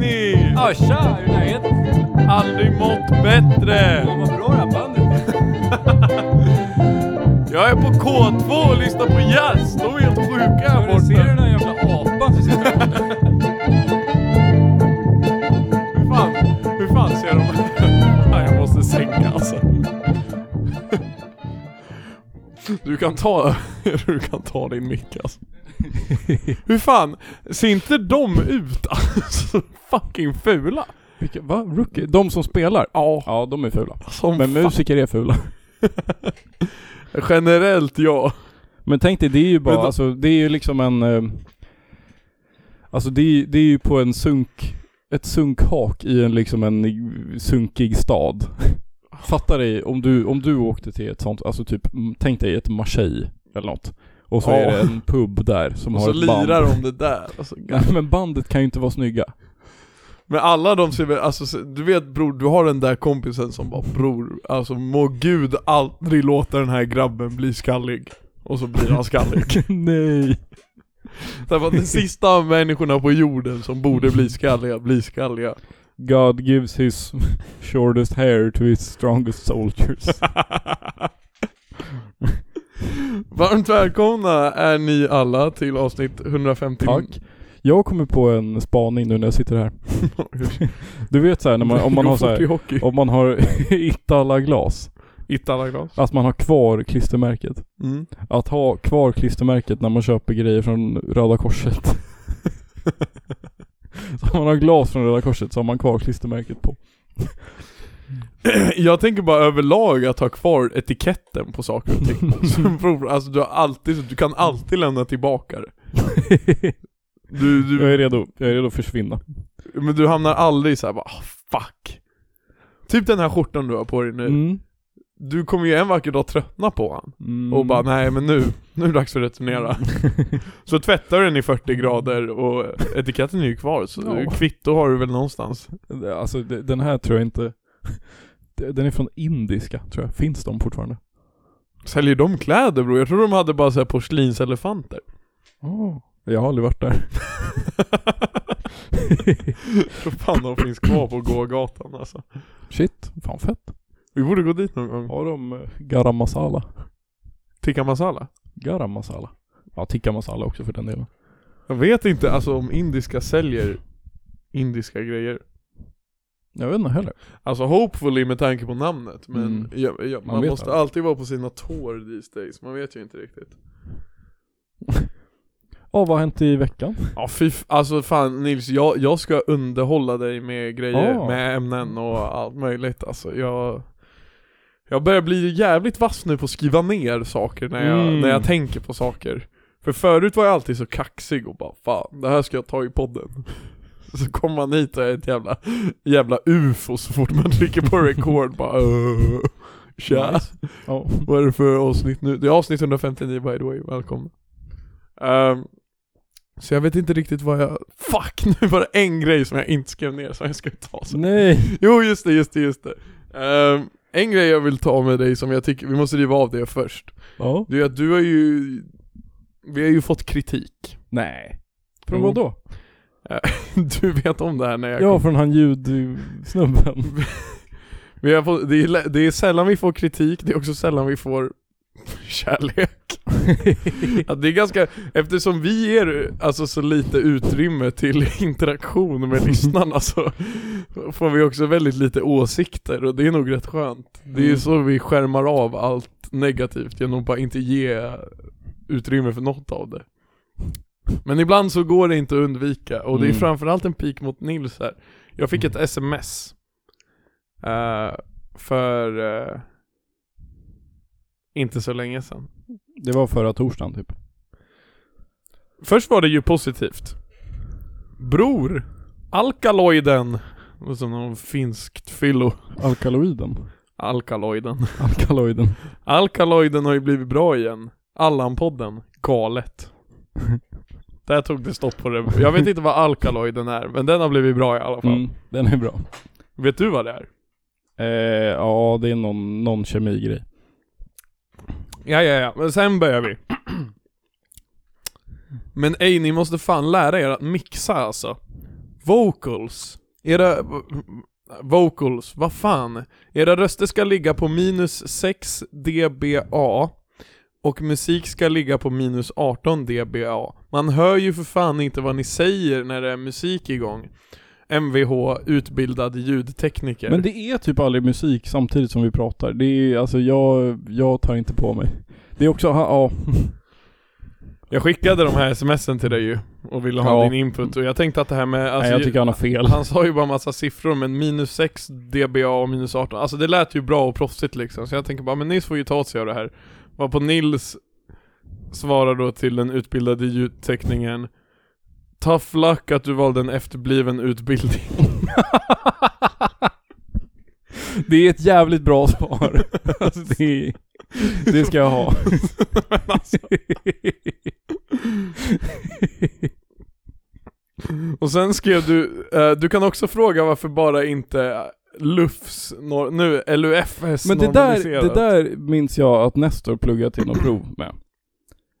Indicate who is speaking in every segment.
Speaker 1: Ja, tja! Hur är läget?
Speaker 2: Aldrig mått bättre!
Speaker 1: Fan vad bra det här bandet är.
Speaker 2: Jag är på K2 och lyssnar på jazz. De är helt sjuka här
Speaker 1: Hörru, Ser du den
Speaker 2: borta.
Speaker 1: där jävla apan som sitter där borta?
Speaker 2: Hur fan, hur fan ser de? Fan, jag måste sänka alltså. Du kan ta, du kan ta din mick alltså. Hur fan, ser inte de ut alltså? Fucking fula.
Speaker 1: Vilka, va? Rookie? De som spelar?
Speaker 2: Ja,
Speaker 1: Ja, de är fula.
Speaker 2: som
Speaker 1: Men
Speaker 2: fan.
Speaker 1: musiker är fula.
Speaker 2: Generellt ja.
Speaker 1: Men tänk dig, det är ju bara,
Speaker 2: Men då-
Speaker 1: alltså det är ju liksom en... eh, Alltså det är, det är ju på en sunk... Ett sunkhak i en liksom en sunkig stad. Fattar dig om du, om du åkte till ett sånt, alltså typ, m- tänk dig ett Marseille eller något. Och så
Speaker 2: Ja.
Speaker 1: är det en pub där som
Speaker 2: Och
Speaker 1: har
Speaker 2: så
Speaker 1: ett band.
Speaker 2: lirar de det där. Alltså,
Speaker 1: Nej men bandet kan ju inte vara snygga.
Speaker 2: Men alla de ser väl, alltså se- du vet bror, du har den där kompisen som bara bror, alltså må gud aldrig låta den här grabben bli skallig. Och så blir han skallig.
Speaker 1: Nej.
Speaker 2: Därför att de sista människorna på jorden som borde bli skalliga, blir skalliga.
Speaker 1: God gives his shortest hair to his strongest soldiers.
Speaker 2: Varmt välkomna är ni alla till avsnitt 150.
Speaker 1: Tack. Jag kommer på en spaning nu när jag sitter här. Du vet såhär när man, om man
Speaker 2: Gå
Speaker 1: har så
Speaker 2: fort i
Speaker 1: här,
Speaker 2: hockey.
Speaker 1: om man har inte alla glas.
Speaker 2: Italaglas.
Speaker 1: Att man har kvar klistermärket.
Speaker 2: Mm.
Speaker 1: Att ha kvar klistermärket när man köper grejer från Röda Korset. så om man har glas från Röda Korset så har man kvar klistermärket på.
Speaker 2: Jag tänker bara överlag att ha kvar etiketten på saker och ting. Som bror, alltså du, har alltid, du kan alltid lämna tillbaka det. Du,
Speaker 1: jag
Speaker 2: du,
Speaker 1: är redo, jag är redo att försvinna.
Speaker 2: men du hamnar aldrig såhär bara ah, fuck. Typ den här skjortan du har på dig nu.
Speaker 1: Mm.
Speaker 2: Du kommer ju en vacker dag tröttna på han.
Speaker 1: Mm.
Speaker 2: Och bara nej men nu, nu är det dags för att returnera. Så tvättar du den i 40 grader och etiketten är ju kvar. Så
Speaker 1: Ja.
Speaker 2: kvitto har du väl någonstans.
Speaker 1: Alltså de- den här tror jag inte Den är från indiska tror jag, finns de fortfarande?
Speaker 2: Säljer de kläder bror? Jag tror de hade bara såhär porslinselefanter.
Speaker 1: Oh. Jag har aldrig varit där
Speaker 2: tror fan de finns kvar på gågatan alltså.
Speaker 1: Shit, fan fett
Speaker 2: Vi borde gå dit någon gång.
Speaker 1: Har de eh, garam masala?
Speaker 2: Tikka masala?
Speaker 1: Garam masala? Ja, tikka masala också för den delen
Speaker 2: Jag vet inte alltså om indiska säljer indiska grejer.
Speaker 1: Jag vet inte heller
Speaker 2: Alltså hopefully med tanke på namnet, men
Speaker 1: Mm.
Speaker 2: jag, jag,
Speaker 1: Man
Speaker 2: man,
Speaker 1: vet
Speaker 2: måste
Speaker 1: aldrig.
Speaker 2: alltid vara på sina tår these days, man vet ju inte riktigt.
Speaker 1: Ja, vad har hänt i veckan?
Speaker 2: Ja fy, f- alltså fan Nils, jag, jag ska underhålla dig med grejer,
Speaker 1: Ah.
Speaker 2: med ämnen och allt möjligt alltså. Jag, jag börjar bli jävligt vass nu på att skriva ner saker när jag,
Speaker 1: Mm.
Speaker 2: när jag tänker på saker. För förut var jag alltid så kaxig och bara fan, det här ska jag ta i podden. Så kommer man hit och är ett jävla, jävla ufo så fort man trycker på record bara uh, Tja,
Speaker 1: Nice. Ja.
Speaker 2: vad är det för avsnitt nu? Det är avsnitt 159 by the way, välkomna. Ehm, så jag vet inte riktigt vad jag... Fuck! Nu var det en grej som jag inte skrev ner som jag ska ta sen.
Speaker 1: Nej!
Speaker 2: Jo just det, just det, just det. Ehm, en grej jag vill ta med dig som jag tycker, vi måste riva av det först.
Speaker 1: Ja.
Speaker 2: Det är att du har ju... Vi har ju fått kritik.
Speaker 1: Nej.
Speaker 2: Jo.
Speaker 1: Från vad då?
Speaker 2: Du vet om det här när jag
Speaker 1: Ja,
Speaker 2: kom.
Speaker 1: från han ljudsnubben.
Speaker 2: Vi har fått, det, är, lä- det är sällan vi får kritik, det är också sällan vi får kärlek. Ja, det är ganska, eftersom vi ger alltså så lite utrymme till interaktion med lyssnarna så får vi också väldigt lite åsikter och det är nog rätt skönt. Det är
Speaker 1: Mm.
Speaker 2: så vi skärmar av allt negativt genom att bara inte ge utrymme för något av det. Men ibland så går det inte att undvika och det är
Speaker 1: Mm.
Speaker 2: framförallt en pik mot Nils här. Jag fick ett sms eh, för eh, inte så länge sedan.
Speaker 1: Det var förra torsdagen typ.
Speaker 2: Först var det ju positivt. Bror, alkaloiden. Det var som någon finskt fyllo.
Speaker 1: Alkaloiden.
Speaker 2: Alkaloiden.
Speaker 1: Alkaloiden.
Speaker 2: Alkaloiden har ju blivit bra igen. Allan-podden. Galet. Där tog det stopp på det. Jag vet inte vad alkaloiden är, men den har blivit bra i alla fall.
Speaker 1: Mm, den är bra.
Speaker 2: Vet du vad det är?
Speaker 1: Eh, ja, det är någon, någon kemigrej.
Speaker 2: Ja, ja, ja. Men sen börjar vi. Men ej, ni måste fan lära er att mixa alltså. Vocals Era vocals, vad fan? Era röster ska ligga på minus 6 dBA och musik ska ligga på minus 18 dBA. Man hör ju för fan inte vad ni säger när det är musik igång. MVH, utbildad ljudtekniker.
Speaker 1: Men det är typ aldrig musik samtidigt som vi pratar. Det är, alltså jag, jag tar inte på mig. Det är också, ha- ja.
Speaker 2: Jag skickade de här sms'en till dig ju och ville ha
Speaker 1: Ja.
Speaker 2: din input och jag tänkte att det här med...
Speaker 1: Nej jag tycker han har fel.
Speaker 2: Alltså, Han sa ju bara massa siffror men minus 6 dBA och minus 18, alltså det lät ju bra och proffsigt liksom så jag tänker bara men Nils får ju ta åt sig av det här. Var på Nils svarar då till den utbildade ljudteknikern Tough luck att du valde en efterbliven utbildning.
Speaker 1: Det är ett jävligt bra svar. Alltså, det, det ska jag ha.
Speaker 2: Och sen skrev du, eh, du kan också fråga varför bara inte LUFs, nor- nu LUFS
Speaker 1: Men det där,
Speaker 2: normaliserat.
Speaker 1: det där minns jag att Nestor pluggade till något prov med.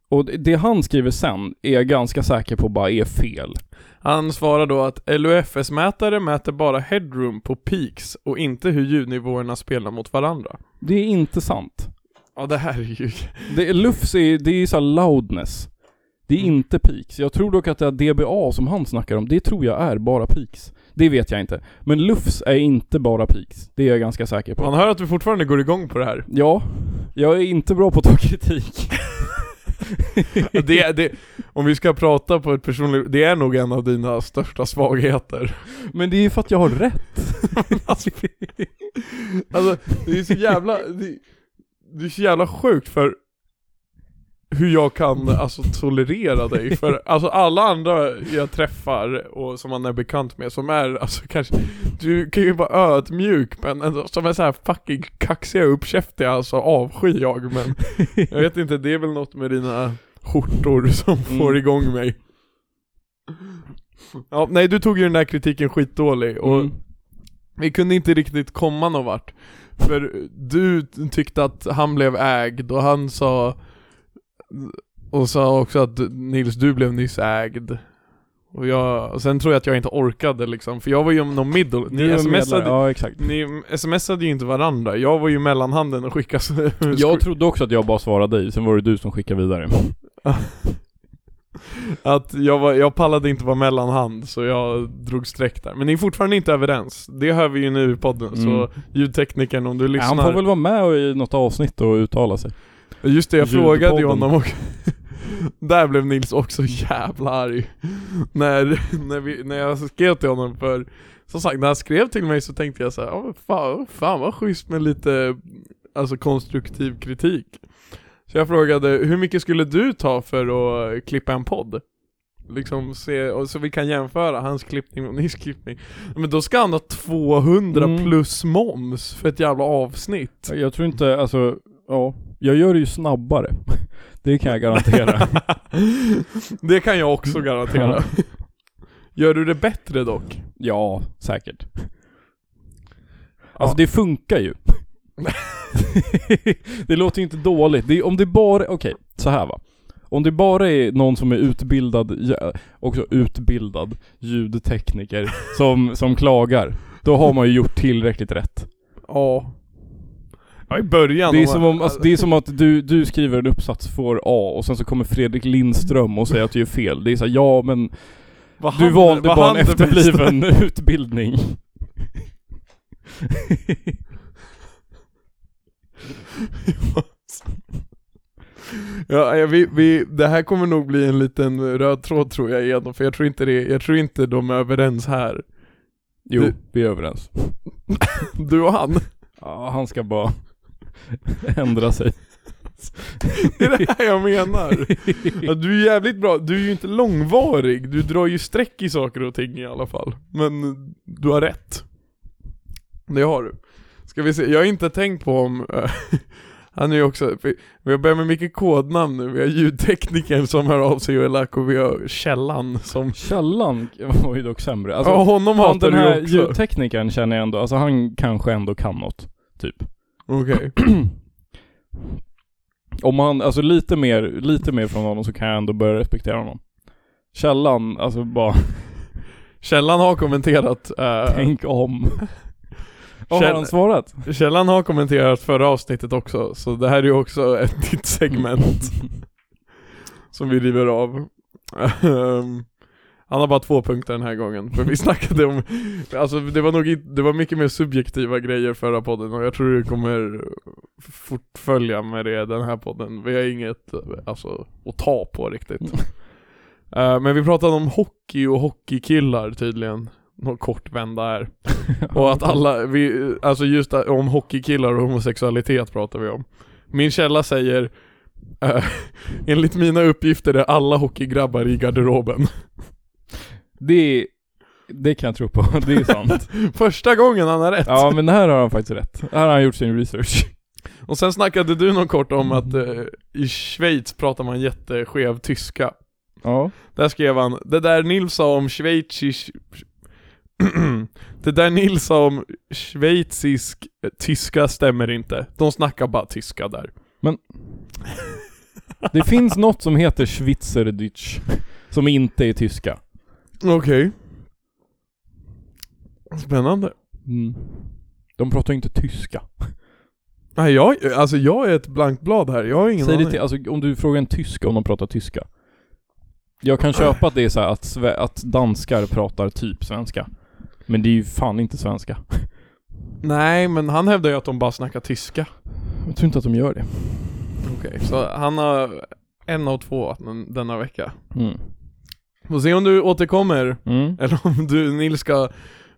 Speaker 1: Och det- det han skriver sen är jag ganska säker på bara är fel.
Speaker 2: Han svarar då att LUFS-mätare mäter bara headroom på peaks och inte hur ljudnivåerna spelar mot varandra.
Speaker 1: Det är inte sant.
Speaker 2: Ja det här är ju...
Speaker 1: Det, lufs är, det är så här loudness. Det är
Speaker 2: Mm.
Speaker 1: inte peaks. Jag tror dock att det här DBA som han snackar om, det tror jag är bara peaks. Det vet jag inte. Men lufs är inte bara peaks. Det är jag ganska säker på.
Speaker 2: Man hör att du fortfarande går igång på det här.
Speaker 1: Ja, jag är inte bra på att ta kritik.
Speaker 2: Det, det, om vi ska prata på ett personligt... Det är nog en av dina största svagheter.
Speaker 1: Men det är ju för att jag har rätt.
Speaker 2: Alltså, alltså det är så jävla... Det, det är så jävla sjukt för hur jag kan alltså tolerera dig för alltså alla andra jag träffar och som man är bekant med som är alltså kanske Du kan ju vara ödmjuk men ändå, som är så här fucking kaxiga och uppkäftiga alltså avskyr jag men Jag vet inte, det är väl något med dina skjortor som får
Speaker 1: Mm.
Speaker 2: igång mig Ja, nej du tog ju den där kritiken skitdålig och
Speaker 1: Mm.
Speaker 2: vi kunde inte riktigt komma någon vart. För du tyckte att han blev ägd och han sa och sa också att Nils du blev nyss ägd. Och jag, och sen tror jag att jag inte orkade liksom, för jag var ju någon middle,
Speaker 1: Du
Speaker 2: ni
Speaker 1: är medlare.
Speaker 2: smsade,
Speaker 1: Ja, exakt.
Speaker 2: ni smsade ju inte varandra, jag var ju mellanhanden och skickade så-
Speaker 1: Jag trodde också att jag bara svarade dig, sen var det du som skickade vidare.
Speaker 2: att jag, var, jag pallade inte vara mellanhand så jag drog streck där. Men ni är fortfarande inte överens, det hör vi ju nu i podden, så
Speaker 1: Mm.
Speaker 2: ljudteknikern om du lyssnar
Speaker 1: Han får väl vara med och i något avsnitt och uttala sig.
Speaker 2: Ja, Just det, jag
Speaker 1: Ljudpodden.
Speaker 2: frågade ju honom och Där blev Nils också jävla arg. När, när, vi, när jag skrev till honom för Som sagt, när han skrev till mig så tänkte jag så här, "Ja, men fan, fan vad schysst med lite Alltså konstruktiv kritik. Så jag frågade, hur mycket skulle du ta för att eh, klippa en podd? Liksom se, och så vi kan jämföra hans klippning och Nils klippning. Men då ska han ha 200
Speaker 1: Mm.
Speaker 2: plus moms för ett jävla avsnitt.
Speaker 1: Jag tror inte, alltså, ja. Jag gör det ju snabbare. Det kan jag garantera.
Speaker 2: Det kan jag också garantera. Gör du det bättre dock?
Speaker 1: ja, säkert. Alltså det funkar ju. det låter ju inte dåligt. Det är, om det bara, okej, så här va. Om det bara är någon som är utbildad, ja, också utbildad ljudtekniker som, som klagar, då har man ju gjort tillräckligt rätt.
Speaker 2: Ja. Ja i början.
Speaker 1: Det är,
Speaker 2: om-
Speaker 1: som om, alltså, det är som att du, du skriver en uppsats, får A och sen så kommer Fredrik Lindström och säger att du gör fel. Det är såhär, ja men
Speaker 2: vad
Speaker 1: du
Speaker 2: han-
Speaker 1: valde
Speaker 2: vad
Speaker 1: bara
Speaker 2: han
Speaker 1: en
Speaker 2: det bästa-
Speaker 1: efterbliven utbildning.
Speaker 2: Ja, ja, vi, vi, det här kommer nog bli en liten röd tråd tror jag igenom, för jag tror inte det, jag tror inte de är överens här.
Speaker 1: Jo,
Speaker 2: Du-
Speaker 1: vi är överens.
Speaker 2: Du och han.
Speaker 1: Ja, han ska bara ändra sig.
Speaker 2: Det är det här jag menar. Ja, du är jävligt bra, du är ju inte långvarig, du drar ju streck i saker och ting i alla fall. Men du har rätt. Det har du. Ska vi se, jag har inte tänkt på om eh, han är ju också, för vi har börjat med mycket kodnamn nu, vi har ljudteknikern som hör av sig och är lack och vi har Källan som,
Speaker 1: Källan var ju dock sämre. Alltså,
Speaker 2: ja honom
Speaker 1: han,
Speaker 2: hatar
Speaker 1: den här
Speaker 2: du också.
Speaker 1: ljudteknikern känner jag ändå, alltså han kanske ändå kan något, typ.
Speaker 2: Okej.
Speaker 1: Om han, alltså lite mer, lite mer från honom så kan jag ändå börja respektera honom. Källan, alltså bara
Speaker 2: Källan har kommenterat eh,
Speaker 1: Tänk om. Vad har
Speaker 2: Känn-
Speaker 1: han svarat?
Speaker 2: Källan har kommenterat förra avsnittet också, så det här är ju också ett nytt segment som vi river av. Ehm, Han har bara två punkter den här gången, för vi snackade om, alltså det var nog inte- det var mycket mer subjektiva grejer förra podden och jag tror det kommer fortfölja med det den här podden. Vi har inget, alltså, att ta på riktigt. Ehm, Men vi pratade om hockey och hockeykillar tydligen, någon kort vända här. Och att alla, vi, alltså just att- om hockeykillar och homosexualitet pratar vi om. Min källa säger eh, Enligt mina uppgifter är alla hockeygrabbar i garderoben.
Speaker 1: Det, det kan jag tro på, det är sant.
Speaker 2: Första gången han har rätt.
Speaker 1: ja men här har han faktiskt rätt. Här har han gjort sin research.
Speaker 2: Och sen snackade du någon kort om att eh, i Schweiz pratar man jätteskev tyska.
Speaker 1: Ja.
Speaker 2: Där skrev han, det där Nils sa om schweizisk... det där Nils sa om schweizisk eh, tyska stämmer inte. De snackar bara tyska där.
Speaker 1: Det finns något som heter Schweizerdeutsch, som inte är tyska.
Speaker 2: Okej. Spännande.
Speaker 1: Mm. De pratar ju inte tyska.
Speaker 2: Nej jag, alltså jag är ett blankt blad här, jag har ingen
Speaker 1: Säg det
Speaker 2: aning.
Speaker 1: till, alltså, om du frågar en tysk om de pratar tyska. Jag kan köpa att det är så här att, sve, att danskar pratar typ svenska. Men det är ju fan inte svenska.
Speaker 2: Nej men han hävdar ju att de bara snackar tyska.
Speaker 1: Jag tror inte att de gör det.
Speaker 2: Okej. Så han har en av två den, denna vecka.
Speaker 1: Mm.
Speaker 2: Får se om du återkommer,
Speaker 1: Mm.
Speaker 2: eller om du Nils ska,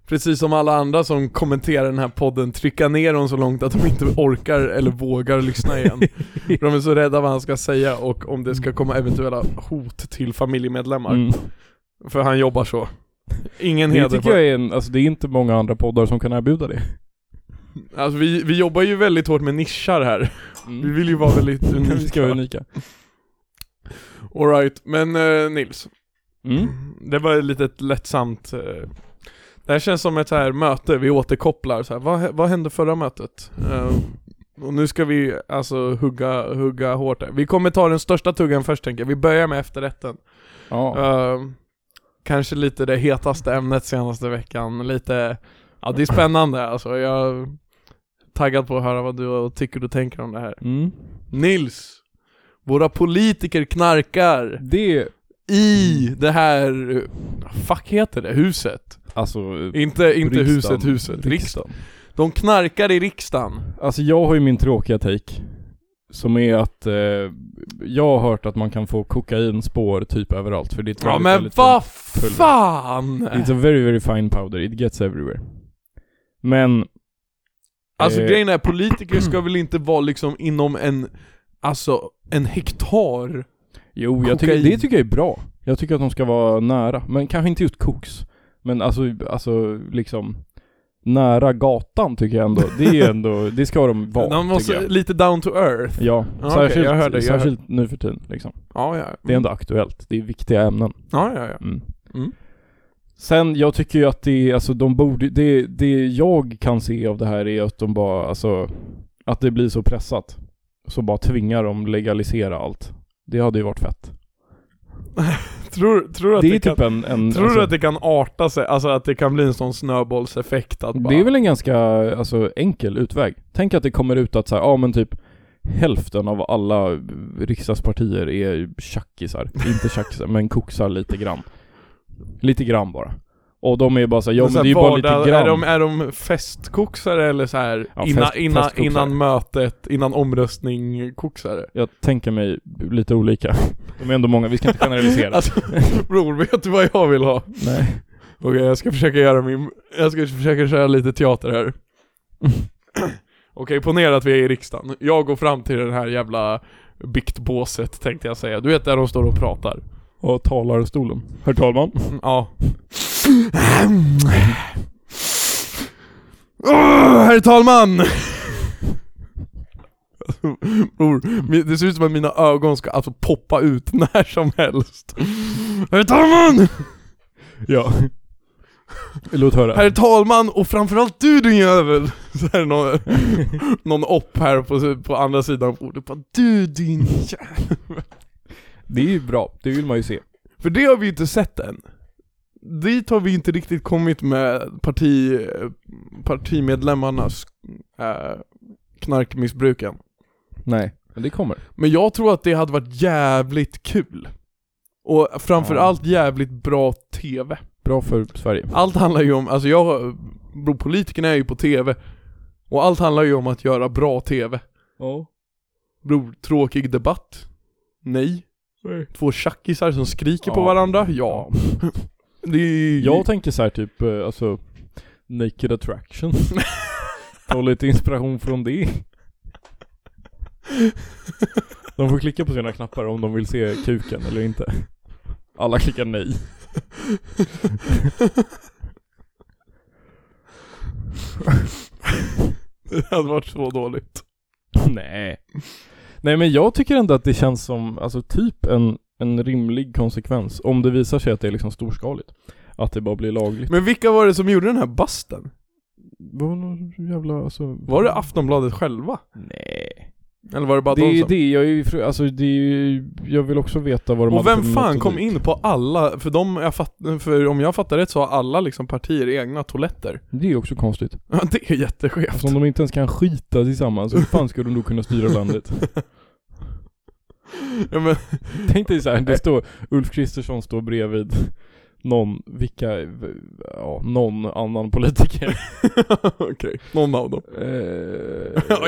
Speaker 2: precis som alla andra som kommenterar den här podden, trycka ner dem så långt att de inte orkar eller vågar lyssna igen. För de är så rädda vad han ska säga och om det ska komma eventuella hot till familjemedlemmar.
Speaker 1: Mm.
Speaker 2: För han jobbar så. Ingen
Speaker 1: Det
Speaker 2: heder
Speaker 1: tycker jag är en, alltså det är inte många andra poddar som kan erbjuda det.
Speaker 2: Alltså vi, vi jobbar ju väldigt hårt med nischar här. Vi vill ju vara väldigt unika.
Speaker 1: Vi Mm. ska vara unika.
Speaker 2: Alright, men eh, Nils.
Speaker 1: Mm.
Speaker 2: Det var ett litet lättsamt... eh, det här känns som ett så här möte, vi återkopplar så här. Vad, hä- vad hände förra mötet? Eh, och nu ska vi alltså hugga, hugga hårt här. Vi kommer ta den största tuggan först tänker jag. Vi börjar med efterrätten.
Speaker 1: Ja.
Speaker 2: Eh, kanske lite det hetaste ämnet senaste veckan. Lite... Ja det är spännande alltså. Jag är taggad på att höra vad du tycker och tänker om det här.
Speaker 1: Mm.
Speaker 2: Nils, våra politiker knarkar
Speaker 1: Det,
Speaker 2: i
Speaker 1: Mm.
Speaker 2: det här, eh, fuck heter det, huset?
Speaker 1: alltså...
Speaker 2: Inte, inte
Speaker 1: riksdagen.
Speaker 2: huset, huset, riksdagen. De knarkar i riksdagen.
Speaker 1: Alltså jag har ju min tråkiga take. Som är att eh, jag har hört att man kan få kokainspår typ överallt för det är ett
Speaker 2: Ja
Speaker 1: väldigt,
Speaker 2: men
Speaker 1: väldigt
Speaker 2: vad
Speaker 1: pulver.
Speaker 2: fan!
Speaker 1: It's a very very fine powder, it gets everywhere. Men...
Speaker 2: Alltså
Speaker 1: eh,
Speaker 2: grejen är, politiker ska väl inte vara liksom inom en, alltså en hektar?
Speaker 1: Jo, jag tycker,
Speaker 2: kokain.
Speaker 1: det tycker jag är bra. Jag tycker att de ska vara nära, men kanske inte just koks. Men alltså, alltså liksom... Nära gatan tycker jag ändå, det är ändå, det ska de vara
Speaker 2: De
Speaker 1: tycker
Speaker 2: måste,
Speaker 1: jag.
Speaker 2: lite down to earth.
Speaker 1: Ja,
Speaker 2: Ja, okej,
Speaker 1: särskilt,
Speaker 2: jag Mm. hör dig, jag hör-
Speaker 1: särskilt nu för tiden liksom.
Speaker 2: Ja ja.
Speaker 1: Det är ändå aktuellt, det är viktiga ämnen.
Speaker 2: Ja ja ja.
Speaker 1: Mm.
Speaker 2: Mm.
Speaker 1: Sen, jag tycker ju att det, alltså de borde, det, det jag kan se av det här är att de bara, alltså, att det blir så pressat. Så bara tvingar de legalisera allt. Det hade ju varit fett.
Speaker 2: Tror, tror du att
Speaker 1: Det
Speaker 2: det,
Speaker 1: är ju
Speaker 2: kan,
Speaker 1: typ en, en
Speaker 2: tror
Speaker 1: alltså,
Speaker 2: du att det kan arta sig? Alltså att det kan bli en sån snöbollseffekt att bara...
Speaker 1: det är väl en ganska, alltså enkel utväg. Tänk att det kommer ut att så här, ja men typ hälften av alla riksdagspartier är tjackisar. Inte tjackisar, men koksar lite grann. Lite grann bara. Och de är bara så här, ja men,
Speaker 2: så här
Speaker 1: det är ju bara lite
Speaker 2: vardag-
Speaker 1: grann.
Speaker 2: Är de, är de festkoksare eller så här
Speaker 1: Ja,
Speaker 2: innan,
Speaker 1: fest-
Speaker 2: innan,
Speaker 1: festkoksare.
Speaker 2: innan mötet, innan omröstning koksare?
Speaker 1: Jag tänker mig lite olika. De är ändå många, vi ska inte generalisera.
Speaker 2: Alltså bror, vet du vad jag vill ha?
Speaker 1: Nej.
Speaker 2: Okej, jag ska försöka göra min, jag ska försöka köra lite teater här. Okej, ponera att vi är i riksdagen. Jag går fram till den här jävla biktbåset tänkte jag säga. Du vet där de står och pratar.
Speaker 1: Och talarstolen. Herr talman.
Speaker 2: Mm, Ja. Åh, herr talman! Bror, mi- det ser ut som att mina ögon ska alltså poppa ut när som helst. Herr talman!
Speaker 1: Ja. Låt höra.
Speaker 2: Herr talman och framförallt du din jävel! Så är det någon, någon opp här på, på andra sidan bordet. Bara, Du din jävel.
Speaker 1: Det är ju bra, det vill man ju se.
Speaker 2: För det har vi ju inte sett än. dit har vi inte riktigt kommit med parti, partimedlemmarnas eh, knarkmissbruken.
Speaker 1: Nej, men det kommer.
Speaker 2: Men jag tror att det hade varit jävligt kul. Och framförallt jävligt bra TV.
Speaker 1: Bra för Sverige.
Speaker 2: Allt handlar ju om, alltså jag, bro, politikerna är ju på TV. Och allt handlar ju om att göra bra TV.
Speaker 1: Ja.
Speaker 2: Bror, tråkig debatt? Nej. Två tjackisar som skriker på varandra? Ja. Det är
Speaker 1: Jag tänker så här typ, eh, alltså, Naked Attraction. Ta lite inspiration från det. De får klicka på sina knappar om de vill se kuken eller inte. Alla klickar nej.
Speaker 2: det hade varit så dåligt.
Speaker 1: Nej. Nej men jag tycker ändå att det känns som, alltså typ en, en rimlig konsekvens. Om det visar sig att det är liksom storskaligt. Att det bara blir lagligt.
Speaker 2: Men vilka var det som gjorde den här basten?
Speaker 1: Var det någon jävla, alltså...
Speaker 2: Var det Aftonbladet själva?
Speaker 1: Nej.
Speaker 2: Eller var det bara
Speaker 1: Det är
Speaker 2: de
Speaker 1: ju
Speaker 2: som...
Speaker 1: det, jag är ju, fru- alltså det är ju, jag vill också veta vad de
Speaker 2: Och
Speaker 1: hade
Speaker 2: vem
Speaker 1: för
Speaker 2: fan
Speaker 1: metodik.
Speaker 2: kom in på alla, för, de, jag fatt, för om jag fattar rätt så har alla liksom partier egna toaletter.
Speaker 1: Det är ju också konstigt.
Speaker 2: Ja, det är jätteskevt.
Speaker 1: Eftersom de inte ens kan skita tillsammans, hur fan skulle de då kunna styra landet?
Speaker 2: Ja, men,
Speaker 1: Tänk dig såhär, det står Ulf Kristersson står bredvid någon, vilka, ja, någon annan politiker.
Speaker 2: okej. Någon av dem.
Speaker 1: Eh,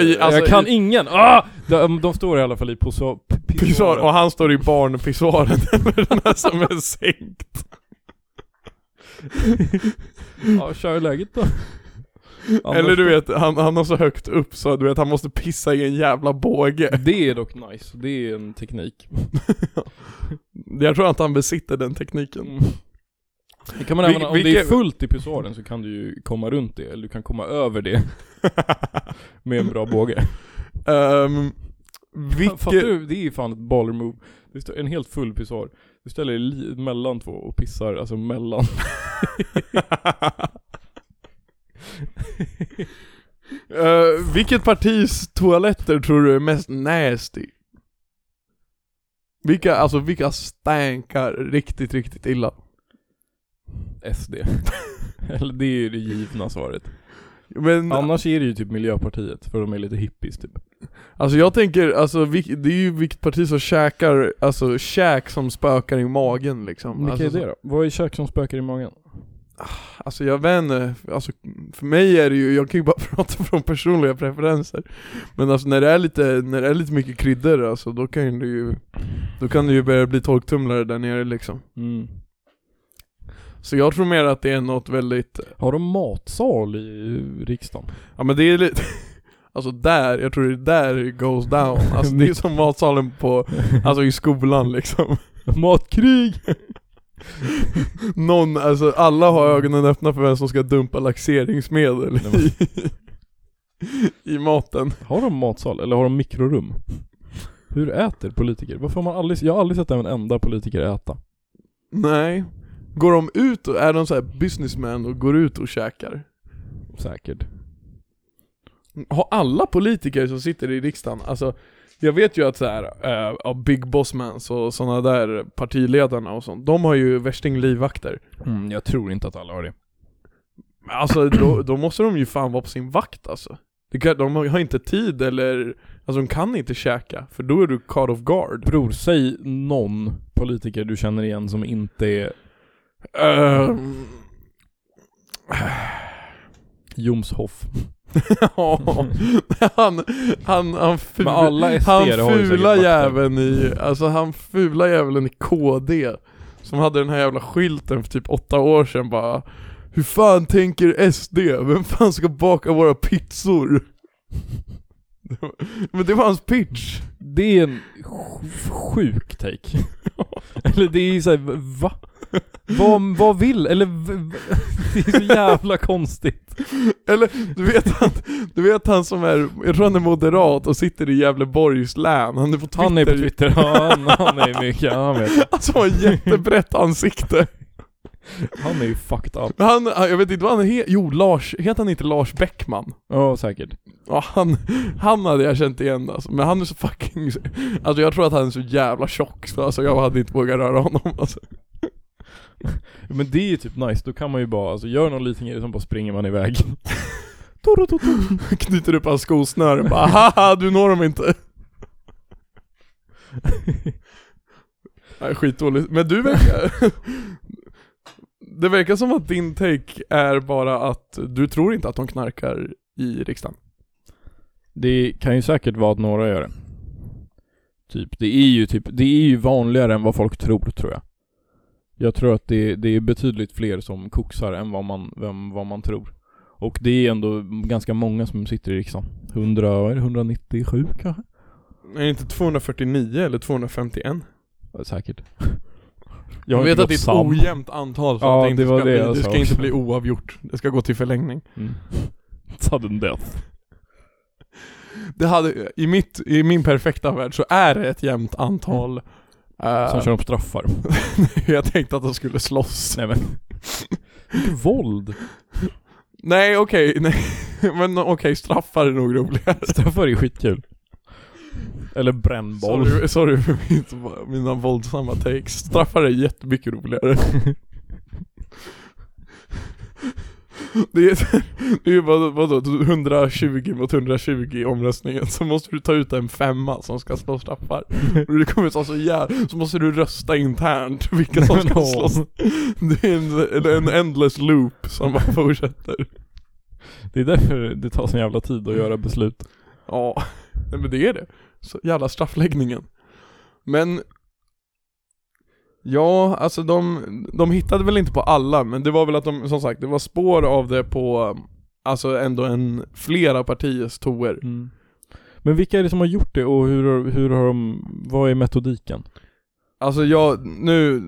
Speaker 2: I- alltså,
Speaker 1: jag kan
Speaker 2: i-
Speaker 1: ingen! Ah! De, de står i alla fall i posa- p-
Speaker 2: Pissoar,
Speaker 1: pissoaren.
Speaker 2: och han står i barnpissoaren, eller den här som är sänkt.
Speaker 1: Ja, kör läget då. Annars-
Speaker 2: Eller du vet, han, han har så högt upp så du vet, han måste pissa i en jävla båge.
Speaker 1: Det är dock nice, det är en teknik.
Speaker 2: Jag tror att han besitter den tekniken.
Speaker 1: Mm. Det kan man
Speaker 2: Vil-
Speaker 1: även, om det är
Speaker 2: vilken-
Speaker 1: fullt i pissoaren så kan du ju komma runt det, eller du kan komma över det med en bra båge.
Speaker 2: um,
Speaker 1: Fattar
Speaker 2: vilket...
Speaker 1: du? Det är ju fan ett baller move. Det står en helt full pissoar. Du ställer dig li- mellan två och pissar, alltså mellan.
Speaker 2: Eh, vilket partis toaletter tror du är mest nasty? Vilka, alltså vilka stänkar riktigt, riktigt illa?
Speaker 1: SD. eller det är ju det givna svaret.
Speaker 2: Men
Speaker 1: Annars är det ju typ Miljöpartiet, för de är lite hippies typ.
Speaker 2: alltså jag tänker, alltså vil- det är ju vilket parti som käkar, alltså käk som spökar i magen liksom.
Speaker 1: Vilka
Speaker 2: alltså,
Speaker 1: är det då? Vad är kök som spökar i magen?
Speaker 2: Alltså jag vet inte, alltså för mig är det ju, jag kan ju bara prata från personliga preferenser Men alltså när det är lite, när det är lite mycket kryddor alltså då kan det ju Då kan det ju börja bli torktumlare där nere liksom
Speaker 1: Mm.
Speaker 2: Så jag tror mer att det är något väldigt,
Speaker 1: Har de matsal i eh, riksdagen?
Speaker 2: ja men det är lite Alltså där, jag tror det är där it goes down Alltså det är som matsalen på, alltså i skolan liksom
Speaker 1: Matkrig!
Speaker 2: Någon, alltså alla har ögonen öppna för vem som ska dumpa laxeringsmedel
Speaker 1: Nej, men-
Speaker 2: i, i maten
Speaker 1: Har de matsal eller har de mikrorum? Hur äter politiker? Varför har man aldrig, jag har aldrig sett en enda politiker äta.
Speaker 2: Nej. Går de ut och är de så här businessmen och går ut och käkar?
Speaker 1: Säkert.
Speaker 2: Har alla politiker som sitter i riksdagen, alltså jag vet ju att så här, eh, ja, Big Boss Mans och sådana där partiledarna och sånt, de har ju värsting livvakter.
Speaker 1: Mm, jag tror inte att alla har det.
Speaker 2: Men Alltså då, då måste de ju fan vara på sin vakt alltså. Det kan- De har inte tid eller, alltså de kan inte käka, för då är du caught off guard.
Speaker 1: Bror, säg någon politiker du känner igen som inte är
Speaker 2: Ehm,
Speaker 1: Jomshoff.
Speaker 2: Ja, han, han, han, ful,
Speaker 1: Men alla SD-are
Speaker 2: han
Speaker 1: har ju säkert
Speaker 2: fula
Speaker 1: vakter.
Speaker 2: jäveln i, alltså han fula jäveln i KD Som hade den här jävla skylten för typ åtta år sedan bara Hur fan tänker SD? Vem fan ska baka våra pizzor? Det var- Men det var hans pitch
Speaker 1: Det är en sj- sjuk take. eller det är ju såhär, va? Vad, vad vill, eller v- v- Det är så jävla konstigt.
Speaker 2: Eller du vet han, du vet han som är, jag tror han är moderat och sitter i Gävleborgs län Han är på Twitter,
Speaker 1: Han är på Twitter, ja, han, han är mycket, han vet.
Speaker 2: Alltså har ett jättebrett ansikte
Speaker 1: Han är ju fucked up.
Speaker 2: Han, jag vet inte vad han heter, jo Lars, heter han inte Lars Bäckman?
Speaker 1: Ja, säkert.
Speaker 2: Ja han, han hade jag känt igen alltså, men han är så fucking, alltså jag tror att han är så jävla tjock så alltså jag hade inte vågat röra honom alltså.
Speaker 1: Men det är ju typ nice, då kan man ju bara, alltså gör någon liten grej, så bara springer man iväg. Totototo.
Speaker 2: Knyter upp hans skosnören bara haha du når dem inte. Nej, skitdåligt. Men du verkar... Det verkar som att din take är bara att du tror inte att de knarkar i riksdagen.
Speaker 1: Det kan ju säkert vara att några gör det. Typ, det är ju typ, det är ju vanligare än vad folk tror tror jag. Jag tror att det, det är betydligt fler som koksar än vad man, vem, vad man tror. Och det är ändå ganska många som sitter i riksdagen. 100, vad är det, 197 kanske?
Speaker 2: Är det inte 249 eller 251?
Speaker 1: Ja, Säkert.
Speaker 2: Jag
Speaker 1: har
Speaker 2: vet
Speaker 1: inte
Speaker 2: att det är
Speaker 1: gått
Speaker 2: ett
Speaker 1: sam.
Speaker 2: ojämnt antal så
Speaker 1: Ja,
Speaker 2: att det inte,
Speaker 1: det var
Speaker 2: ska,
Speaker 1: det
Speaker 2: bli,
Speaker 1: jag
Speaker 2: det
Speaker 1: sa
Speaker 2: ska inte
Speaker 1: också.
Speaker 2: bli oavgjort. Det ska gå till förlängning.
Speaker 1: Mm. Sudden death.
Speaker 2: Det hade, i, mitt, I min perfekta värld så är det ett jämnt antal. eh,
Speaker 1: Som kör de straffar.
Speaker 2: jag tänkte att de skulle slåss.
Speaker 1: Nej men. Mycket våld.
Speaker 2: Nej okej, nej. Men okej, straffar är nog roligare.
Speaker 1: Straffar är skitkul. Eller brännboll.
Speaker 2: Sorry, sorry för mitt, mina våldsamma takes. Straffar är jättemycket roligare. Det är, det är ju bara, vadå, 120 mot 120 i omröstningen, så måste du ta ut en femma som ska slå straffar. Och det kommer ta så jävla, så måste du rösta internt vilka som
Speaker 1: Nej, men
Speaker 2: ska
Speaker 1: åh.
Speaker 2: slås. Det är en, en endless loop som bara fortsätter.
Speaker 1: Det är därför det tar sån jävla tid att göra beslut.
Speaker 2: Ja, nej men det är det. Så jävla straffläggningen. Men Ja, alltså de, de hittade väl inte på alla, men det var väl att de, som sagt, det var spår av det på Alltså ändå en, flera partiers toer.
Speaker 1: Mm. Men vilka är det som har gjort det och hur, har- hur har de, vad är metodiken?
Speaker 2: Alltså jag, nu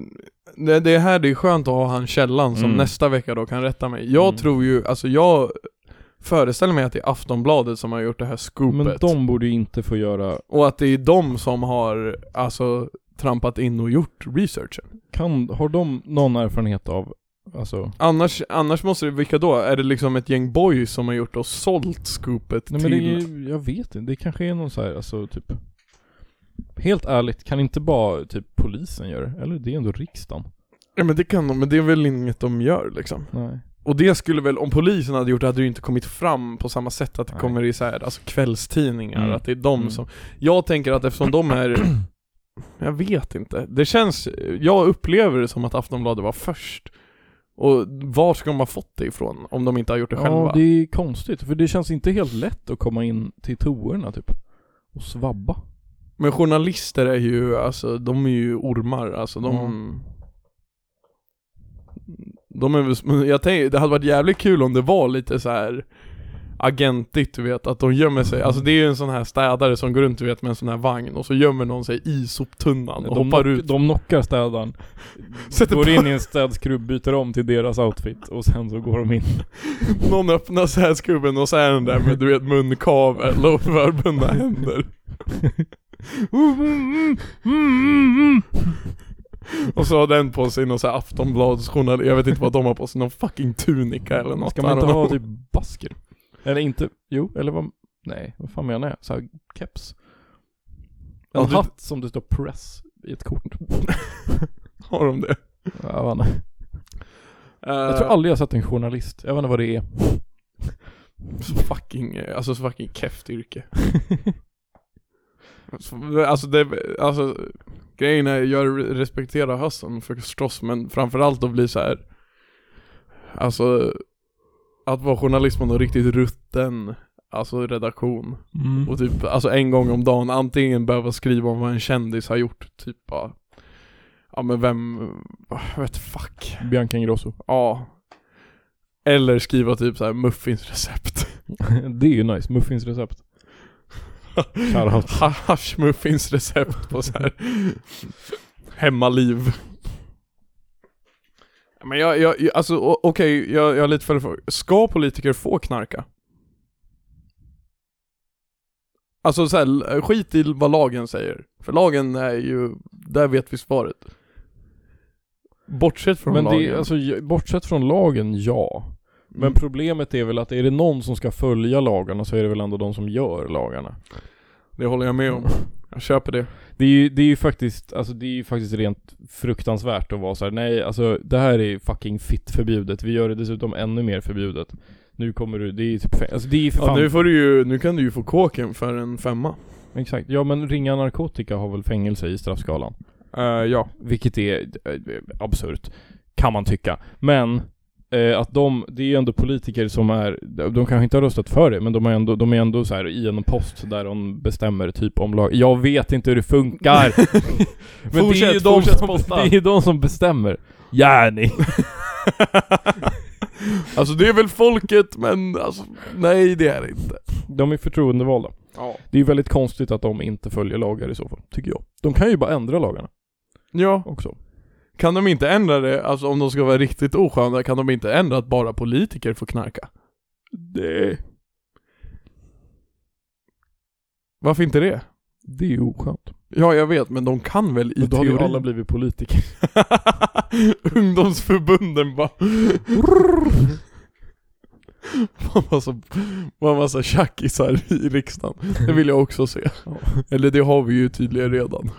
Speaker 2: det, det är här det är skönt att ha han källan som
Speaker 1: Mm.
Speaker 2: nästa vecka då kan rätta mig. Jag
Speaker 1: Mm.
Speaker 2: tror ju, alltså jag föreställer mig att det är Aftonbladet som har gjort det här scoopet.
Speaker 1: Men de borde ju inte få göra,
Speaker 2: Och att det är de som har, alltså trampat in och gjort researchen.
Speaker 1: kan, har de någon erfarenhet av, alltså?
Speaker 2: Annars, annars måste det, vilka då? Är det liksom ett gäng boys som har gjort och sålt scoopet
Speaker 1: Nej
Speaker 2: till...
Speaker 1: men det är, ju- jag vet inte, det kanske är någon så här, alltså typ Helt ärligt, kan inte bara typ polisen göra det? Eller det är ändå riksdagen?
Speaker 2: Ja men det kan de, men det är väl inget de gör liksom.
Speaker 1: Nej.
Speaker 2: Och det skulle väl, om polisen hade gjort det hade det ju inte kommit fram på samma sätt att det
Speaker 1: Nej.
Speaker 2: kommer i så här, alltså kvällstidningar,
Speaker 1: Mm.
Speaker 2: att det är de
Speaker 1: Mm.
Speaker 2: som... Jag tänker att eftersom de är... Jag vet inte. Det känns, jag upplever det som att Aftonbladet var först. Och var ska de ha fått det ifrån? Om de inte har gjort det
Speaker 1: Ja
Speaker 2: själva?
Speaker 1: det är konstigt, för det känns inte helt lätt att komma in till toorna typ och svabba
Speaker 2: Men journalister är ju, alltså de är ju ormar, alltså de
Speaker 1: Mm.
Speaker 2: De är väl, sm- jag tänker, det hade varit jävligt kul om det var lite så här agentigt du vet, att de gömmer sig, alltså det är ju en sån här städare som går runt du vet med en sån här vagn och så gömmer någon sig i soptunnan och
Speaker 1: de
Speaker 2: hoppar
Speaker 1: knock-
Speaker 2: ut
Speaker 1: De knockar städaren,
Speaker 2: Sätter
Speaker 1: går
Speaker 2: på-
Speaker 1: in i en städskrubb, byter om till deras outfit och sen så går de in.
Speaker 2: Någon öppnar så här skubben och så är den där med du vet munkavel och förbundna händer Och så har den på sig någon så här aftonbladsjournal, jag vet inte vad de har på sig, någon fucking tunika eller något
Speaker 1: Ska man
Speaker 2: I
Speaker 1: inte
Speaker 2: don't
Speaker 1: ha
Speaker 2: know.
Speaker 1: typ basker? Eller inte, jo, eller vad, nej, vad fan menar jag? Så här, keps. En
Speaker 2: Ja, du-
Speaker 1: hatt som det står press i ett kort.
Speaker 2: Har de det?
Speaker 1: Jag, vet inte. jag
Speaker 2: Eh,
Speaker 1: tror aldrig jag sett en journalist, jag vet inte vad det är.
Speaker 2: Så fucking, eh, alltså så fucking kefft yrke. Så, alltså det, alltså grejen är, jag respekterar hösten förstås men framförallt att bli så här. Alltså att vara journalist på någon riktigt rutten, alltså redaktion. Och typ, alltså en gång om dagen antingen behöva skriva om vad en kändis har gjort, typ bara Ja men vem, jag vet fuck.
Speaker 1: Bianca Ingrosso.
Speaker 2: Ja. Eller skriva typ så här muffinsrecept.
Speaker 1: det är ju nice, muffinsrecept. Shoutout.
Speaker 2: Ha- Haschmuffins recept på så här hemmaliv. Men jag, jag, jag alltså o- okej, jag, jag har lite för Ska politiker få knarka? Alltså så här, skit i vad lagen säger. För lagen är ju, där vet vi svaret. Bortsett från
Speaker 1: Men
Speaker 2: lagen.
Speaker 1: det, är- alltså j- bortsett från lagen, ja. Men
Speaker 2: Mm.
Speaker 1: problemet är väl att är det någon som ska följa lagarna så är det väl ändå de som gör lagarna.
Speaker 2: det håller jag med om. Jag köper det.
Speaker 1: Det är ju, det är ju faktiskt, alltså det är ju faktiskt rent fruktansvärt att vara så här. nej alltså det här är fucking fitt förbjudet, vi gör det dessutom ännu mer förbjudet. Nu kommer du, det är ju typ, fäng- alltså det är ju för
Speaker 2: Ja,
Speaker 1: fan,
Speaker 2: nu, får du ju, nu kan du ju få kåken för en femma.
Speaker 1: exakt. Ja men ringa narkotika har väl fängelse i straffskalan?
Speaker 2: Eh, ja.
Speaker 1: Vilket är eh, absurt, kan man tycka. Men eh, att de, det är ju ändå politiker som är, de kanske inte har röstat för det, men de är ändå, de är ändå så här i en post där de bestämmer typ om lag. Jag vet inte hur det funkar! men det är ju
Speaker 2: Fortsätt,
Speaker 1: de
Speaker 2: fortsätt
Speaker 1: som,
Speaker 2: posta.
Speaker 1: det är ju de som bestämmer. Ja, ni.
Speaker 2: Alltså det är väl folket men alltså, nej det är det inte.
Speaker 1: De är förtroendevalda.
Speaker 2: Ja.
Speaker 1: Det är ju väldigt konstigt att de inte följer lagar i så fall, tycker jag. De kan ju bara ändra lagarna
Speaker 2: ja.
Speaker 1: också.
Speaker 2: Kan de inte ändra det, alltså om de ska vara riktigt osköna, kan de inte ändra att bara politiker får knarka? Det... Varför inte det?
Speaker 1: Det är ju oskönt.
Speaker 2: Ja, jag vet, men de kan väl i
Speaker 1: Men då har ju
Speaker 2: teorin?
Speaker 1: alla blivit politiker.
Speaker 2: Ungdomsförbunden bara... Man var så, man var så tjackisar i riksdagen. Det vill jag också se.
Speaker 1: Ja.
Speaker 2: Eller det har vi ju tydligen redan.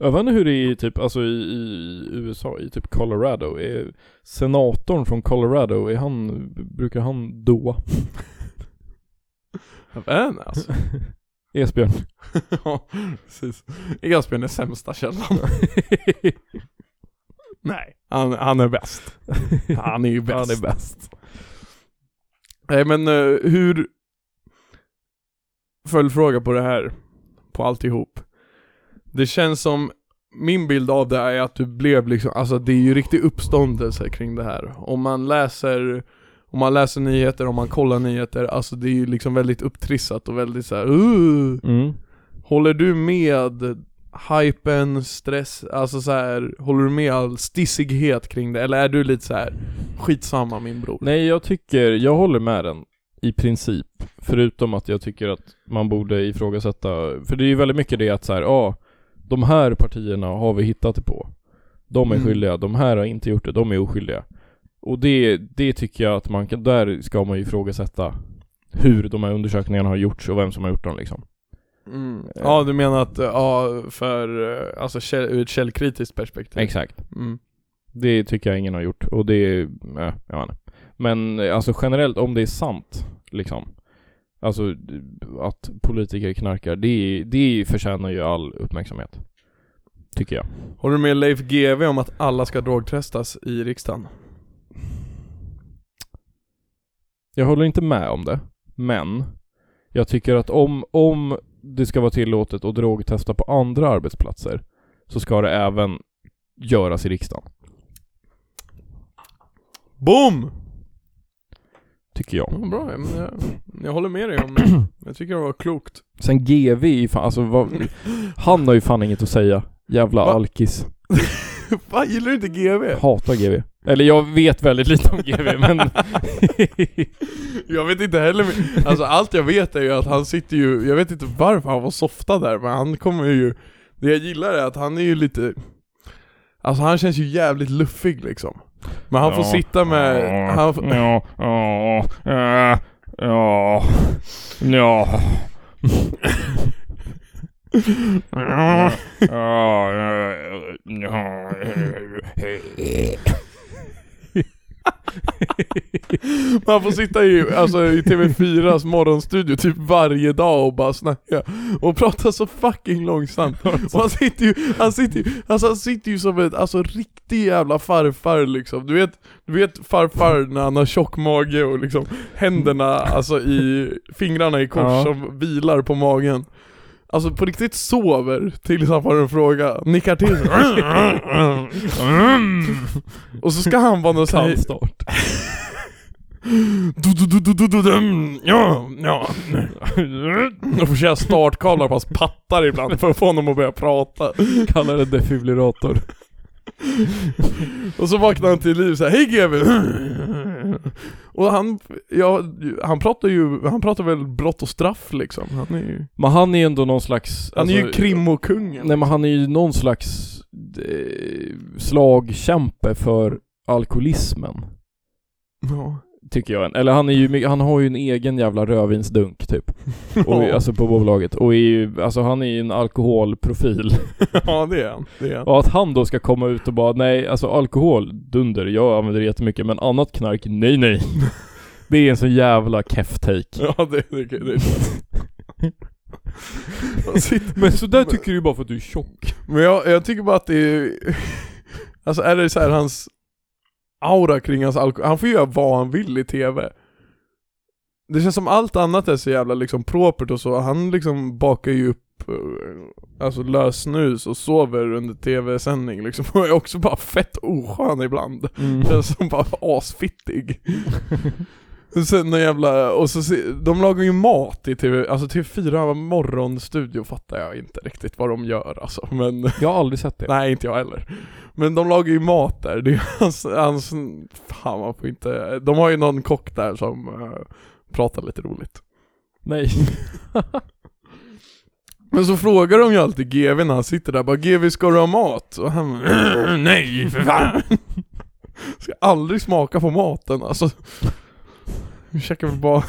Speaker 1: Jag vet inte hur det är i typ, alltså i, i USA, i typ Colorado. Är senatorn från Colorado, är han, brukar han doa?
Speaker 2: Men alltså.
Speaker 1: Esbjörn.
Speaker 2: ja, precis. Egasbjörn är sämsta källan. Nej, han, han är bäst. Han är ju bäst.
Speaker 1: Han är bäst.
Speaker 2: Nej men eh, hur... Följdfråga på det här. På alltihop. Det känns som, min bild av det är att du blev liksom, alltså det är ju riktig uppståndelse kring det här. Om man läser om man läser nyheter, om man kollar nyheter, alltså det är ju liksom väldigt upptrissat och väldigt såhär uh,
Speaker 1: Mm.
Speaker 2: Håller du med hypen, stress, alltså så här, håller du med all stissighet kring det? Eller är du lite så här skitsamma min bror?
Speaker 1: Nej, jag tycker, jag håller med den i princip. Förutom att jag tycker att man borde ifrågasätta, för det är ju väldigt mycket det att så här, ja, ah, de här partierna har vi hittat det på. De är
Speaker 2: Mm.
Speaker 1: skyldiga, de här har inte gjort det, de är oskyldiga. Och det, det tycker jag att man kan, där ska man ju ifrågasätta hur de här undersökningarna har gjorts och vem som har gjort dem liksom.
Speaker 2: Mm. Ja du menar att, eh, ja för, eh, alltså käll, ur ett källkritiskt perspektiv?
Speaker 1: Exakt.
Speaker 2: Mm.
Speaker 1: Det tycker jag ingen har gjort och det, är- eh, jag vet inte. Men eh, alltså generellt om det är sant liksom. Alltså d- att politiker knarkar, det, är- det förtjänar ju all uppmärksamhet. Tycker jag.
Speaker 2: Håller du med Leif GW om att alla ska drogtestas i riksdagen?
Speaker 1: Jag håller inte med om det, men jag tycker att om, om det ska vara tillåtet att drogtesta på andra arbetsplatser så ska det även göras i riksdagen,
Speaker 2: BOOM!
Speaker 1: tycker jag.
Speaker 2: Ja, bra, jag, jag, jag håller med dig om Jag tycker det var klokt
Speaker 1: Sen GV, är ju fan, alltså vad, han har ju fan inget att säga. Jävla
Speaker 2: Va?
Speaker 1: alkis.
Speaker 2: Fan, gillar du inte GW?
Speaker 1: Hatar GV. Eller jag vet väldigt lite om GV men...
Speaker 2: Jag vet inte heller, men- alltså allt jag vet är ju att han sitter ju, jag vet inte varför han var softad där men han kommer ju Det jag gillar är att han är ju lite Alltså han känns ju jävligt luffig liksom Men han får
Speaker 1: Ja.
Speaker 2: sitta med, han, får-
Speaker 1: Ja, ja, ja, ja,
Speaker 2: Mm.
Speaker 1: ja. Ja, ja, ja,
Speaker 2: han får sitta i, alltså, i TV4s morgonstudio typ varje dag och bara snacka Och prata så fucking långsamt och han sitter ju, han sitter ju, alltså, han sitter ju som en alltså, riktig jävla farfar liksom Du vet, du vet farfar när han har tjock mage och liksom händerna, alltså i, fingrarna i kors
Speaker 1: Ja.
Speaker 2: som vilar på magen Alltså på riktigt sover tills han får en fråga, nickar till Och så ska han vara någon sån här-
Speaker 1: Tandstart.
Speaker 2: du, du, du, du, du, du, dum. Ja, ja. Jag får köra startkablar på hans pattar ibland för att få honom att börja prata.
Speaker 1: Kallar det defibrillator.
Speaker 2: Och så vaknar han till liv såhär, hej GW! Och han, ja, han pratar ju, han pratar väl brott och straff liksom. Han är ju,
Speaker 1: Men han är ju ändå någon slags...
Speaker 2: han är ju
Speaker 1: alltså,
Speaker 2: krimokungen.
Speaker 1: Nej men han är ju någon slags eh, slagkämpe för alkoholismen.
Speaker 2: Ja.
Speaker 1: Tycker jag. Eller han, är ju, my- han har ju en egen jävla rödvinsdunk typ. Och,
Speaker 2: Ja.
Speaker 1: alltså på bolaget. Och är ju, alltså han är ju en alkoholprofil.
Speaker 2: ja det är han. Det är han.
Speaker 1: Och att han då ska komma ut och bara nej, alltså alkohol, dunder, jag använder det jättemycket men annat knark, nej nej. Det är en sån jävla keff take.
Speaker 2: Ja det, det, det, det. Han sitter-
Speaker 1: Men så där tycker du bara för att du är tjock.
Speaker 2: Men jag, jag tycker bara att det är... Alltså är det så här hans aura kring hans alkohol, han får göra vad han vill i TV. Det känns som allt annat är så jävla liksom propert och så, han liksom bakar ju upp eh, Alltså lösnus och sover under tv-sändning liksom, och är också bara fett oskön ibland.
Speaker 1: Mm. Alltså.
Speaker 2: Känns som bara asfittig. Och Sen någon jävla, och så se, de lagar ju mat i TV, alltså TV4 var morgonstudio fattar jag inte riktigt vad de gör alltså, men
Speaker 1: Jag har aldrig sett det.
Speaker 2: nej inte jag heller. Men de lagar ju mat där, det är ju hans, hans, fan man får inte, de har ju någon kock där som eh, pratar lite roligt.
Speaker 1: Nej.
Speaker 2: Men så frågar de ju alltid GV när han sitter där, bara GV ska du ha mat? Och han bara, nej för fan! Ska aldrig smaka på maten alltså. Vi käkar väl bara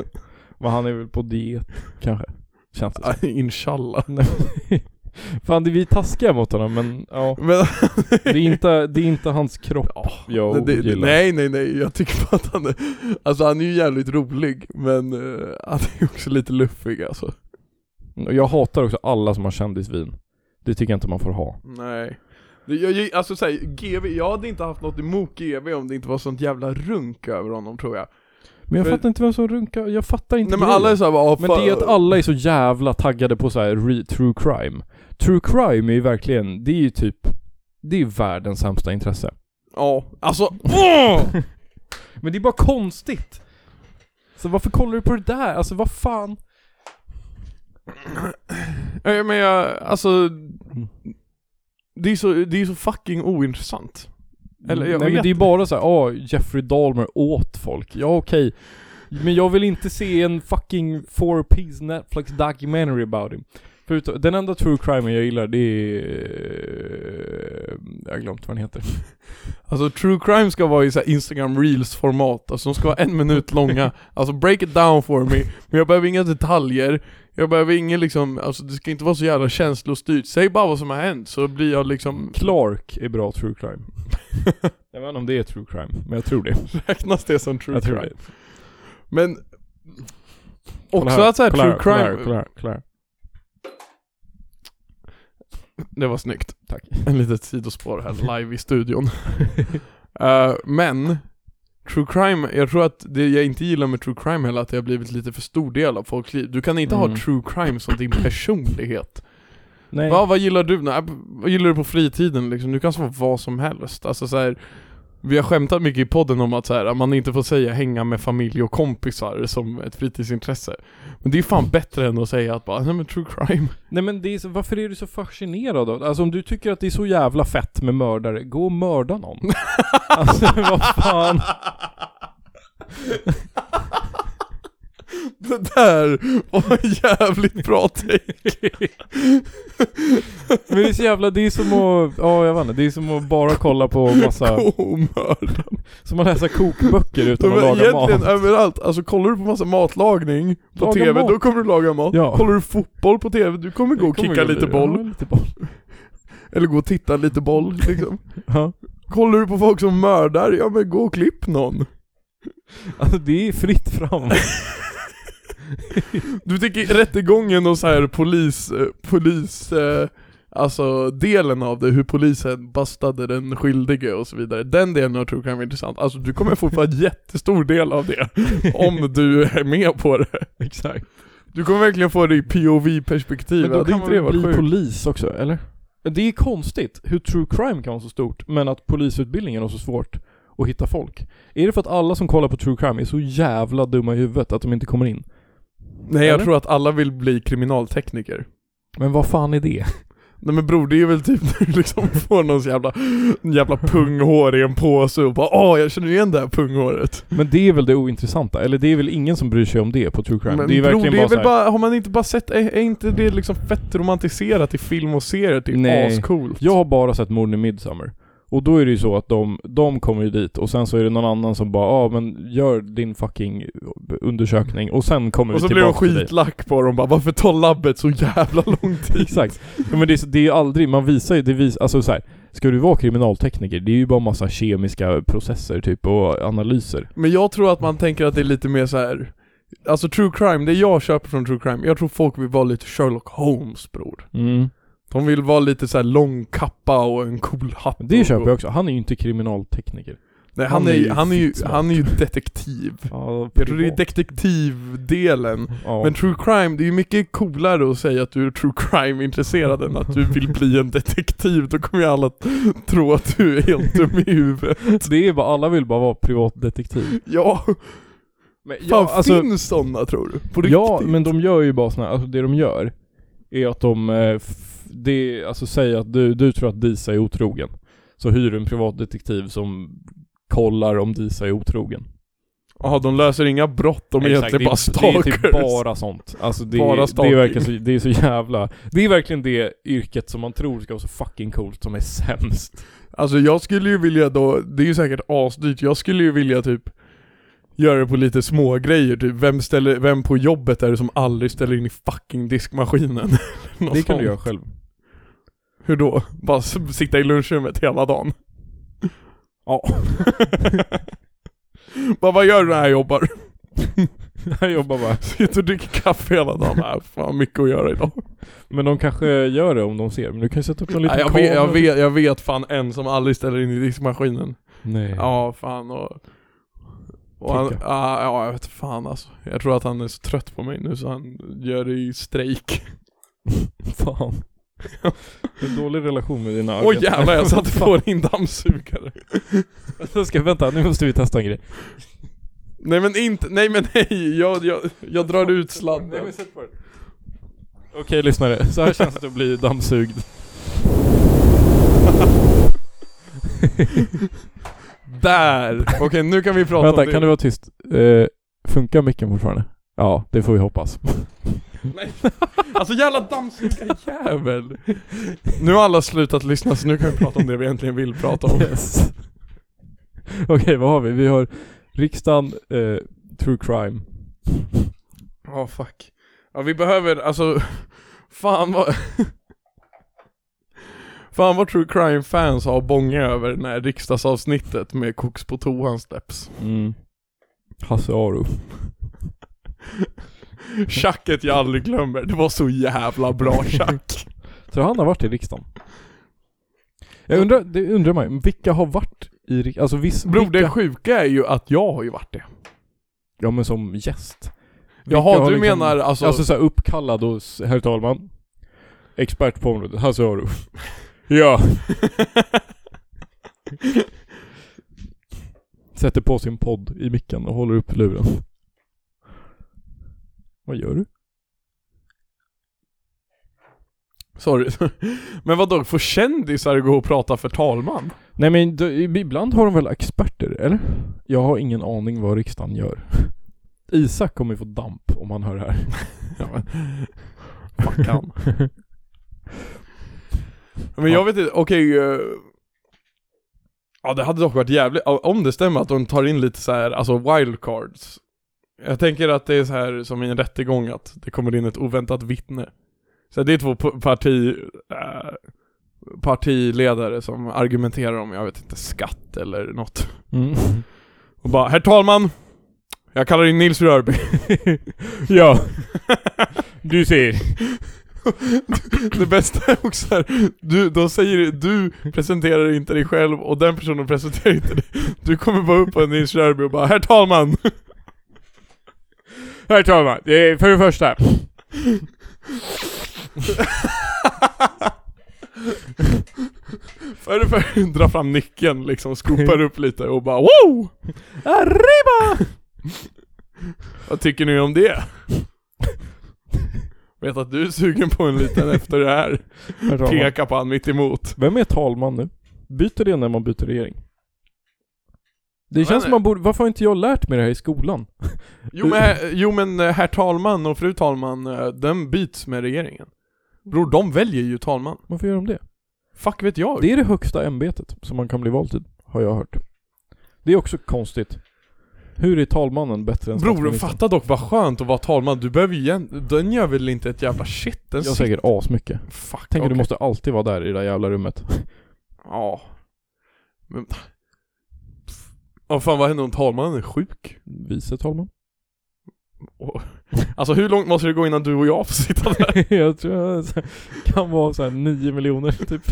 Speaker 1: Men han är väl på diet, kanske. Känns det som.
Speaker 2: Inshallah.
Speaker 1: Fan, det, vi är taskiga mot honom men ja.
Speaker 2: Men,
Speaker 1: Det är inte, det är inte hans kropp jag
Speaker 2: det, det,
Speaker 1: gillar.
Speaker 2: nej nej nej, jag tycker bara att han är, alltså han är ju jävligt rolig men eh, han är också lite luffig alltså.
Speaker 1: Och Jag hatar också alla som har kändisvin. Det tycker jag inte man får ha.
Speaker 2: Nej. Det- Jag, jag, alltså såhär, GV, jag hade inte haft något emot GV om det inte var sånt jävla runk över honom tror jag.
Speaker 1: Men jag
Speaker 2: För-
Speaker 1: fattar inte vem som runkar, jag fattar inte
Speaker 2: Nej men
Speaker 1: grejen.
Speaker 2: alla är såhär bara, "Ah,
Speaker 1: Men
Speaker 2: fan."
Speaker 1: det är att alla är så jävla taggade på så här re- true crime. True crime är ju verkligen, det är ju typ, det är ju världens sämsta intresse.
Speaker 2: Ja, alltså
Speaker 1: Men det är bara konstigt! Så varför kollar du på det där? Alltså vad fan?
Speaker 2: Ja, men jag, alltså
Speaker 1: Mm.
Speaker 2: Det är så, det är så fucking ointressant Eller, jag
Speaker 1: Nej men
Speaker 2: vet
Speaker 1: det är bara så här, ah, Jeffrey Dahmer åt folk. Ja okej. Men jag vill inte se en fucking four piece Netflix documentary about him. Förutom, den enda true crime jag gillar det är... eh, Jag har glömt vad den heter.
Speaker 2: Alltså true crime ska vara i så här Instagram reels format, alltså de ska vara en minut långa Alltså break it down for me, men jag behöver inga detaljer Jag behöver ingen liksom, alltså det ska inte vara så jävla känslostyrt Säg bara vad som har hänt så blir jag liksom
Speaker 1: Clark är bra true crime. jag vet inte om det är true crime, men jag tror det.
Speaker 2: Räknas det som true
Speaker 1: jag tror
Speaker 2: crime?
Speaker 1: det.
Speaker 2: Men
Speaker 1: Kolla
Speaker 2: Också att såhär
Speaker 1: kolla
Speaker 2: Eh, true
Speaker 1: kolla här,
Speaker 2: crime-
Speaker 1: Kolla här, kolla här.
Speaker 2: Det var snyggt.
Speaker 1: Tack.
Speaker 2: En litet sidospår här live i studion. Eh, men, true crime, jag tror att det jag inte gillar med true crime heller är att det har blivit lite för stor del av folks liv. Du kan inte ha
Speaker 1: Mm.
Speaker 2: true crime som din personlighet.
Speaker 1: Nej.
Speaker 2: Va, vad gillar du? Nej, vad gillar du på fritiden liksom? Du kan svara vad som helst. Alltså så här, vi har skämtat mycket i podden om att så här, att man inte får säga hänga med familj och kompisar som ett fritidsintresse. Men det är fan bättre än att säga att bara, nej men true crime.
Speaker 1: Nej men det är så, varför är du så fascinerad av Alltså om du tycker att det är så jävla fett med mördare, gå och mörda någon. alltså vad fan.
Speaker 2: Det där var en jävligt bra take.
Speaker 1: Men det är så jävla, det är som att, ja jag vet inte, det är som att bara kolla på massa,
Speaker 2: Komör.
Speaker 1: som att läsa kokböcker utan att
Speaker 2: Men
Speaker 1: laga
Speaker 2: egentligen
Speaker 1: mat.
Speaker 2: överallt, alltså kollar du på massa matlagning på
Speaker 1: Laga
Speaker 2: TV,
Speaker 1: mat.
Speaker 2: då kommer du laga mat.
Speaker 1: Ja.
Speaker 2: Kollar du fotboll på TV, du kommer gå och
Speaker 1: Kommer
Speaker 2: kicka
Speaker 1: ju-
Speaker 2: lite boll.
Speaker 1: Ja, lite boll.
Speaker 2: Eller gå och titta lite boll liksom.
Speaker 1: Ja.
Speaker 2: Kollar du på folk som mördar, ja men gå och klipp någon.
Speaker 1: Alltså det är fritt fram.
Speaker 2: Du tycker rättegången och så här polis, eh, polis, eh, alltså delen av det, hur polisen bastade den skyldige och så vidare. Den delen jag tror kan vara intressant. Alltså du kommer få en jättestor del av det, om du är med på det.
Speaker 1: Exakt.
Speaker 2: Du kommer verkligen få det i POV-perspektiv.
Speaker 1: Men då
Speaker 2: Hade
Speaker 1: kan
Speaker 2: inte det
Speaker 1: man
Speaker 2: varit
Speaker 1: bli
Speaker 2: sjukt?
Speaker 1: polis också, eller? Det är konstigt hur true crime kan vara så stort, men att polisutbildningen är så svårt att hitta folk. Är det för att alla som kollar på true crime är så jävla dumma i huvudet att de inte kommer in?
Speaker 2: Nej jag
Speaker 1: Eller?
Speaker 2: tror att alla vill bli kriminaltekniker.
Speaker 1: Men vad fan är det?
Speaker 2: Nej men bror det är väl typ när du liksom får någons jävla, jävla punghår i en påse och bara åh jag känner igen det här punghåret.
Speaker 1: Men det är väl det ointressanta, eller det är väl ingen som bryr sig om det på true crime?
Speaker 2: Men
Speaker 1: det är
Speaker 2: bror,
Speaker 1: verkligen
Speaker 2: det är
Speaker 1: bara, så
Speaker 2: väl
Speaker 1: här,
Speaker 2: bara, har man inte bara sett, är, är inte det liksom fett romantiserat i film och serier? Det är
Speaker 1: Nej.
Speaker 2: ascoolt.
Speaker 1: Jag har bara sett morden i Midsommar. Och då är det ju så att de, de kommer ju dit och sen så är det någon annan som bara ja ah, men gör din fucking undersökning och sen kommer
Speaker 2: Och
Speaker 1: vi
Speaker 2: så blir de
Speaker 1: tillbaka till dig.
Speaker 2: skitlack på dem bara, varför tar labbet så jävla lång tid?
Speaker 1: Exakt. Ja, men det är, så- det är ju aldrig, man visar ju, det vis, alltså så här, ska du vara kriminaltekniker, det är ju bara massa kemiska processer typ och analyser.
Speaker 2: Men jag tror att man tänker att det är lite mer så här. Alltså true crime, det jag köper från true crime, jag tror folk vill vara lite Sherlock Holmes bror
Speaker 1: Mm.
Speaker 2: De vill vara lite så här lång kappa och en cool hatt
Speaker 1: Det
Speaker 2: och-
Speaker 1: köper jag också. Han är ju inte kriminaltekniker.
Speaker 2: Nej han, är, ju, han, är ju,
Speaker 1: skitsmart.
Speaker 2: han är ju detektiv
Speaker 1: Ja,
Speaker 2: Jag tror det är detektivdelen
Speaker 1: ja.
Speaker 2: Men true crime, det är ju mycket coolare att säga att du är true crime-intresserad än att du vill bli en detektiv. Då kommer ju alla t- tro att du är helt dum i huvudet.
Speaker 1: det är bara, alla vill bara vara privatdetektiv.
Speaker 2: Ja,
Speaker 1: Men
Speaker 2: fan finns sådana tror du? alltså- På riktigt?
Speaker 1: Ja, men de gör ju bara såna här, alltså det de gör är att de, eh, f- det, alltså säger att du, du tror att Disa är otrogen. Så hyr du en privatdetektiv som kollar om Disa är otrogen.
Speaker 2: Jaha, de löser inga brott, de är
Speaker 1: Exakt,
Speaker 2: egentligen bara
Speaker 1: det är,
Speaker 2: stalkers.
Speaker 1: Det är typ bara sånt. Alltså det,
Speaker 2: Bara
Speaker 1: det
Speaker 2: stalking.
Speaker 1: är verkligen så, det är så jävla, det är verkligen det yrket som man tror ska vara så fucking coolt som är sämst.
Speaker 2: Alltså jag skulle ju vilja då, det är ju säkert asdyrt, jag skulle ju vilja typ Göra det på lite små grejer typ, vem, ställer, vem på jobbet är det som aldrig ställer in i fucking diskmaskinen? Eller något
Speaker 1: det kan
Speaker 2: sånt.
Speaker 1: du göra själv.
Speaker 2: Hur då? Bara s- sitta i lunchrummet hela dagen?
Speaker 1: Ja.
Speaker 2: Bara, vad gör du när jag jobbar?
Speaker 1: Jag jobbar bara.
Speaker 2: Sitter och dricker kaffe hela dagen? Nej, fan mycket att göra idag.
Speaker 1: Men de kanske gör det om de ser, men du kan ju sätta upp en liten
Speaker 2: Nej, jag, vet, jag,
Speaker 1: kamera.
Speaker 2: vet, jag vet fan en som aldrig ställer in i diskmaskinen.
Speaker 1: Nej.
Speaker 2: Ja, fan och... och han,
Speaker 1: Klicka.
Speaker 2: ah, ja, jag vet fan alltså. Jag tror att han är så trött på mig nu så han gör det i strejk.
Speaker 1: Fan. Det är en dålig relation med dina
Speaker 2: Oj jävlar, jag satte på din dammsugare.
Speaker 1: Jag ska, vänta, nu måste vi testa en grej.
Speaker 2: Nej men inte, nej men nej, jag, jag, jag drar ut
Speaker 1: Nej,
Speaker 2: sladden.
Speaker 1: men sätt på den. Okej lyssnare, så här känns det att bli dammsugd.
Speaker 2: Där! Okej, nu kan vi prata om
Speaker 1: Vänta,
Speaker 2: det.
Speaker 1: kan du vara tyst? Eh, funkar micken fortfarande? Ja, det får vi hoppas.
Speaker 2: Nej. Alltså jävla dammsugarjävel! Nu har alla slutat lyssna så nu kan vi prata om det vi egentligen vill prata om.
Speaker 1: Yes. Okej, vad har vi? Vi har riksdagen, eh, true crime.
Speaker 2: Ja, fuck. Ja, vi behöver, alltså, fan vad... Fan vad true crime-fans har bånga över när riksdagsavsnittet med koks på toan släpps.
Speaker 1: Mm. Hasse Aro.
Speaker 2: Tjacket jag aldrig glömmer, det var så jävla bra tjack.
Speaker 1: Tror han har varit i riksdagen? Jag undrar, det undrar man ju, vilka har varit i riksdagen? Alltså viss,
Speaker 2: Bror
Speaker 1: vilka...
Speaker 2: det sjuka är ju att jag har ju varit det.
Speaker 1: Ja men som gäst. Vilka
Speaker 2: Jaha,
Speaker 1: har
Speaker 2: du
Speaker 1: liksom-
Speaker 2: menar alltså...
Speaker 1: Alltså såhär uppkallad och, s- herr talman, expert på området, Hasse Aro. ja. Sätter på sin podd i micken och håller upp luren. Vad gör du?
Speaker 2: Sorry. Men vadå, får kändisar gå och prata för talman?
Speaker 1: Nej men då- ibland har de väl experter, eller? Jag har ingen aning vad riksdagen gör. Isak kommer ju få damp om han hör det här.
Speaker 2: Fuck han. Men jag vet inte, okej... eh, ja det hade dock varit jävligt, ja, om det stämmer att de tar in lite så här, alltså wildcards. Jag tänker att det är så här som i en rättegång att det kommer in ett oväntat vittne. Så det är två p- parti, eh, partiledare som argumenterar om, jag vet inte, skatt eller något.
Speaker 1: Mm.
Speaker 2: Och bara, herr talman! Jag kallar in Nils Rörby.
Speaker 1: Ja. Du ser.
Speaker 2: Det bästa är också här, du, de säger du presenterar inte dig själv och den personen presenterar inte dig. Du kommer bara upp på en Nils Rörby och bara 'Herr talman!'
Speaker 1: Herr talman, det är för det första.
Speaker 2: För det för, dra fram nyckeln liksom, skopar upp lite och bara 'Wow! Arriba!' Vad tycker ni om det? Vet att du är sugen på en liten efter det här.
Speaker 1: Herr talman.
Speaker 2: Peka på han mitt emot.
Speaker 1: Vem är talman nu? Byter det när man byter regering?
Speaker 2: Jag
Speaker 1: Det
Speaker 2: vet
Speaker 1: känns som
Speaker 2: inte.
Speaker 1: man borde, varför har inte jag lärt mig det här i skolan?
Speaker 2: Jo men, jo men eh, herr talman och fru talman, eh, den byts med regeringen. Bror, de väljer ju talman.
Speaker 1: Varför gör de det?
Speaker 2: Fuck vet jag.
Speaker 1: Det är det högsta ämbetet som man kan bli vald till, har jag hört. Det är också konstigt. Hur är talmannen bättre än
Speaker 2: Bror,
Speaker 1: statsministern?
Speaker 2: fatta dock vad skönt att vara talman. Du behöver ju igen, den gör väl inte ett jävla shit? Den
Speaker 1: Jag säger asmycket.
Speaker 2: sitter- Fuck,
Speaker 1: Tänker du
Speaker 2: okej.
Speaker 1: måste alltid vara där i det där jävla rummet.
Speaker 2: Ja. Men... Pff. Ja fan vad händer om talmannen är sjuk?
Speaker 1: Vice talman?
Speaker 2: Och- Alltså hur långt måste det gå innan du och jag får sitta där?
Speaker 1: jag tror jag så- kan vara såhär 9 miljoner typ.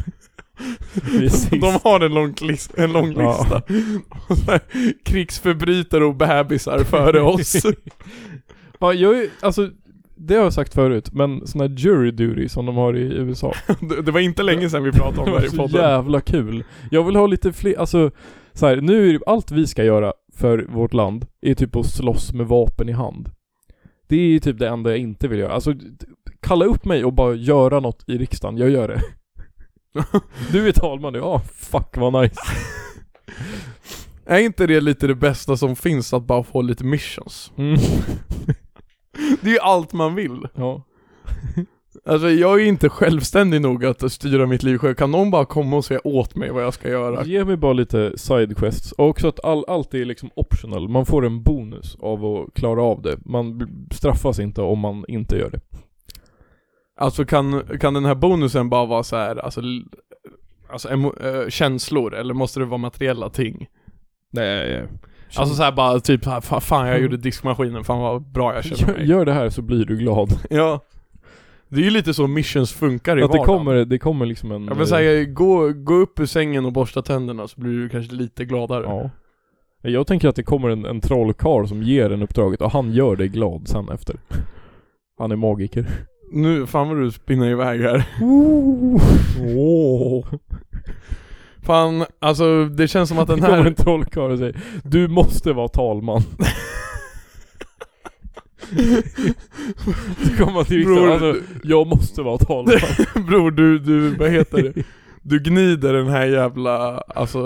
Speaker 1: Vi är sist.
Speaker 2: De har en lång, list, en lång
Speaker 1: Ja.
Speaker 2: lista. Och så här, Krigsförbrytare och bebisar före oss.
Speaker 1: Ja, jag är, alltså, det har jag sagt förut, men sån här jury duty som de har i USA.
Speaker 2: Det, det var inte länge sedan vi pratade om
Speaker 1: Det
Speaker 2: det här i
Speaker 1: var så
Speaker 2: podden.
Speaker 1: jävla kul. Jag vill ha lite fler, alltså så här, nu är det, allt vi ska göra för vårt land är typ att slåss med vapen i hand. Det är ju typ det enda jag inte vill göra. Alltså, d- kalla upp mig och bara göra något i riksdagen, jag gör det. Du är talman nu, ja fuck vad nice.
Speaker 2: Är inte det lite det bästa som finns, att bara få lite missions?
Speaker 1: Mm.
Speaker 2: Det är ju allt man vill.
Speaker 1: Ja.
Speaker 2: Alltså jag är inte självständig nog att styra mitt liv själv. Kan någon bara komma och säga åt mig vad jag ska göra?
Speaker 1: Ge mig bara lite side quests. Och också att all, allt är liksom optional. Man får en bonus av att klara av det. Man b- straffas inte om man inte gör det.
Speaker 2: Alltså kan, kan den här bonusen bara vara så här, alltså, l- alltså emo, eh, känslor, eller måste det vara materiella ting?
Speaker 1: Nej. eh,
Speaker 2: Alltså så här bara typ, så här, "Fa- fan jag gjorde diskmaskinen, fan vad bra jag känner
Speaker 1: Gör,
Speaker 2: mig.
Speaker 1: gör det här så blir du glad.
Speaker 2: Ja. Det är ju lite så missions funkar i
Speaker 1: Att det
Speaker 2: vardagen.
Speaker 1: kommer, det kommer liksom en...
Speaker 2: Ja men
Speaker 1: eh,
Speaker 2: såhär, gå, gå upp ur sängen och borsta tänderna så blir du kanske lite gladare.
Speaker 1: ja. Jag tänker att det kommer en, en trollkarl som ger en uppdraget och han gör dig glad sen efter. Han är magiker.
Speaker 2: Nu, fan vad du spinner iväg här.
Speaker 1: Åh.
Speaker 2: Fan, alltså det känns som att den
Speaker 1: Det kommer
Speaker 2: här...
Speaker 1: en trollkarl och säger Du måste vara talman. Så kommer man till riksdagen,
Speaker 2: Bror,
Speaker 1: alltså, jag måste vara talman.
Speaker 2: Bror du, du, vad heter det? Du gnider den här jävla, alltså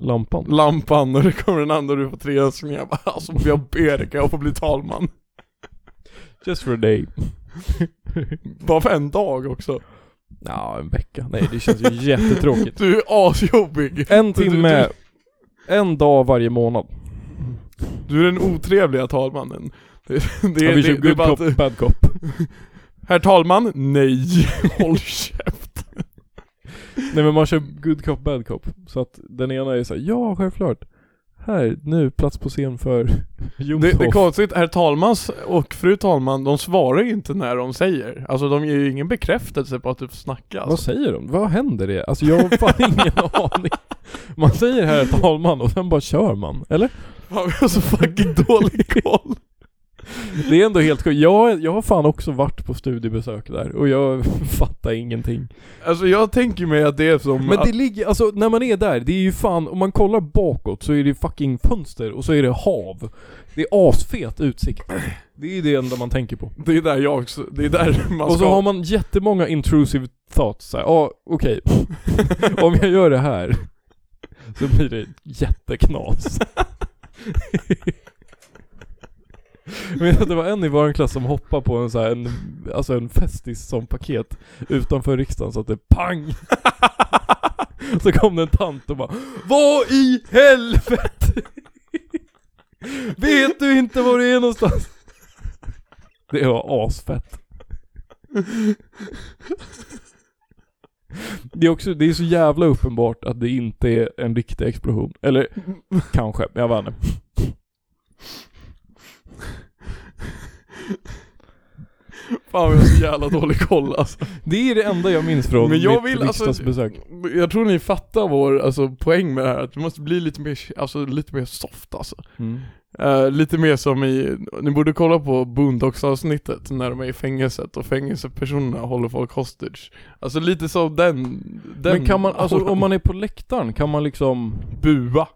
Speaker 1: Lampan.
Speaker 2: lampan och det kommer en annan och du får tre önskningar. Jag bara, Alltså jag ber dig, kan jag få bli talman?
Speaker 1: Just for a day.
Speaker 2: Bara för en dag också.
Speaker 1: Ja, en vecka. Nej, det känns ju jättetråkigt.
Speaker 2: Du är asjobbig. Du-
Speaker 1: En
Speaker 2: du-
Speaker 1: timme, en dag varje månad.
Speaker 2: Du är den otrevliga talmannen. Det, det,
Speaker 1: Det är,
Speaker 2: är-
Speaker 1: vi
Speaker 2: det,
Speaker 1: kör
Speaker 2: det är
Speaker 1: good
Speaker 2: bara
Speaker 1: cop,
Speaker 2: att,
Speaker 1: bad cop.
Speaker 2: herr talman, nej. Håll käft.
Speaker 1: Nej men man kör good cop, bad cop. Så att den ena är såhär, ja självklart. Här, nu, plats på scen för
Speaker 2: Det,
Speaker 1: Jomshof.
Speaker 2: det är konstigt, herr talmans och fru talman, de svarar ju inte när de säger. Alltså de ger ju ingen bekräftelse på att du snackar.
Speaker 1: Vad
Speaker 2: Alltså.
Speaker 1: säger de? Vad händer det? Alltså jag har fan ingen aning. Man säger herr talman och sen bara kör man, eller?
Speaker 2: Fan, vi har så fucking dålig koll.
Speaker 1: Det är ändå helt sjukt. Jag, jag har fan också varit på studiebesök där och jag fattar ingenting.
Speaker 2: Alltså jag tänker mig att det är som
Speaker 1: Men
Speaker 2: Mm, att,
Speaker 1: det ligger, alltså när man är där, det är ju fan, om man kollar bakåt så är det fucking fönster och så är det hav. Det är asfet utsikt. Det är ju det enda man tänker på.
Speaker 2: det är där jag också, det är där man
Speaker 1: Och
Speaker 2: ska
Speaker 1: så har man jättemånga intrusive thoughts såhär, ja ah, okej, om jag gör det här så blir det jätteknas. Men det var en i vår klass som hoppade på en så här, en, alltså en festis som paket utanför riksdagen så att det pang! Så kom det en tant och bara Vad i helvete! Vet du inte var du är någonstans? Det var asfett. Det är också, det är så jävla uppenbart att det inte är en riktig explosion. Eller kanske, jag vet inte.
Speaker 2: Fan vi har så jävla dålig koll alltså.
Speaker 1: Det är det enda jag minns från
Speaker 2: Men jag
Speaker 1: mitt
Speaker 2: vill, alltså-
Speaker 1: riksdagsbesök.
Speaker 2: Jag tror ni fattar vår alltså, poäng med det här, att vi måste bli lite mer, alltså, lite mer soft alltså.
Speaker 1: Mm.
Speaker 2: Eh, lite mer som i, ni borde kolla på Boondocks avsnittet när de är i fängelset och fängelsepersonerna håller folk hostage. Alltså lite som den, den
Speaker 1: Men kan man, alltså om man är på läktaren, kan man liksom...
Speaker 2: bua?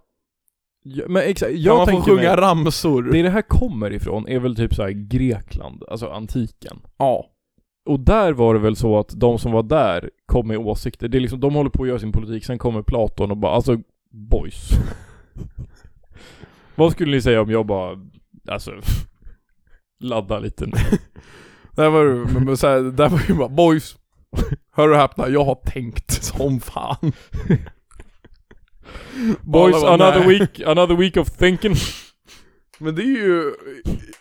Speaker 1: Ja, Men exakt,
Speaker 2: Kan
Speaker 1: jag
Speaker 2: man
Speaker 1: tänker
Speaker 2: få sjunga
Speaker 1: mig,
Speaker 2: ramsor?
Speaker 1: det det här kommer ifrån är väl typ så här Grekland, alltså antiken.
Speaker 2: Ja.
Speaker 1: Och där var det väl så att de som var där kom med åsikter. Det är liksom, de håller på att göra sin politik, sen kommer Platon och bara alltså boys. Vad skulle ni säga om jag bara, alltså, ladda lite nu?
Speaker 2: Där var det, men, men, så här, där var ju bara boys, Hör och häpna, jag har tänkt som fan.
Speaker 1: Boys,
Speaker 2: Alla bara,
Speaker 1: another
Speaker 2: "Nej."
Speaker 1: week, another week of thinking.
Speaker 2: Men det är ju,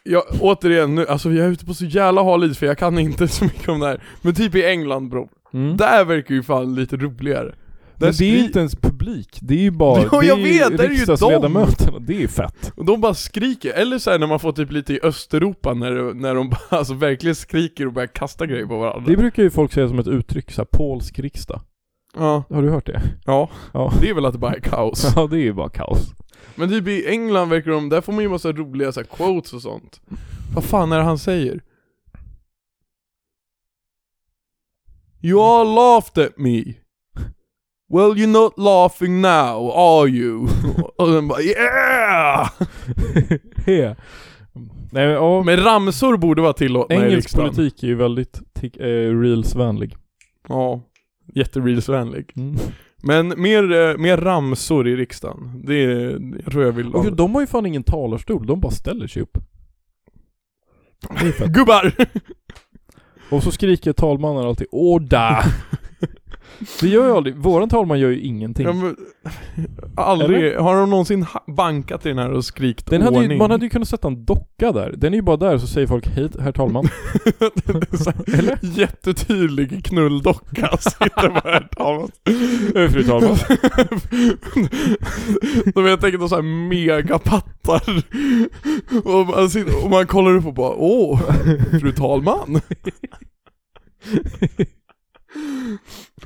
Speaker 2: jag, återigen nu, alltså jag är ute på så jävla hal is för jag kan inte så mycket om det här. Men typ i England bror,
Speaker 1: Mm.
Speaker 2: där verkar ju fan lite roligare. Där
Speaker 1: Men det är ju
Speaker 2: skri-
Speaker 1: inte ens publik, det är ju bara
Speaker 2: Ja, jag
Speaker 1: det
Speaker 2: vet, det är ju
Speaker 1: riksdagsledamöterna, det är fett.
Speaker 2: Och de bara skriker, eller såhär när man får typ lite i Östeuropa när, det- när de bara, alltså verkligen skriker och börjar kasta grejer på varandra.
Speaker 1: Det brukar ju folk säga som ett uttryck, såhär polsk riksdag.
Speaker 2: Ja,
Speaker 1: Har du hört det?
Speaker 2: ja.
Speaker 1: Ja.
Speaker 2: Det är väl att det bara är kaos.
Speaker 1: Ja det är ju bara kaos.
Speaker 2: Men typ i England verkar de, där får man ju massa roliga så här, quotes och sånt. Vad fan är det han säger? You all laughed at me. Well you're not laughing now, are you? och den bara yeah!
Speaker 1: He. Nej men ja,
Speaker 2: Men ramsor borde vara tillåtna i
Speaker 1: engelsk
Speaker 2: riksdagen.
Speaker 1: politik är ju väldigt tic- eh, reelsvänlig. Mm.
Speaker 2: Ja, jättereelsvänlig. Men mer, eh, mer ramsor i riksdagen. Det är, jag tror jag vill
Speaker 1: Och de har ju fan ingen talarstol, de bara ställer sig upp. Det är fett.
Speaker 2: Gubbar!
Speaker 1: Och så skriker talmannen alltid 'Orda!' Det gör ju aldrig, våran talman gör ju ingenting.
Speaker 2: Ja, men, aldrig, har de någonsin ha- bankat i den här och skrikt
Speaker 1: Den hade ju,
Speaker 2: ordning?
Speaker 1: man hade ju kunnat sätta en docka där. Den är ju bara där, så säger folk 'Hej, herr talman'
Speaker 2: Det är så här Jättetydlig knulldocka sitter på här talman.
Speaker 1: Eh, Fru talman.
Speaker 2: De jag tänker de så här megapattar. Och man, sitter, och man kollar upp och bara åh, fru talman.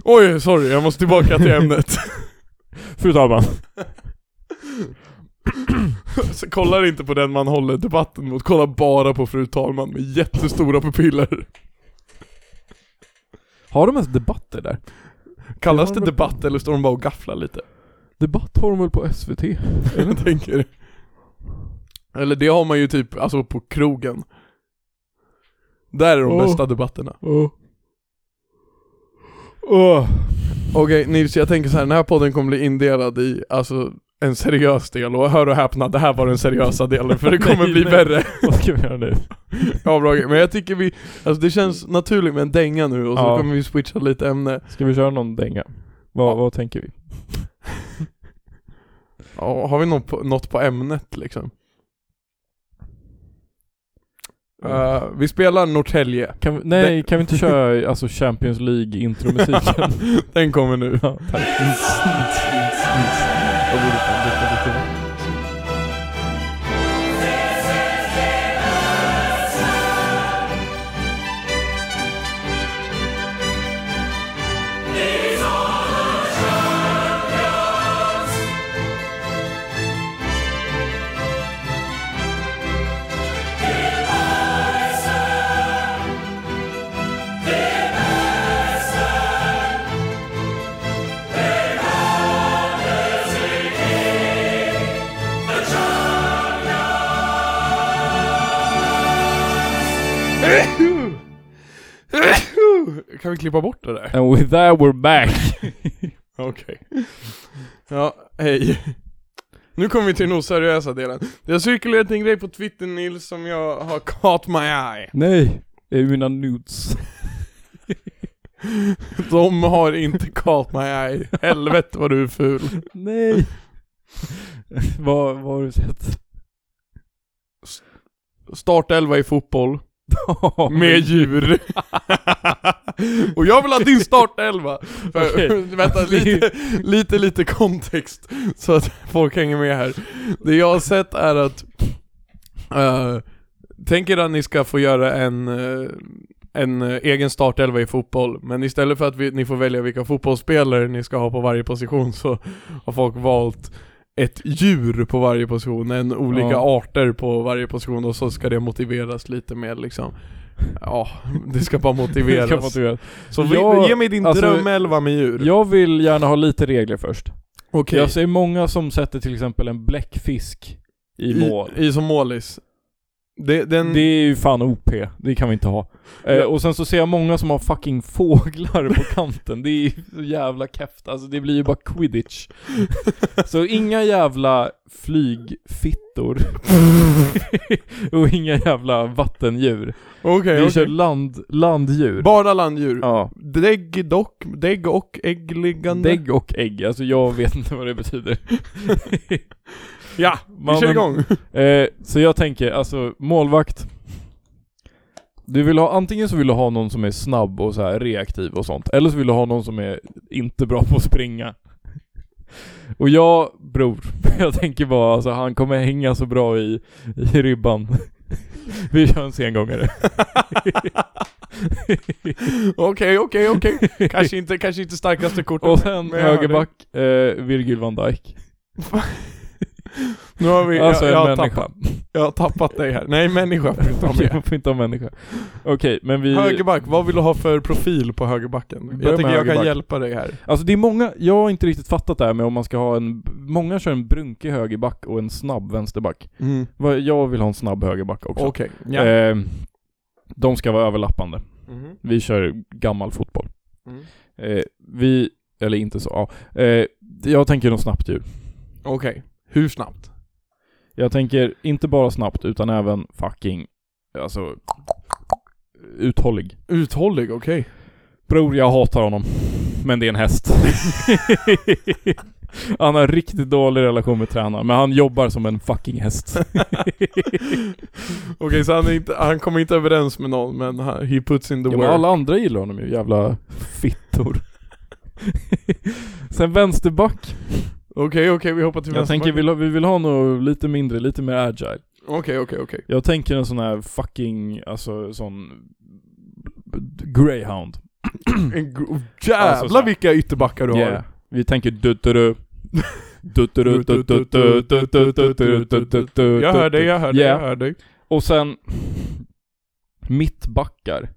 Speaker 2: Oj, sorry, jag måste tillbaka till ämnet.
Speaker 1: Fru talman.
Speaker 2: Så kollar inte på den man håller debatten mot, kollar bara på fru talman med jättestora pupiller.
Speaker 1: Har de ens debatter där?
Speaker 2: Kallas det debatt eller står de bara och gafflar lite?
Speaker 1: Debatt har de väl på SVT?
Speaker 2: Jag tänker Eller det har man ju typ, alltså på krogen Där är de
Speaker 1: Oh.
Speaker 2: bästa debatterna
Speaker 1: Åh. Åh.
Speaker 2: Okej Nils, jag tänker så här, den här podden kommer bli indelad i, alltså en seriös del och hör och häpna, det här var den seriösa delen för det kommer
Speaker 1: Nej,
Speaker 2: bli
Speaker 1: nej.
Speaker 2: värre
Speaker 1: Vad ska vi göra nu?
Speaker 2: avdrag. Men jag tycker vi, alltså det känns naturligt med en dänga nu och så
Speaker 1: Ja.
Speaker 2: kommer vi switcha lite ämne
Speaker 1: Ska vi köra någon dänga? Vad, vad tänker vi?
Speaker 2: ja, Har vi något på, något på ämnet liksom? Eh, vi spelar Norrtälje,
Speaker 1: Kan vi, nej, kan vi inte köra alltså Champions League intromusiken?
Speaker 2: den kommer nu
Speaker 1: ja, tack.
Speaker 2: Kan vi klippa bort det där?
Speaker 1: And with that we're back!
Speaker 2: Okej. Ja, hej. Nu kommer vi till den oseriösa delen. Det har cirkulerat en grej på Twitter Nils som jag har caught my eye.
Speaker 1: nej! Det är mina nudes.
Speaker 2: De har inte caught my eye. Helvete vad du är ful.
Speaker 1: nej! vad, vad har du sett?
Speaker 2: Startelva i fotboll. Med djur. Och jag vill ha din startelva. För,
Speaker 1: Okej.
Speaker 2: vänta, lite, lite, lite kontext. Så att folk hänger med här. Det jag har sett är att, eh, tänk er att ni ska få göra en, eh, en eh, egen startelva i fotboll. Men istället för att vi, ni får välja vilka fotbollsspelare ni ska ha på varje position så har folk valt ett djur på varje position, en olika
Speaker 1: Ja.
Speaker 2: arter på varje position och så ska det motiveras lite mer liksom Ja, det ska bara motiveras.
Speaker 1: Kan motiveras.
Speaker 2: Så vi,
Speaker 1: Jag-
Speaker 2: ge mig din
Speaker 1: alltså-
Speaker 2: drömelva med djur.
Speaker 1: Jag vill gärna ha lite regler först.
Speaker 2: Okej.
Speaker 1: Jag ser många som sätter till exempel en bläckfisk i mål.
Speaker 2: I, som målis. Det, den,
Speaker 1: Det är ju fan OP, det kan vi inte ha. Eh,
Speaker 2: Ja.
Speaker 1: och sen så ser jag många som har fucking fåglar på kanten, det är ju så jävla käft. Alltså det blir ju bara quidditch. så inga jävla flygfittor. och inga jävla vattendjur.
Speaker 2: Okej,
Speaker 1: Vi
Speaker 2: Eh, okej.
Speaker 1: kör land, landdjur.
Speaker 2: Bara landdjur.
Speaker 1: ja.
Speaker 2: Dägg dock, dägg och äggliggande.
Speaker 1: Dägg och ägg, alltså jag vet inte vad det betyder.
Speaker 2: Ja,
Speaker 1: Man-
Speaker 2: vi kör
Speaker 1: men-
Speaker 2: igång.
Speaker 1: Eh, så jag tänker, alltså målvakt. Du vill ha, antingen så vill du ha någon som är snabb och så här reaktiv och sånt. Eller så vill du ha någon som är inte bra på att springa. Och jag, bror, jag tänker bara alltså han kommer hänga så bra i, i ribban. Vi kör en sengångare.
Speaker 2: Okej, okej, okej. Kanske inte, kanske inte starkaste kortet.
Speaker 1: Och sen
Speaker 2: men jag hör
Speaker 1: högerback, eh, Virgil van Dijk.
Speaker 2: dig. Nu har vi,
Speaker 1: Alltså
Speaker 2: jag, jag, har
Speaker 1: en människa.
Speaker 2: tappat, jag har tappat dig här. Nej, människa får du inte ha
Speaker 1: Okej,
Speaker 2: med.
Speaker 1: man får inte ha människa. Okej, men vi...
Speaker 2: Högerback, vad vill du ha för profil på högerbacken?
Speaker 1: Börja
Speaker 2: jag
Speaker 1: med
Speaker 2: tycker jag
Speaker 1: högerback.
Speaker 2: kan hjälpa dig här.
Speaker 1: Alltså det är många, jag har inte riktigt fattat det här med om man ska ha en, många kör en brunkig högerback och en snabb vänsterback. Vad- Jag vill ha en snabb högerback också.
Speaker 2: Mm, Okej, ja.
Speaker 1: eh, de ska vara överlappande.
Speaker 2: Mhm.
Speaker 1: Vi kör gammal fotboll.
Speaker 2: Mm.
Speaker 1: Eh, vi, eller inte så, ja. eh, Jag tänker något snabbt djur.
Speaker 2: Okej, hur snabbt?
Speaker 1: Jag tänker inte bara snabbt utan även fucking, alltså uthållig.
Speaker 2: Uthållig, okej.
Speaker 1: Bror, jag hatar honom. Men det är en häst. han har riktigt dålig relation med tränaren, men han jobbar som en fucking häst.
Speaker 2: Okej, så han, är inte, han kommer inte överens med någon men han, he puts in the
Speaker 1: Ja, men
Speaker 2: work.
Speaker 1: alla andra gillar honom ju, jävla fittor. Sen vänsterback.
Speaker 2: Okej, okej, vi hoppar till
Speaker 1: Jag tänker vi
Speaker 2: vänsterbacken.
Speaker 1: vill, ha- vi vill ha något lite mindre, lite mer agile.
Speaker 2: Okej, okej, okej.
Speaker 1: Jag tänker en sån här fucking, alltså sån greyhound.
Speaker 2: En gro-
Speaker 1: Mm. Alltså, så
Speaker 2: Jävlar
Speaker 1: här.
Speaker 2: vilka ytterbackar du har.
Speaker 1: Yeah. Vi tänker dutturu. Dutturu, dutturu, dutturu, dutturu, dutturu.
Speaker 2: Jag hör dig, jag hör dig,
Speaker 1: Yeah.
Speaker 2: jag hör dig.
Speaker 1: Och sen mittbackar.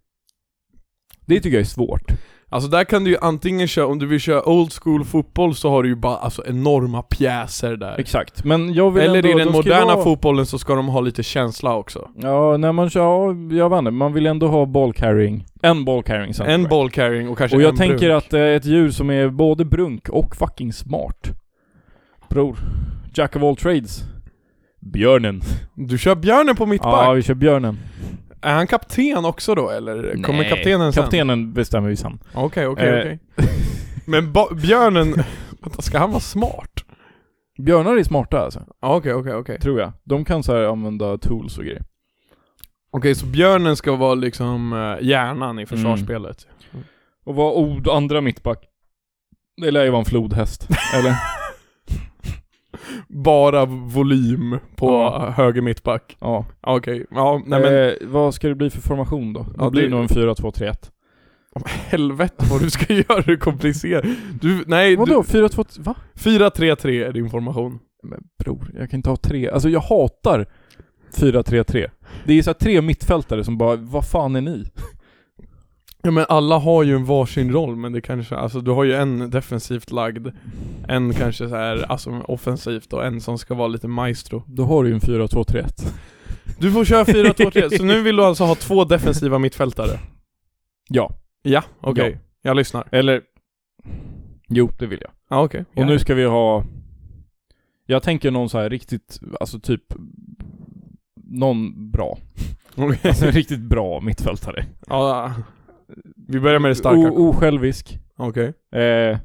Speaker 1: Det tycker jag är svårt.
Speaker 2: Alltså där kan du ju antingen köra, om du vill köra old school fotboll så har du ju bara alltså enorma pjäser där.
Speaker 1: Exakt, men jag vill
Speaker 2: Eller
Speaker 1: ändå,
Speaker 2: i den
Speaker 1: de ska ju
Speaker 2: moderna
Speaker 1: vara-
Speaker 2: fotbollen så ska de ha lite känsla också.
Speaker 1: Ja, när man kör, ja, jag vet inte, man vill ändå ha bollcarrying. En bollcarrying sen.
Speaker 2: En ball carrying och kanske
Speaker 1: Och jag
Speaker 2: en
Speaker 1: tänker
Speaker 2: brunk.
Speaker 1: att eh, ett djur som är både brunk och fucking smart. Bror, Jack of all trades. Björnen.
Speaker 2: Du kör björnen på mittback.
Speaker 1: Ja, vi kör björnen.
Speaker 2: Är han kapten också då eller? Kommer
Speaker 1: Nej,
Speaker 2: kaptenen sen?
Speaker 1: Kaptenen bestämmer vi sen.
Speaker 2: Okej, okej,
Speaker 1: Eh.
Speaker 2: okej. Men ba- björnen, vänta, ska han vara smart?
Speaker 1: Björnar är smarta alltså,
Speaker 2: Ja, Okej, okej, okej.
Speaker 1: tror jag. De kan så här använda tools och grejer.
Speaker 2: Okej, så björnen ska vara liksom eh, hjärnan
Speaker 1: Mm.
Speaker 2: i försvarsspelet?
Speaker 1: Och vad od andra mittback? Det lär ju vara en flodhäst, eller?
Speaker 2: Bara volym på
Speaker 1: Ja.
Speaker 2: höger mittback?
Speaker 1: Ja.
Speaker 2: Ja, Okej, ja, nej men
Speaker 1: eh, vad ska det bli för formation då?
Speaker 2: Ja,
Speaker 1: det blir
Speaker 2: det-
Speaker 1: nog en 4-2-3-1.
Speaker 2: helvete vad du ska göra det komplicerat. Du, nej, du,
Speaker 1: Vadå? 4-2... Va?
Speaker 2: 4-3-3 är din formation.
Speaker 1: Men bror, jag kan inte ha tre. Alltså jag hatar 4-3-3. Det är så här tre mittfältare som bara, vad fan är ni?
Speaker 2: Ja men alla har ju en varsin roll, men det kanske, alltså du har ju en defensivt lagd, en kanske så här, alltså offensivt och en som ska vara lite maestro.
Speaker 1: Då har du ju en 4-2-3-1.
Speaker 2: Du får köra 4-2-3, så nu vill du alltså ha två defensiva mittfältare?
Speaker 1: Ja.
Speaker 2: Ja, okej.
Speaker 1: Ja.
Speaker 2: Jag lyssnar.
Speaker 1: Eller... Jo, det vill jag.
Speaker 2: Ja, okej.
Speaker 1: Och nu ska vi ha... Jag tänker någon så här riktigt, alltså typ... Någon bra.
Speaker 2: Ja. Okej.
Speaker 1: Alltså en riktigt bra mittfältare.
Speaker 2: Ja, vi börjar med det starka.
Speaker 1: O- osjälvisk.
Speaker 2: Okej.
Speaker 1: Eh,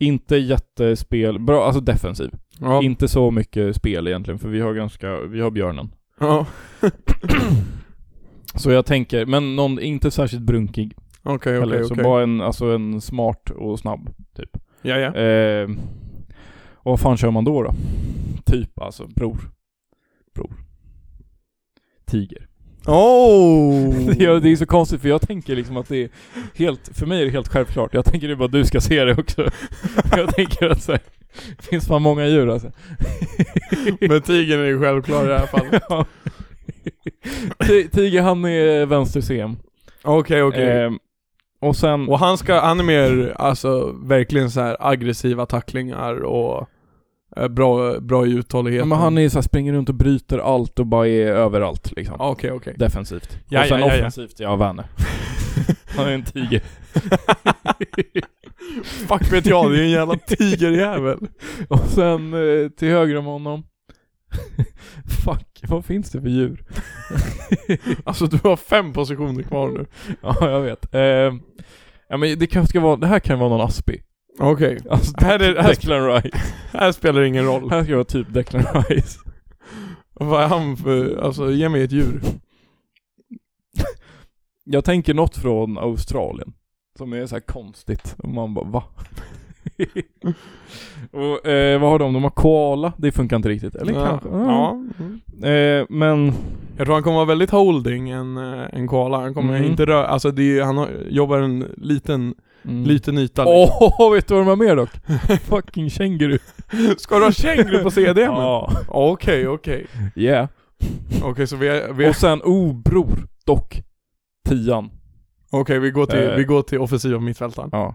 Speaker 1: inte jättespel, bra, alltså defensiv.
Speaker 2: Ja.
Speaker 1: Inte så mycket spel egentligen, för vi har ganska, vi har björnen.
Speaker 2: Ja.
Speaker 1: Så jag tänker, men någon inte särskilt brunkig
Speaker 2: Okej,
Speaker 1: heller,
Speaker 2: okej,
Speaker 1: så
Speaker 2: okej.
Speaker 1: bara en, alltså en smart och snabb.
Speaker 2: Ja, ja.
Speaker 1: Eh, och vad fan kör man då då? Typ alltså, bror. Bror. Tiger.
Speaker 2: Oh!
Speaker 1: Ja, det är så konstigt för jag tänker liksom att det är helt, för mig är det helt självklart. Jag tänker det är bara du ska se det också. jag tänker att så här, det finns fan många djur alltså.
Speaker 2: Men tigern är ju självklar i det här fallet.
Speaker 1: Ja. Ti- Tiger han är vänster-CM.
Speaker 2: Okej, okej.
Speaker 1: Eh, och sen...
Speaker 2: Och han ska, han är mer, alltså verkligen så här aggressiva tacklingar och eh, bra, bra i
Speaker 1: Ja,
Speaker 2: uthålligheten.
Speaker 1: men han är ju såhär, springer runt och bryter allt och bara är överallt liksom.
Speaker 2: Ja, Ah, Okej, okej.
Speaker 1: Defensivt.
Speaker 2: Ja,
Speaker 1: och sen
Speaker 2: ja, ja, ja.
Speaker 1: offensivt, ja, Werner. han är en tiger.
Speaker 2: Fuck vet jag, det är en jävla tigerjävel.
Speaker 1: Och sen eh, till höger om honom. Fuck, vad finns det för djur?
Speaker 2: Alltså du har fem positioner kvar nu.
Speaker 1: ja, jag vet. Eh, ja, men det kanske ska vara, det här kan vara någon Aspi.
Speaker 2: Okej.
Speaker 1: Alltså,
Speaker 2: Här är- här-
Speaker 1: Declan Rice.
Speaker 2: Här spelar det ingen roll.
Speaker 1: Här ska vara typ Declan Rice.
Speaker 2: Vad är han för, alltså ge mig ett djur.
Speaker 1: Jag tänker något från Australien. Som är så här konstigt. Och man bara va? och eh, vad har de? De har koala. Det funkar inte riktigt. Eller
Speaker 2: ja.
Speaker 1: kanske?
Speaker 2: Ja.
Speaker 1: Eh, men
Speaker 2: Jag tror han kommer vara väldigt holding, en, eh, en koala. Han kommer
Speaker 1: Mm.
Speaker 2: inte röra, alltså det är, han har, jobbar en liten,
Speaker 1: Mm.
Speaker 2: liten yta.
Speaker 1: Åh, vet du vad de har mer dock? Fucking känguru.
Speaker 2: Ska du ha känguru på CDn?
Speaker 1: Ja.
Speaker 2: Okej, okej.
Speaker 1: Yeah.
Speaker 2: Okej, så vi, vi,
Speaker 1: Och sen, oh bror, dock. Tian.
Speaker 2: okej, vi, går, till,
Speaker 1: Eh.
Speaker 2: vi går till offensiva mittfältaren.
Speaker 1: Ja.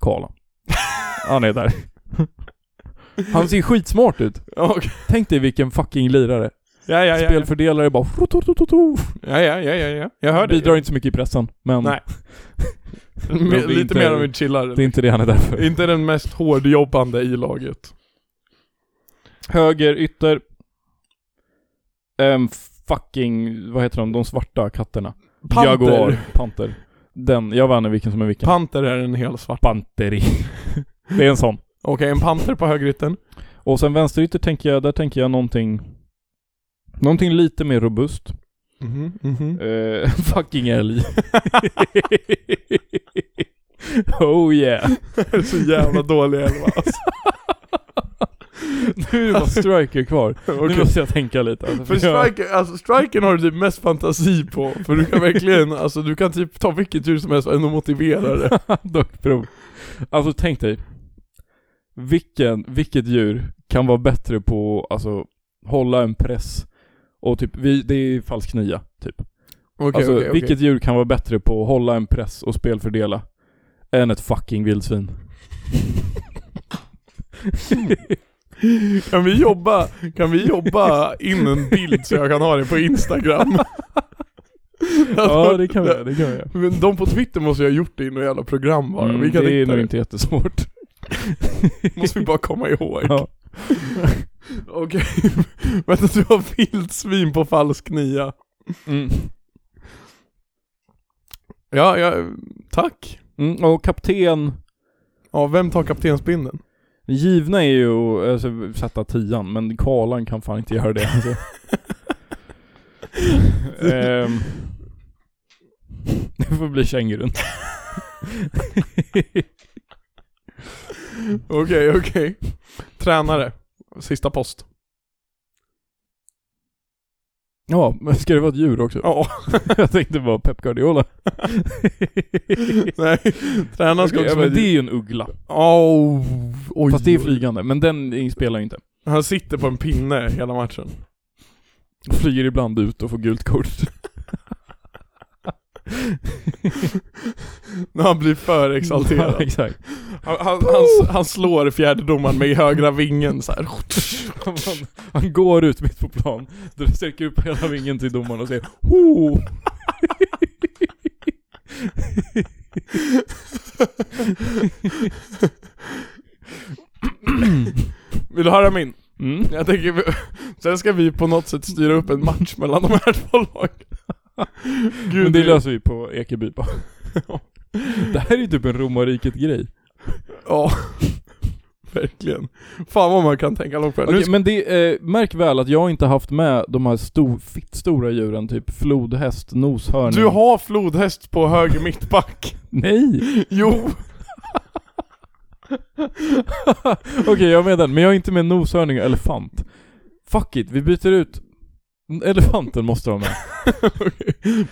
Speaker 1: Koala. Han är där. Han ser skitsmart ut.
Speaker 2: Okej.
Speaker 1: Tänk dig vilken fucking lirare.
Speaker 2: Ja, ja, ja, ja.
Speaker 1: Spelfördelare bara... frototototo.
Speaker 2: ja, ja, ja, ja, ja. Jag hör dig.
Speaker 1: Bidrar inte så mycket i pressen, men...
Speaker 2: Nej.
Speaker 1: Men det är
Speaker 2: Lite
Speaker 1: inte-
Speaker 2: mer om vi chillar.
Speaker 1: Det är inte det han är där för.
Speaker 2: Inte den mest hårdjobbande i laget.
Speaker 1: Höger, ytter. Ehm, fucking... Vad heter de? De svarta katterna.
Speaker 2: Panter.
Speaker 1: Jaguar. Panter. Den. Jag vann vilken som är vilken.
Speaker 2: Panter är en hel svart.
Speaker 1: Panteri. det är en sån.
Speaker 2: Okej, en panter på högerytten.
Speaker 1: Och sen vänsterytter tänker jag, där tänker jag någonting... Någonting lite mer robust.
Speaker 2: Mhm, mhm.
Speaker 1: Eh, fucking älg. oh yeah.
Speaker 2: Det är så jävla dålig elva alltså.
Speaker 1: Nu är det bara striker kvar. Nu
Speaker 2: Okej.
Speaker 1: måste jag tänka lite. Alltså,
Speaker 2: För
Speaker 1: jag-
Speaker 2: striker, alltså strikern har du typ mest fantasi på, för du kan verkligen, alltså du kan typ ta vilket djur som helst och ändå motivera det.
Speaker 1: Dockprov. Alltså tänk dig. Vilken, vilket djur kan vara bättre på alltså hålla en press och typ, vi, det är falsk nia typ.
Speaker 2: Okej,
Speaker 1: alltså
Speaker 2: okej, okej.
Speaker 1: vilket djur kan vara bättre på att hålla en press och spelfördela än ett fucking vildsvin?
Speaker 2: Kan vi jobba, kan vi jobba in en bild så jag kan ha det på instagram? Alltså,
Speaker 1: ja det kan vi göra, det kan vi göra.
Speaker 2: Men de på Twitter måste ju ha gjort det i något jävla program bara.
Speaker 1: Mm,
Speaker 2: vi kan
Speaker 1: det är
Speaker 2: hitta
Speaker 1: nog
Speaker 2: det.
Speaker 1: inte jättesvårt.
Speaker 2: Måste vi bara komma ihåg.
Speaker 1: Ja.
Speaker 2: Okej, vänta du har vildsvin på falsk nia.
Speaker 1: Mm.
Speaker 2: Ja, ja, tack.
Speaker 1: Mm, och kapten,
Speaker 2: Ja, vem tar kaptensbindeln?
Speaker 1: givna är ju att alltså, sätta tian men kalan kan fan inte göra det alltså. Ehm. Det får bli kängurun.
Speaker 2: Okej, okej. Tränare. Sista post.
Speaker 1: Ja, men ska det vara ett djur också?
Speaker 2: Ja.
Speaker 1: Jag tänkte bara Pep Guardiola.
Speaker 2: Nej, tränaren ska också
Speaker 1: Okej, ja, men det
Speaker 2: vara...
Speaker 1: är ju en uggla.
Speaker 2: Oh, oj,
Speaker 1: Fast det är
Speaker 2: oj.
Speaker 1: flygande, men den spelar ju inte.
Speaker 2: Han sitter på en pinne hela matchen.
Speaker 1: Flyger ibland ut och får gult kort.
Speaker 2: När han blir för
Speaker 1: Ja,
Speaker 2: exalterad.
Speaker 1: exakt.
Speaker 2: Han, han, han, han slår fjärdedomaren med högra vingen så här.
Speaker 1: Han, han går ut mitt på plan, då sträcker upp hela vingen till domaren och säger Ho!
Speaker 2: Vill du höra min?
Speaker 1: Mm.
Speaker 2: Jag tänker, vi- sen ska vi på något sätt styra upp en match mellan de här två lagen. Gud,
Speaker 1: Men det löser vi på Ekeby bara. Det här är ju typ en romarriket-grej.
Speaker 2: Ja, verkligen. Fan vad man kan tänka långt på det.
Speaker 1: Okej,
Speaker 2: Nu ska-
Speaker 1: men det, eh, märk väl att jag inte haft med de här stor, fitt stora djuren, typ flodhäst, noshörning.
Speaker 2: Du har flodhäst på höger mittback.
Speaker 1: Nej!
Speaker 2: Jo,
Speaker 1: Okej, jag är med den, men jag är inte med noshörning och elefant. Fuck it, vi byter ut. Elefanten måste vara med.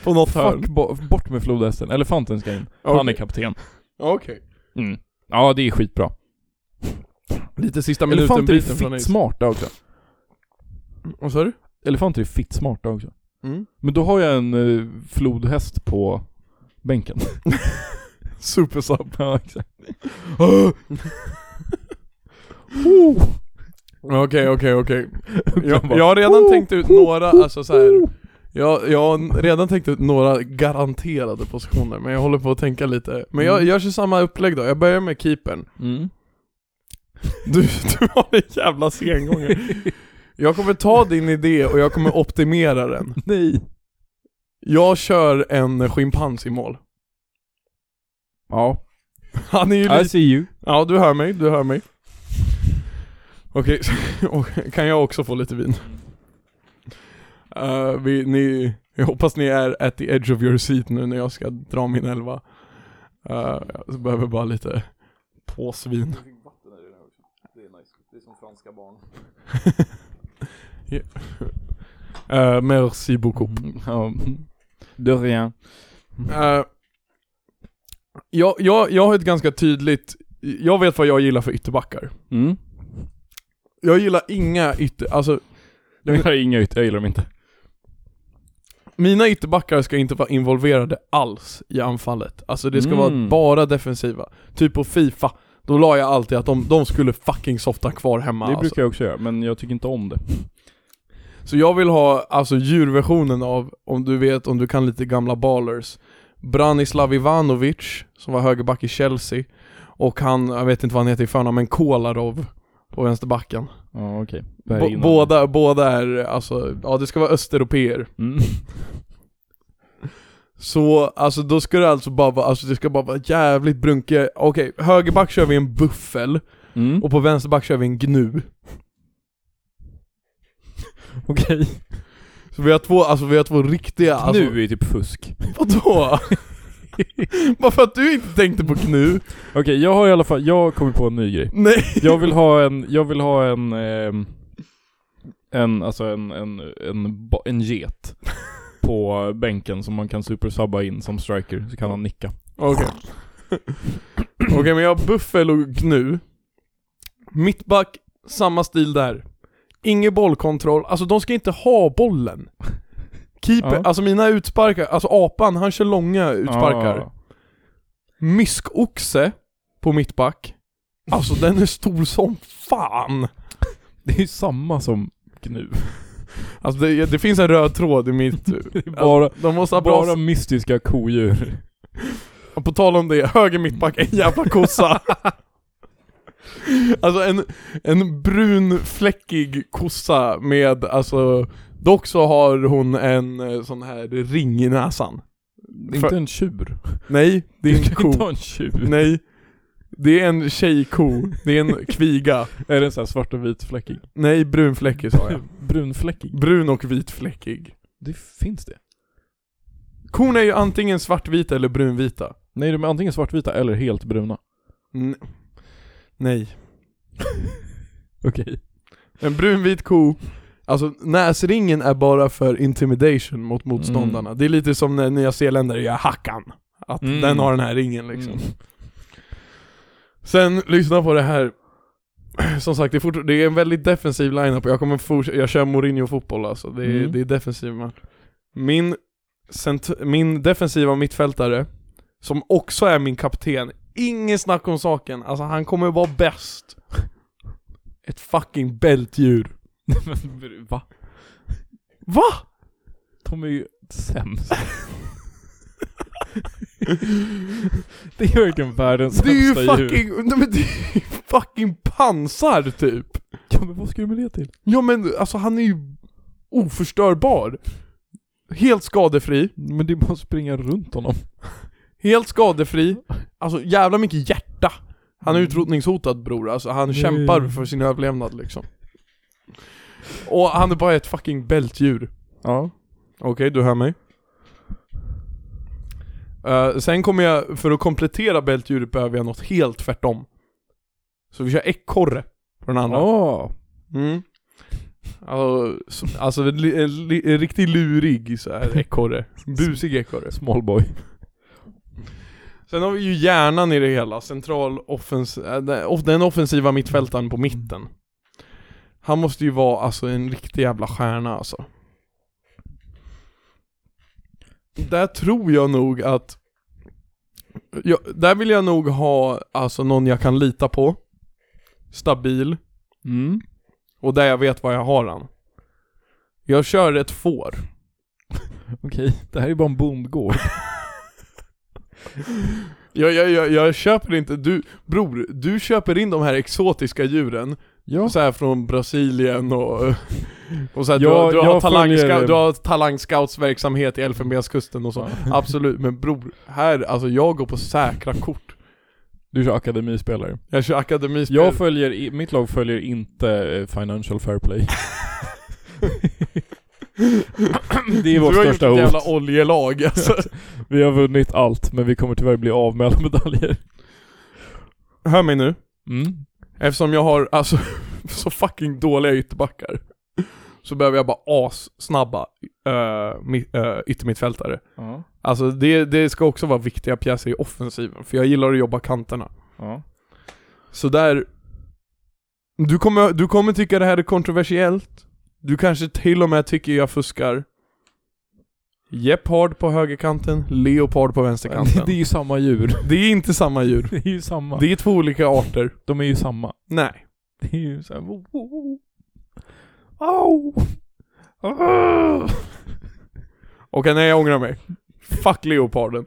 Speaker 2: på något hörn.
Speaker 1: Fuck, bo- bort med flodhästen. Elefanten ska in. Han är
Speaker 2: Okej.
Speaker 1: kapten.
Speaker 2: Okej.
Speaker 1: Mm. Ja, det är skitbra.
Speaker 2: Lite sista minuten
Speaker 1: Elefanter är
Speaker 2: biten från
Speaker 1: fitt smarta också.
Speaker 2: Vad sa du?
Speaker 1: Elefanter är fitt smarta också.
Speaker 2: Mm.
Speaker 1: Men då har jag en eh, flodhäst på bänken.
Speaker 2: Supersub.
Speaker 1: ja, exakt.
Speaker 2: Okej, okej, okej. Jag,
Speaker 1: bara,
Speaker 2: jag har redan tänkt ut några, alltså så här. Jag, jag har redan tänkt ut några garanterade positioner, men jag håller på att tänka lite. Men jag,
Speaker 1: Mm.
Speaker 2: jag kör samma upplägg då, jag börjar med keepern.
Speaker 1: Mm.
Speaker 2: Du, du har en jävla sengångare. Jag kommer ta din idé och jag kommer optimera den.
Speaker 1: Nej.
Speaker 2: Jag kör en schimpans i mål.
Speaker 1: Ja.
Speaker 2: Han är ju
Speaker 1: I
Speaker 2: lite...
Speaker 1: see you.
Speaker 2: Ja, du hör mig, du hör mig. Okej, och kan jag också få lite vin? Eh, vi, ni, jag hoppas ni är at the edge of your seat nu när jag ska dra min elva. Eh, jag behöver bara lite påsvin.
Speaker 1: Det är nice. Det är som franska barn.
Speaker 2: Uh, merci beaucoup.
Speaker 1: Mm. Ja. De rien.
Speaker 2: Eh, jag, jag, jag har ett ganska tydligt, jag vet vad jag gillar för ytterbackar.
Speaker 1: Mm.
Speaker 2: Jag gillar inga ytter, alltså
Speaker 1: Jag gillar inga ytor, jag gillar dem inte.
Speaker 2: Mina ytterbackar ska inte vara involverade alls i anfallet. Alltså det ska vara
Speaker 1: Mm.
Speaker 2: bara defensiva. Typ på Fifa, då la jag alltid att de, de skulle fucking softa kvar hemma
Speaker 1: det
Speaker 2: alltså.
Speaker 1: brukar jag också göra, men jag tycker inte om det.
Speaker 2: Så jag vill ha alltså djurversionen av, om du vet, om du kan lite gamla ballers. Branislav Ivanovic, som var högerback i Chelsea. Och han, jag vet inte vad han heter i förnamn, men Kolarov på vänsterbacken.
Speaker 1: Ja, okej.
Speaker 2: Bo-
Speaker 1: Bergin.
Speaker 2: båda, båda är alltså, ja det ska vara östeuropeer.
Speaker 1: Mm.
Speaker 2: Så alltså då ska det alltså bara vara, alltså det ska bara vara jävligt brunke Okej, högerback kör vi en buffel
Speaker 1: Mm.
Speaker 2: och på vänsterback kör vi en gnu
Speaker 1: Okej.
Speaker 2: Så vi har två, alltså vi har två riktiga alltså,
Speaker 1: Nu är typ fusk.
Speaker 2: Vadå? bara för att du inte tänkte på gnu
Speaker 1: Okej, jag har i alla fall, jag har kommit på en ny grej.
Speaker 2: Nej
Speaker 1: Jag vill ha en, jag vill ha en, ehm, en, alltså en, en, en, ba- en get på bänken som man kan supersubba in som striker, så kan han nicka.
Speaker 2: Okej Okej men jag har buffel och gnu Mittback, samma stil där Ingen bollkontroll, alltså de ska inte ha bollen Keeper,
Speaker 1: Ja.
Speaker 2: alltså mina utsparkar, alltså apan han kör långa utsparkar
Speaker 1: Ja.
Speaker 2: Myskoxe på mittback. Alltså den är stor som fan.
Speaker 1: Det är ju samma som gnu.
Speaker 2: Alltså det, det finns en röd tråd i mitt...
Speaker 1: Bara,
Speaker 2: Alltså, de måste ha bra...
Speaker 1: bara mystiska kodjur.
Speaker 2: På tal om det, höger mittback, en jävla kossa. alltså en, en brun fläckig kossa med, alltså... Dock så har hon en eh, sån här ring i näsan.
Speaker 1: Det är inte en tjur.
Speaker 2: Nej, det är
Speaker 1: Du
Speaker 2: en
Speaker 1: kan inte
Speaker 2: ko.
Speaker 1: ha en tjur.
Speaker 2: Nej. Det är en tjejko. Det är en kviga.
Speaker 1: Är den såhär svart och vit fläckig?
Speaker 2: Nej, brunfläckig sa jag.
Speaker 1: Brunfläckig?
Speaker 2: Brun och vitfläckig.
Speaker 1: Det finns det.
Speaker 2: Korn är ju antingen svartvita eller brunvita.
Speaker 1: Nej, de är antingen svartvita eller helt bruna.
Speaker 2: Nej.
Speaker 1: Okej.
Speaker 2: En brunvit ko, alltså näsringen är bara för intimidation mot
Speaker 1: Mm.
Speaker 2: motståndarna. Det är lite som när nya zeeländare gör hackan. Att
Speaker 1: Mm.
Speaker 2: den har den här ringen liksom.
Speaker 1: Mm.
Speaker 2: Sen, lyssna på det här. Som sagt, det är, fort, det är en väldigt defensiv lineup och jag kommer fortsätta, jag kör Mourinho-fotboll alltså. Det är,
Speaker 1: Mm.
Speaker 2: det är defensiv match. Min, cent- min defensiva mittfältare, som också är min kapten, ingen snack om saken. Alltså han kommer vara bäst. Ett fucking bältdjur.
Speaker 1: Men va?
Speaker 2: Va?
Speaker 1: De är ju sämst. det är verkligen världens
Speaker 2: Det är ju
Speaker 1: sämsta djur.
Speaker 2: fucking, nej men det är ju fucking pansar typ.
Speaker 1: Ja men vad ska du med det till?
Speaker 2: Ja men alltså han är ju oförstörbar. Helt skadefri.
Speaker 1: Men det är bara att springa runt honom.
Speaker 2: Helt skadefri, alltså jävla mycket hjärta Han är
Speaker 1: Mm.
Speaker 2: utrotningshotad bror, alltså han
Speaker 1: Mm.
Speaker 2: kämpar för sin överlevnad liksom Och han är bara ett fucking bältdjur
Speaker 1: Ja.
Speaker 2: Okej, du hör mig Eh, Sen kommer jag, för att komplettera bältdjuret behöver jag något helt tvärtom Så vi kör ekorre på den andra
Speaker 1: Ja.
Speaker 2: Mm. Alltså, som, alltså en, li- en, li- en riktigt lurig så här ekorre Busig ekorre
Speaker 1: Small boy.
Speaker 2: Sen har vi ju hjärnan i det hela, central offens äh, den- off- den offensiva mittfältaren på mitten. Han måste ju vara alltså en riktig jävla stjärna alltså. Där tror jag nog att jag, där vill jag nog ha alltså någon jag kan lita på. stabil
Speaker 1: Mm.
Speaker 2: och där jag vet var jag har han. Jag kör ett får.
Speaker 1: Okej, det här är bara en bondgård.
Speaker 2: Jag, jag, jag, jag köper inte, du, bror, du köper in de här exotiska djuren
Speaker 1: ja.
Speaker 2: så här från Brasilien och, och så här, du,
Speaker 1: Jag-
Speaker 2: har- du, har
Speaker 1: jag
Speaker 2: talangska,
Speaker 1: följer-
Speaker 2: du har talangscoutsverksamhet i Elfenbenskusten och så. Absolut, men bror, här, alltså jag går på säkra kort.
Speaker 1: Du kör akademispelare.
Speaker 2: Jag kör akademispel.
Speaker 1: Jag följer, i- mitt lag följer inte eh, Financial Fair Play. det är vårt
Speaker 2: du har
Speaker 1: största
Speaker 2: gjort
Speaker 1: hot.
Speaker 2: ett jävla oljelag alltså.
Speaker 1: Vi har vunnit allt, men vi kommer tyvärr bli av med alla medaljer.
Speaker 2: Hör mig nu.
Speaker 1: Mm.
Speaker 2: Eftersom jag har alltså så fucking dåliga ytterbackar så behöver jag bara assnabba uh, yttermittfältare.
Speaker 1: Ja.
Speaker 2: Alltså det, det ska också vara viktiga pjäser i offensiven, för jag gillar att jobba kanterna.
Speaker 1: ja.
Speaker 2: Så där... Du kommer, du kommer tycka det här är kontroversiellt. Du kanske till och med tycker jag fuskar. Jeppard på högerkanten, Leopard på vänsterkanten.
Speaker 1: Det är ju samma djur.
Speaker 2: Det är inte samma djur.
Speaker 1: Det är ju samma.
Speaker 2: Det är två olika arter.
Speaker 1: De är ju samma.
Speaker 2: Nej.
Speaker 1: Det är ju såhär... wo- wo- wo. Au! Ah!
Speaker 2: Okej, nej jag ångrar mig. Fuck leoparden.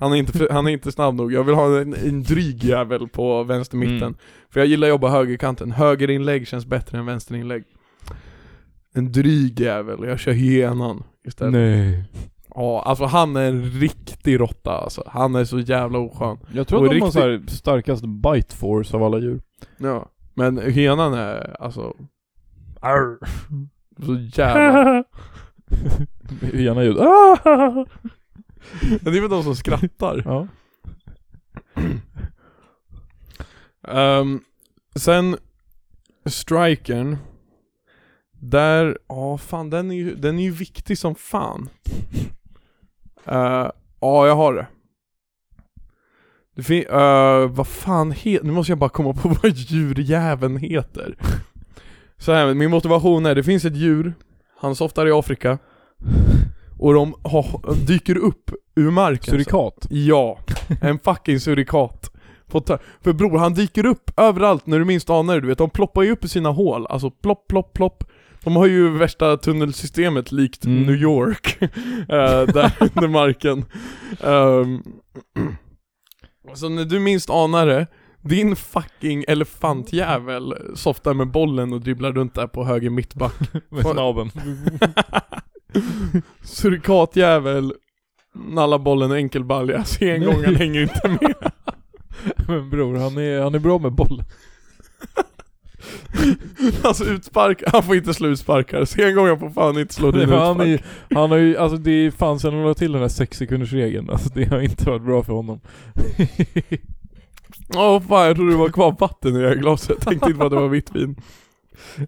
Speaker 2: Han är inte, han är inte snabb nog. Jag vill ha en, en dryg jävel på vänster mitten.
Speaker 1: Mm.
Speaker 2: För jag gillar att jobba högerkanten. Högerinlägg känns bättre än vänsterinlägg. En dryg jävel. Jag kör hyenan istället.
Speaker 1: Nej.
Speaker 2: Ja, alltså han är en riktig råtta alltså. Han är så jävla oskön.
Speaker 1: Jag tror
Speaker 2: Och
Speaker 1: att de har
Speaker 2: riktigt-
Speaker 1: så här starkast bite force av alla djur.
Speaker 2: Ja. Men hyenan är alltså... Arr. Så jävla...
Speaker 1: Gärna ljud. Ah!
Speaker 2: Det är väl de som skrattar.
Speaker 1: Ja.
Speaker 2: Ehm, sen strikern Där, ja fan den är, ju, den är ju viktig som fan Eh, Ja jag har det det fin- eh, vad fan heter, nu måste jag bara komma på vad djurjäveln heter Så här, min motivation är, det finns ett djur, han softar i Afrika Och de har, dyker upp ur marken
Speaker 1: Surikat.
Speaker 2: Ja, en fucking surikat. På ta- för bror, han dyker upp överallt när du minst anar det, du vet. De ploppar ju upp i sina hål, alltså plopp, plopp, plopp. De har ju värsta tunnelsystemet likt
Speaker 1: Mm.
Speaker 2: New York, eh, där under marken. Ehm, så när du minst anar det, din fucking elefantjävel softar med bollen och dribblar runt där på höger mittback.
Speaker 1: Med snabeln.
Speaker 2: Surikatjävel nallar bollen enkelbalja, så en gång han hänger inte med.
Speaker 1: Men bror, han är, han är bra med bollen.
Speaker 2: Alltså utspark, han får inte slå utsparkar. Sen gång han får fan inte slå din
Speaker 1: Nej, men han,
Speaker 2: utspark.
Speaker 1: är, han har ju, alltså det fanns en la till den här sex sekunders regeln. Alltså det har inte varit bra för honom.
Speaker 2: Åh fan, jag trodde det var kvar vatten i det här glaset. Jag tänkte inte på att det var vitt vin.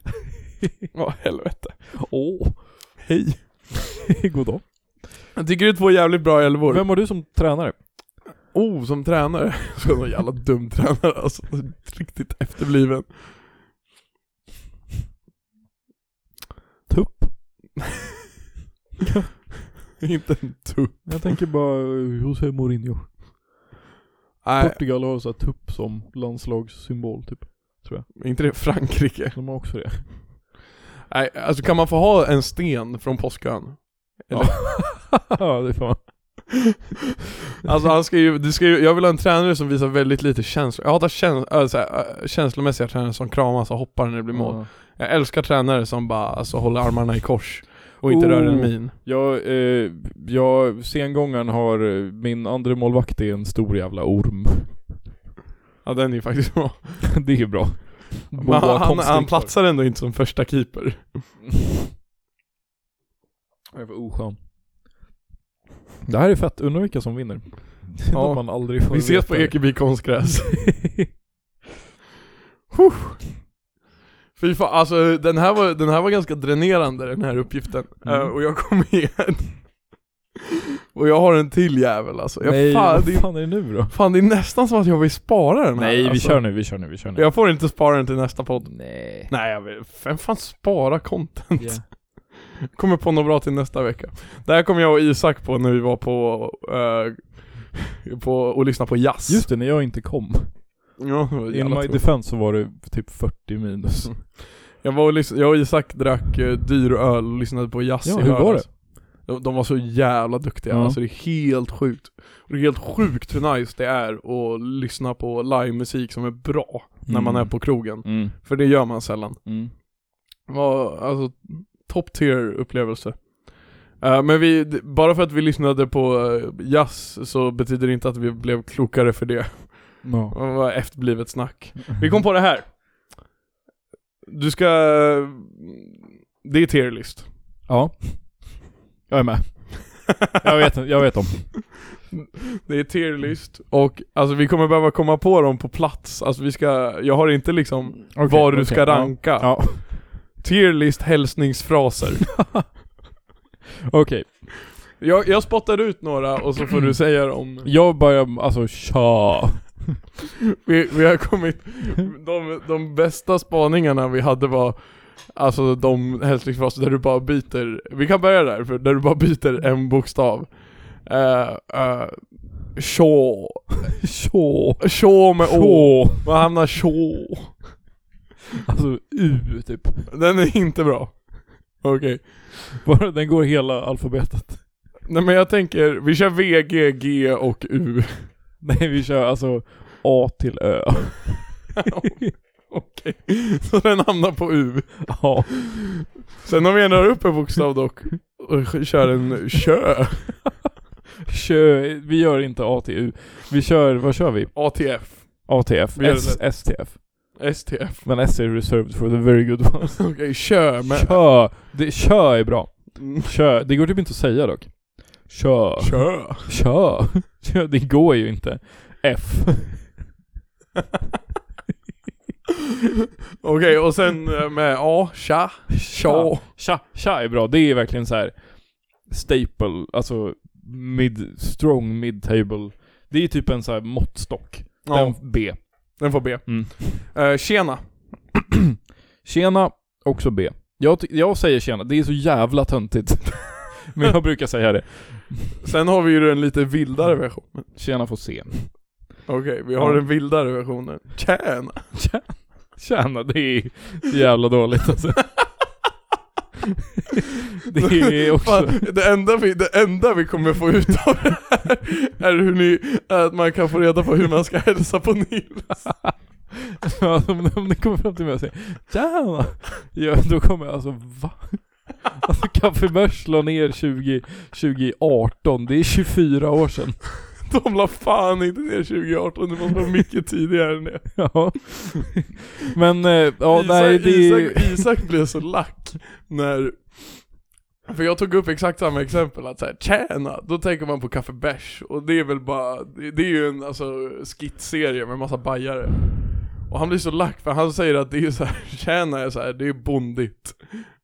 Speaker 2: Åh helvete.
Speaker 1: Åh.
Speaker 2: Hej.
Speaker 1: God dag.
Speaker 2: Jag tycker det är två jävligt bra älvor.
Speaker 1: Vem har du som tränare?
Speaker 2: Oh, som tränare. Så en jävla dum tränare alltså. Riktigt efterbliven.
Speaker 1: Tupp.
Speaker 2: inte en tupp.
Speaker 1: Jag tänker bara eh, José Mourinho.
Speaker 2: Nej,
Speaker 1: Portugal har så här tupp som landslagssymbol typ.
Speaker 2: inte det Frankrike.
Speaker 1: De har också det.
Speaker 2: Nej, alltså kan man få ha en sten från Påskön?
Speaker 1: ja, det får man.
Speaker 2: Alltså han ska ju, du ska ju, jag vill ha en tränare som visar väldigt lite känslor. Jag hatar käns, äh, så här, äh, känslomässiga tränare som kramas och hoppar när det blir mål.
Speaker 1: Ja.
Speaker 2: Jag älskar tränare som bara alltså, håller armarna i kors och inte
Speaker 1: Oh.
Speaker 2: rör en min.
Speaker 1: Jag, eh, jag, sengången har, eh, min andra målvakt är en stor jävla orm.
Speaker 2: Ja den är ju faktiskt bra.
Speaker 1: det är bra.
Speaker 2: Men han, han, han
Speaker 1: konststyckor.
Speaker 2: platsar ändå inte som första keeper.
Speaker 1: Jag är för oskön. Det här är fett, undrar vilka som vinner. Det är
Speaker 2: Ja.
Speaker 1: något man aldrig får
Speaker 2: Vi ses på
Speaker 1: veta.
Speaker 2: Ekeby konstgräs. Huh. Fy fan, alltså den här, var, den här var ganska dränerande den här uppgiften.
Speaker 1: Mm.
Speaker 2: Eh, och jag kom igen. och jag har en till jävel alltså. Jag,
Speaker 1: Nej,
Speaker 2: fan, det
Speaker 1: vad
Speaker 2: är
Speaker 1: fan är det nu då?
Speaker 2: Fan det är nästan som att jag vill spara den här
Speaker 1: Nej, vi
Speaker 2: alltså.
Speaker 1: kör nu, vi kör nu, vi kör nu.
Speaker 2: Jag får inte spara den till nästa podd
Speaker 1: Nej.
Speaker 2: Nej jag vet, vem fan sparar content?
Speaker 1: Ja.
Speaker 2: Kommer på något bra till nästa vecka Det här kom jag och Isak på när vi var på, eh, på och lyssnade på jazz
Speaker 1: Just det, när jag inte kom.
Speaker 2: Ja, det var
Speaker 1: In
Speaker 2: jävla
Speaker 1: my
Speaker 2: tråkigt. Mm.
Speaker 1: defense så var det typ 40 minus.
Speaker 2: jag, var och lys- jag och Isak drack eh, dyr öl och lyssnade på jazz
Speaker 1: Ja,
Speaker 2: i
Speaker 1: hur
Speaker 2: lördags.
Speaker 1: var det?
Speaker 2: De, de var så jävla duktiga,
Speaker 1: Ja.
Speaker 2: alltså det är helt sjukt. Och det är helt sjukt hur nice det är att lyssna på livemusik som är bra när man är på krogen.
Speaker 1: Mm.
Speaker 2: För det gör man sällan.
Speaker 1: Mm.
Speaker 2: var alltså top tier upplevelse. Eh, men vi, d- bara för att vi lyssnade på eh, jazz så betyder det inte att vi blev klokare för det.
Speaker 1: Ja.
Speaker 2: Det var efterblivet snack. Vi kom på det här. Du ska... eh, Det är tier list.
Speaker 1: Ja. Jag är med. Jag vet, jag vet om.
Speaker 2: Det är tier list och alltså vi kommer behöva komma på dem på plats. Alltså vi ska, jag har inte liksom
Speaker 1: Okay,
Speaker 2: var du ska ranka.
Speaker 1: Ja.
Speaker 2: Tier list hälsningsfraser.
Speaker 1: Okej.
Speaker 2: jag, jag spottar ut några och så får du säga dem.
Speaker 1: Jag börjar, alltså tja.
Speaker 2: Vi, vi har kommit, de, de bästa spaningarna vi hade var Alltså de hälsningsfraser där du bara byter, vi kan börja där, för där du bara byter en bokstav Eh, eh, Sjå,
Speaker 1: Tjå.
Speaker 2: sjå med å,
Speaker 1: Tjå.
Speaker 2: man hamnar sjå
Speaker 1: Alltså U typ.
Speaker 2: Den är inte bra Okej,
Speaker 1: Bara, den går hela alfabetet.
Speaker 2: nej men jag tänker, vi kör V, G, G och U
Speaker 1: Nej vi kör alltså A till Ö.
Speaker 2: Okej, så den hamnar på U
Speaker 1: Ja.
Speaker 2: Sen om vi ändrar upp en bokstav dock, och kör en kö,
Speaker 1: Kö, vi gör inte A till U. Vi kör, vad kör vi?
Speaker 2: ATF
Speaker 1: ATF,
Speaker 2: Vi gör det
Speaker 1: S, STF.
Speaker 2: STF.
Speaker 1: Men S är reserved for the very good ones.
Speaker 2: Okej, kö med...
Speaker 1: Kö, det, kö är bra.
Speaker 2: Mm.
Speaker 1: Kö, det går typ inte att säga dock. Kö,
Speaker 2: Kö.
Speaker 1: kö, kö, det går ju inte. F.
Speaker 2: Okej, och sen eh, med A, tja, tja.
Speaker 1: Tja, tja är bra. Det är verkligen så här staple, alltså mid, strong mid table. Det är typ en så här måttstock.
Speaker 2: Ja,
Speaker 1: Den B.
Speaker 2: den får B.
Speaker 1: Mm.
Speaker 2: Eh, tjena.
Speaker 1: Tjena, också B. Jag, ty- jag säger tjena, det är så jävla töntigt. Men jag brukar säga det.
Speaker 2: Sen har vi ju den lite vildare versionen.
Speaker 1: Tjena får C.
Speaker 2: Okej, vi har
Speaker 1: Ja.
Speaker 2: den vildare versionen. Tjäna.
Speaker 1: Tjä- Tjäna, det är så jävla dåligt alltså. Det är också...
Speaker 2: Fan, det, enda vi, det enda vi kommer få ut av det här är hur ni, att man kan få reda på hur man ska hälsa på Nils.
Speaker 1: Ja, om, om ni kommer fram till mig och säger Tjena! Ja, då kommer jag alltså va? Alltså Kaffebärs slår ner 20, 2018, det är 24 år sedan.
Speaker 2: De la fan inte ner 2018, det måste vara mycket tidigare än det.
Speaker 1: Ja. Men, eh, ja nej det är...
Speaker 2: Isak, Isak blev så lack när för jag tog upp exakt samma exempel, att såhär tjäna, då tänker man på Kaffe Bärs och det är väl bara, det, det är ju en alltså skitserie med massa bajare Och han blir så lack för han säger att det är såhär, tjäna är såhär, det är bondigt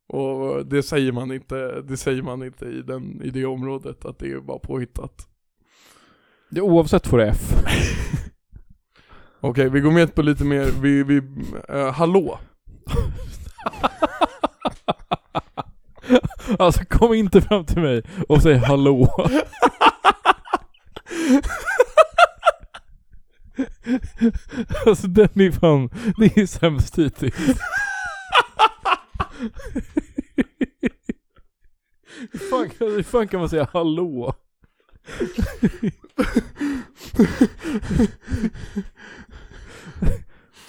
Speaker 2: Och det säger man inte, det säger man inte i, den, i det området, att det är bara påhittat
Speaker 1: det är Oavsett får det F.
Speaker 2: Okej, vi går med på lite mer, vi, vi, eh, hallå
Speaker 1: Alltså kom inte fram till mig och säg hallå. Alltså den är fan, det är sämst hittills. Hur fan, kan- hur fan kan man säga hallå?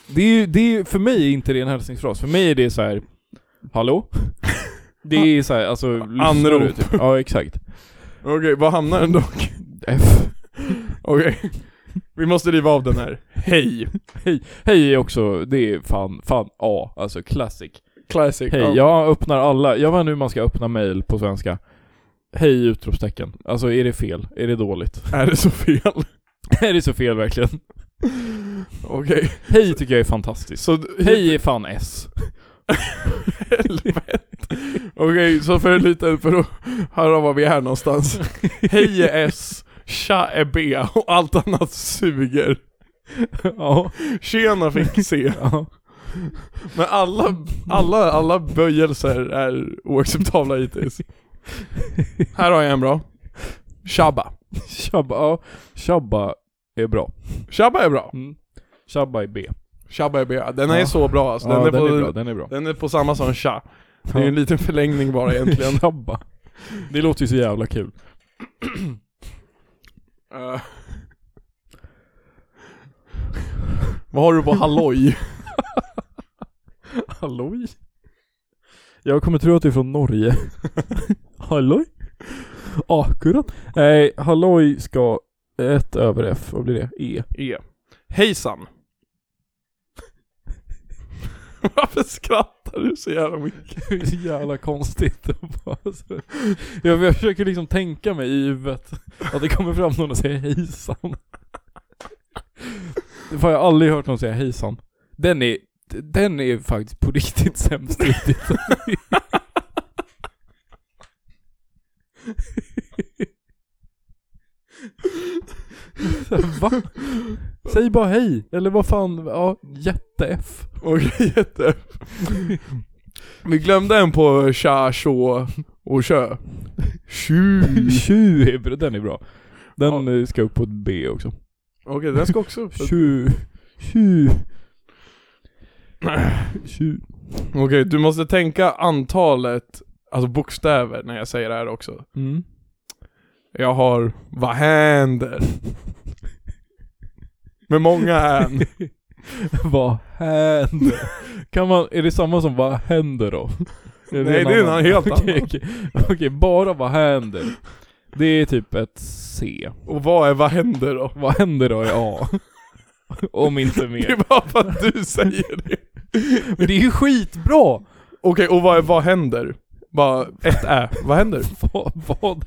Speaker 1: Det är ju, det är, ju- för mig är inte det en hälsningsfras, för mig är det så här. Hallå? Det är så här, alltså lyssnar du,
Speaker 2: Anrop.
Speaker 1: typ? Ja exakt
Speaker 2: Okej, var hamnar den då?
Speaker 1: F
Speaker 2: Okej. Vi måste riva av den här. Hej.
Speaker 1: Hej är också, det är fan, fan A, alltså classic
Speaker 2: Classic.
Speaker 1: Hej, jag öppnar alla, jag vet inte hur man ska öppna mail på svenska Hej utropstecken, alltså är det fel? Är det dåligt?
Speaker 2: Är det så fel?
Speaker 1: är det så fel verkligen?
Speaker 2: Okej.
Speaker 1: Hej tycker jag är fantastiskt
Speaker 2: Så...
Speaker 1: Hej är fan S
Speaker 2: Helvete. Okej, så för en liten, för att höra var vi är någonstans. Hej är S, tja är B och allt annat suger.
Speaker 1: ja,
Speaker 2: Tjena fick C.
Speaker 1: ja,
Speaker 2: Men alla, alla, alla böjelser är oacceptabla hittills. Här har jag en bra. Shabba.
Speaker 1: tjabba, ja, tjabba är bra
Speaker 2: Shabba är bra.
Speaker 1: mm. Shabba är B.
Speaker 2: Shabba är B. Den
Speaker 1: Ja.
Speaker 2: är så bra alltså. Den,
Speaker 1: ja,
Speaker 2: är,
Speaker 1: den
Speaker 2: på,
Speaker 1: är bra, den är bra.
Speaker 2: den är på samma som Sha. Det är ju en liten förlängning bara egentligen.
Speaker 1: Shabba. Det låter ju så jävla kul.
Speaker 2: Eh. Vad har du på halloj?
Speaker 1: Halloj? Jag kommer tro att du är från Norge. Halloj? Akkurat. Nej, halloj ska ett över F, vad blir det? E.
Speaker 2: E. Hejsan. Varför skrattar du så jävla mycket?
Speaker 1: Det är så jävla konstigt. Bara så- jag, jag försöker liksom tänka mig i huvudet att det kommer fram någon och säger hejsan. Fan, jag har aldrig hört någon säga hejsan. Den är, den är faktiskt på riktigt sämst riktigt. Så här, Va? Säg bara hej, eller vad fan, ja, jätte-F.
Speaker 2: Okej, jätte. Vi glömde en på Sha, Shå och Kö. Tju.
Speaker 1: Tju är bra, den är bra. Den eh, ska upp på ett B också.
Speaker 2: Okej, den ska också upp.
Speaker 1: Tju. Tju. Tju.
Speaker 2: Okej, du måste tänka antalet, alltså bokstäver när jag säger det här också.
Speaker 1: Mm.
Speaker 2: Jag har, vad händer? Med många än.
Speaker 1: Vad händer? Kan man, är det samma som vad händer då?
Speaker 2: Nej, det är en helt annan.
Speaker 1: Okej, okej. Okej, bara vad händer? Det är typ ett C.
Speaker 2: Och vad är vad händer då?
Speaker 1: Vad händer då är A. Om inte
Speaker 2: Det
Speaker 1: mer.
Speaker 2: är bara för att du säger det.
Speaker 1: Men det är ju skitbra!
Speaker 2: Okej, och vad är vad händer? Bara ett ä, vad händer?
Speaker 1: Vad, vad?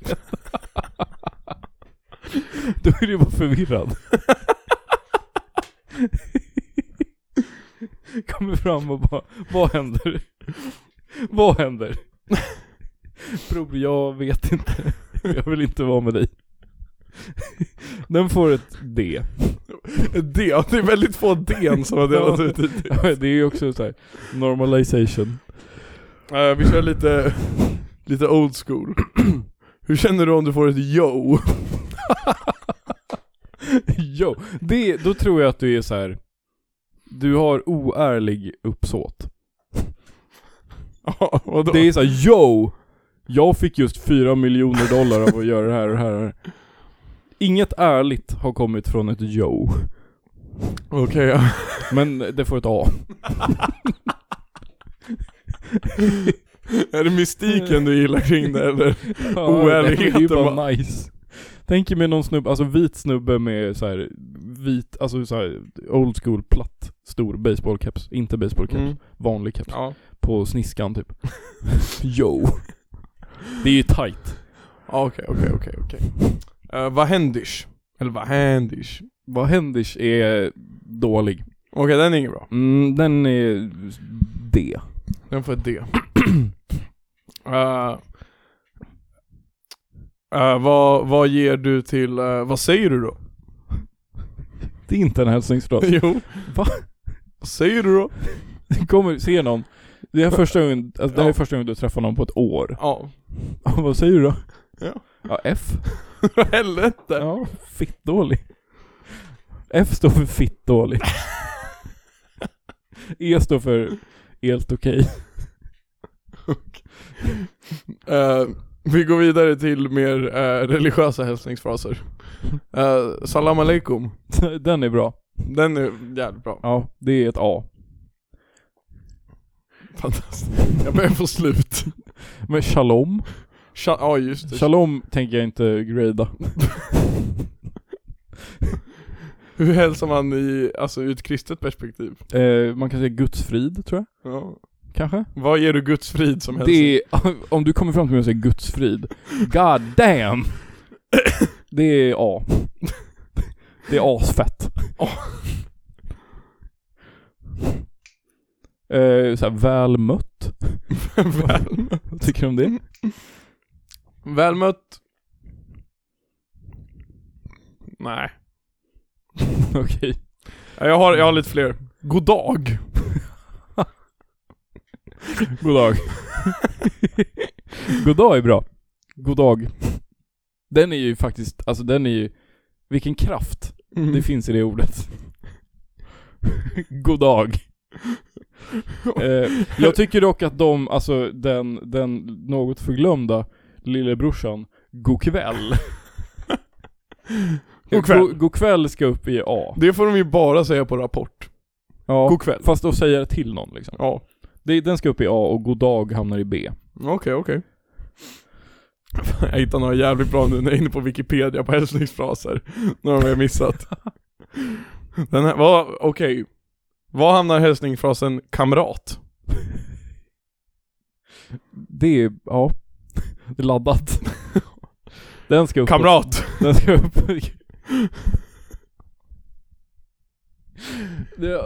Speaker 1: Då är du bara förvirrad. Kommer fram och bara, vad händer? Vad händer? Bror, jag vet inte. Jag vill inte vara med dig. Den får ett D.
Speaker 2: D, det är väldigt få D som har delats ut hit.
Speaker 1: Det är ju också så här, normalization.
Speaker 2: Eh, vi kör lite, lite old school. Hur känner du om du får ett yo?
Speaker 1: Jo, det, då tror jag att du är så här. Du har oärlig uppsåt.
Speaker 2: Ja, vadå?
Speaker 1: Det är såhär, yo! Jag fick just 4 miljoner dollar av att göra det här och det här och det här. Inget ärligt har kommit från ett yo,
Speaker 2: Okej, ja.
Speaker 1: men det får ett A.
Speaker 2: Är det mystiken du gillar kring det eller?
Speaker 1: det är ju
Speaker 2: Oärligheten
Speaker 1: bara
Speaker 2: bara.
Speaker 1: nice. Tänk er mig någon snubbe, alltså vit snubbe med så här vit, alltså så här old school platt, stor baseballcaps, inte baseballcaps,
Speaker 2: Mm.
Speaker 1: vanlig caps,
Speaker 2: Ja.
Speaker 1: på sniskan typ. yo. Det är ju tight.
Speaker 2: Ja, Okej, okej, okej, okej. Eh, Vad händish? Eller vad händish?
Speaker 1: Vad händish är dålig.
Speaker 2: Okej, den är ingen bra.
Speaker 1: Mm, den är D.
Speaker 2: Den får ett D. Eh, eh, vad, vad ger du till, eh, vad säger du då?
Speaker 1: Det är inte en hälsningsfras.
Speaker 2: jo.
Speaker 1: Va?
Speaker 2: Vad säger du då?
Speaker 1: Kommer, ser någon. Det är första gången, alltså det här är första gången du träffar någon på ett år.
Speaker 2: Ja.
Speaker 1: Ja, Vad säger du då?
Speaker 2: Ja.
Speaker 1: Ja, F.
Speaker 2: Helvete.
Speaker 1: Ja, fittdålig. F står för fittdålig. E står för helt okej.
Speaker 2: Eh, vi går vidare till mer eh, religiösa hälsningsfraser. Eh, salam aleikum.
Speaker 1: Den är bra.
Speaker 2: Den är jävligt bra.
Speaker 1: Ja, det är ett A.
Speaker 2: Fantastiskt. Jag börjar få slut.
Speaker 1: Men shalom?
Speaker 2: Sha- ja just det.
Speaker 1: Shalom tänker jag inte grada.
Speaker 2: Hur hälsar man i, alltså ur ett kristet perspektiv?
Speaker 1: Eh, man kan säga gudsfrid, tror
Speaker 2: Ja.
Speaker 1: jag. Kanske?
Speaker 2: Vad ger du Guds frid som hälsning?
Speaker 1: Det är, om du kommer fram till mig och säger gudsfrid, god damn! Det är A. Det är asfett. Eh, så här, väl mött.
Speaker 2: Väl,
Speaker 1: Vad tycker du om det?
Speaker 2: väl mött. Nej.
Speaker 1: Okej.
Speaker 2: Ja, Jag har, jag har lite fler. God dag.
Speaker 1: God dag. God dag är bra. God dag. Den är ju Mm. faktiskt, alltså den är ju, vilken kraft det finns i det ordet. God dag. eh, jag tycker dock att de, alltså den, den något förglömda lillebrorsan, God kväll.
Speaker 2: God kväll.
Speaker 1: God, god kväll ska upp i A.
Speaker 2: Det får de ju bara säga på Rapport.
Speaker 1: Ja,
Speaker 2: God kväll.
Speaker 1: fast då säger jag till någon liksom.
Speaker 2: Ja.
Speaker 1: Det, den ska upp i A och god dag hamnar i B.
Speaker 2: Okej, okej. Jag hittar några jävligt bra nu när jag är inne på Wikipedia på hälsningsfraser. Några har jag missat. Den här, vad, okej. Var hamnar hälsningsfrasen 'kamrat'?
Speaker 1: Det är, ja, det är laddat. Den ska upp.
Speaker 2: Kamrat!
Speaker 1: Den ska upp. Det,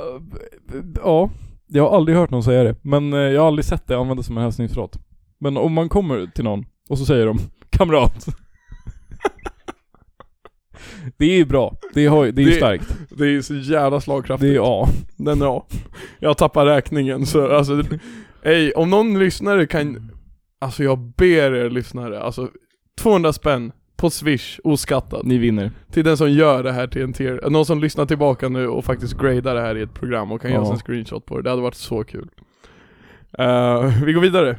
Speaker 1: ja, jag har aldrig hört någon säga det. Men eh, jag har aldrig sett det användas som en hälsningsfras. Men om man kommer till någon och så säger de 'kamrat' Det är ju bra. Det, har, det är ju
Speaker 2: Det-
Speaker 1: starkt.
Speaker 2: Det är så jävla slagkraftigt.
Speaker 1: Det är A.
Speaker 2: Den är A. Jag tappar räkningen så alltså, ej, om någon lyssnare kan, alltså jag ber er lyssnare, alltså 200 spänn på swish, oskattat.
Speaker 1: Ni vinner.
Speaker 2: Till den som gör det här till en tier, någon som lyssnar tillbaka nu och faktiskt gradar det här i ett program och kan
Speaker 1: Ja.
Speaker 2: göra en screenshot på det, det hade varit så kul. Eh, vi går vidare.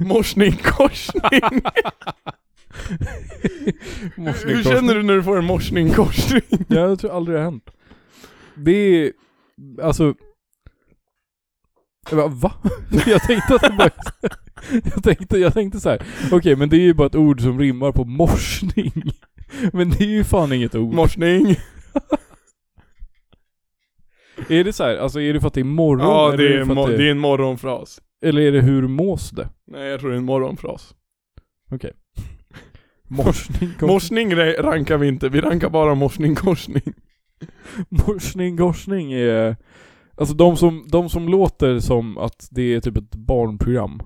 Speaker 2: Morsning, korsning. Hur känner du när du får en morsning, korsning?
Speaker 1: Jag tror aldrig det har hänt. Det är, alltså... Jag bara, va? Jag tänkte att det bara... Jag tänkte, jag tänkte så här. okej men det är ju bara ett ord som rimmar på morsning. Men det är ju fan inget ord.
Speaker 2: Morsning.
Speaker 1: är det så här, alltså är det för att det är morgon?
Speaker 2: Ja,
Speaker 1: eller
Speaker 2: det är,
Speaker 1: det för
Speaker 2: en
Speaker 1: att
Speaker 2: mo-
Speaker 1: det-
Speaker 2: det är en morgonfras.
Speaker 1: Eller är det hur mås det?
Speaker 2: Nej jag tror det är en morgonfras.
Speaker 1: Morsning, kors,
Speaker 2: Morsning re- rankar vi inte, vi rankar bara morsning korsning.
Speaker 1: morsning, korsning är... Alltså de som, de som låter som att det är typ ett barnprogram,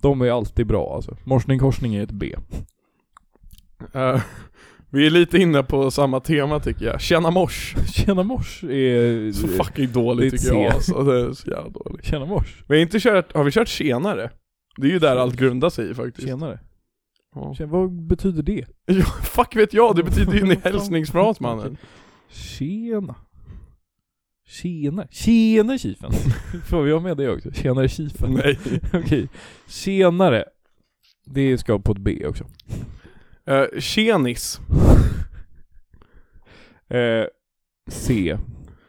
Speaker 1: de är alltid bra alltså. Morsning, korsning är ett B.
Speaker 2: Eh, vi är lite inne på samma tema tycker jag. Tjena mors.
Speaker 1: Tjena mors är...
Speaker 2: Så
Speaker 1: fuck.
Speaker 2: fucking
Speaker 1: Det är
Speaker 2: dåligt
Speaker 1: ett
Speaker 2: tycker jag
Speaker 1: C.
Speaker 2: alltså. Det är så jävla dåligt.
Speaker 1: Tjena mors.
Speaker 2: Vi har inte kört, har vi kört senare? Det är ju där allt grundar sig i faktiskt.
Speaker 1: Tjenare.
Speaker 2: Ja.
Speaker 1: Tjena, vad betyder det?
Speaker 2: Ja, fuck vet jag, det betyder ju en hälsningsfras mannen.
Speaker 1: Tjena. Tjena. Tjena kifen. Får vi ha med det också? Tjenare kifen.
Speaker 2: Nej.
Speaker 1: Okej. Tjenare. Det ska på ett B också.
Speaker 2: Uh, tjenis.
Speaker 1: Eh, C.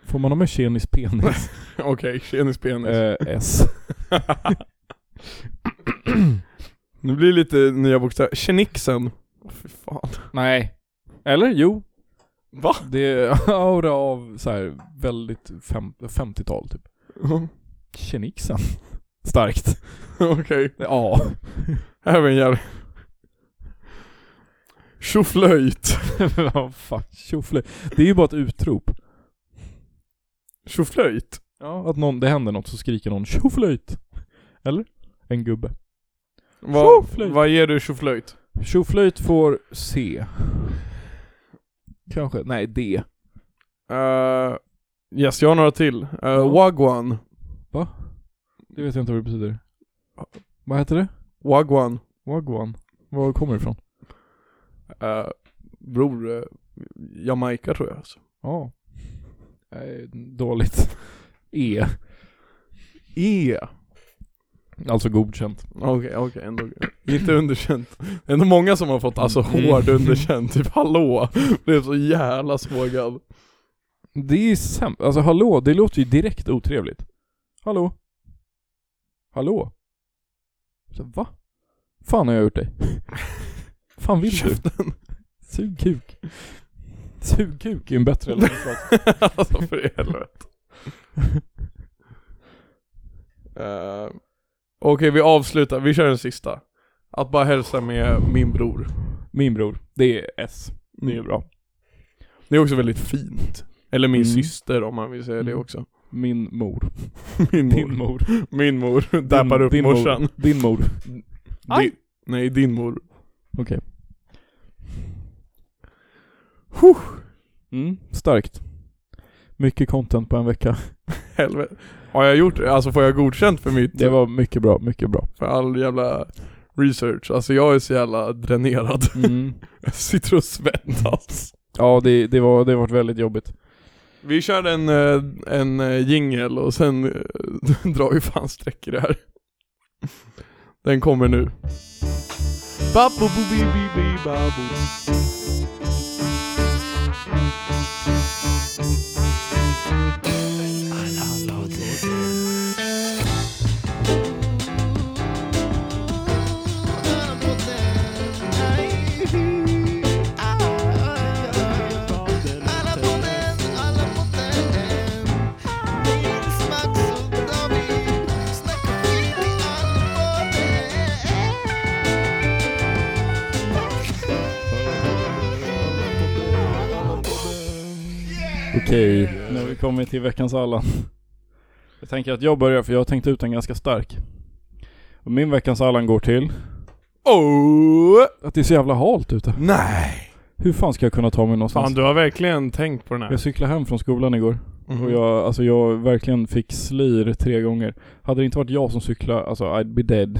Speaker 1: Får man ha med tjenis penis?
Speaker 2: Okej, tjenis penis.
Speaker 1: eh, S.
Speaker 2: Nu blir det lite nya bokstäver. Tjenixen. Åh fy fan.
Speaker 1: Nej. Eller? Jo.
Speaker 2: Va?
Speaker 1: Det är aura av så här väldigt fem, 50-tal typ. Tjenixen. Starkt.
Speaker 2: Okej.
Speaker 1: Ja.
Speaker 2: Här har vi en jävla... Tjoflöjt.
Speaker 1: Ja, fuck. Tjoflöjt. Det är ju bara ett utrop.
Speaker 2: Tjoflöjt?
Speaker 1: Ja. Att någon, det händer något så skriker någon tjoflöjt. Eller? En gubbe.
Speaker 2: Vad
Speaker 1: Tjoflöjt.
Speaker 2: vad ger du tjoflöjt?
Speaker 1: Tjoflöjt får C. Kanske, nej D.
Speaker 2: Uh, yes, jag har några till. Uh, wagwan.
Speaker 1: Va? Det vet jag inte vad det betyder. Vad heter det?
Speaker 2: Wagwan.
Speaker 1: Wagwan. Var kommer det ifrån?
Speaker 2: Uh, bror, eh, Jamaica tror jag alltså.
Speaker 1: Ja. Nej, Dåligt. E.
Speaker 2: E.
Speaker 1: Alltså godkänt.
Speaker 2: Okej, okej, ändå. Inte underkänt. Det är ändå många som har fått alltså hård underkänt. Typ hallå. Blev så jävla sågad.
Speaker 1: Det är sämst. Alltså hallå, det låter ju direkt otrevligt. Hallå? Hallå? Så, va? Fan har jag gjort dig? Fan vill du? Sug kuk. Sug kuk är en bättre hälsningsfras.
Speaker 2: alltså för i helvete. Eh, Okej, vi avslutar. Vi kör den sista. Att bara hälsa med Eh, min bror.
Speaker 1: Min bror. Det är S.
Speaker 2: Det är ju bra. Det är också väldigt fint. Eller min
Speaker 1: Mm.
Speaker 2: syster om man vill säga det
Speaker 1: Mm.
Speaker 2: också.
Speaker 1: Min mor.
Speaker 2: Min
Speaker 1: Din
Speaker 2: mor.
Speaker 1: mor.
Speaker 2: Min mor. Dappar upp
Speaker 1: din
Speaker 2: morsan.
Speaker 1: Mor. Din mor. Aj.
Speaker 2: Din, nej, din mor.
Speaker 1: Okej.
Speaker 2: Huh.
Speaker 1: Mm, starkt. Mycket content på en vecka.
Speaker 2: Helvete. Har jag gjort det? Alltså får jag godkänt för mitt?
Speaker 1: Det var mycket bra, mycket bra.
Speaker 2: För all jävla research. Alltså jag är så jävla dränerad.
Speaker 1: Mm.
Speaker 2: Jag sitter och svettas.
Speaker 1: Ja, det, det, var, det har varit väldigt jobbigt.
Speaker 2: Vi kör en, eh, en eh, jingle och sen eh, drar vi fan streck i det här. Den kommer nu. Ba-bo-bo-bi-bi-bi-ba-bo.
Speaker 1: Okej, nu har vi kommit till veckans Allan. Jag tänker att jag börjar för jag har tänkt ut en ganska stark. Och min veckans Allan går till
Speaker 2: Oh!
Speaker 1: att det är så jävla halt ute.
Speaker 2: Nej!
Speaker 1: Hur fan ska jag kunna ta mig någonstans?
Speaker 2: Fan du har verkligen tänkt på den här.
Speaker 1: Jag cyklade hem från skolan igår
Speaker 2: Mhm.
Speaker 1: Alltså. och jag, alltså jag verkligen fick slir tre gånger. Hade det inte varit jag som cyklade, alltså I'd be dead.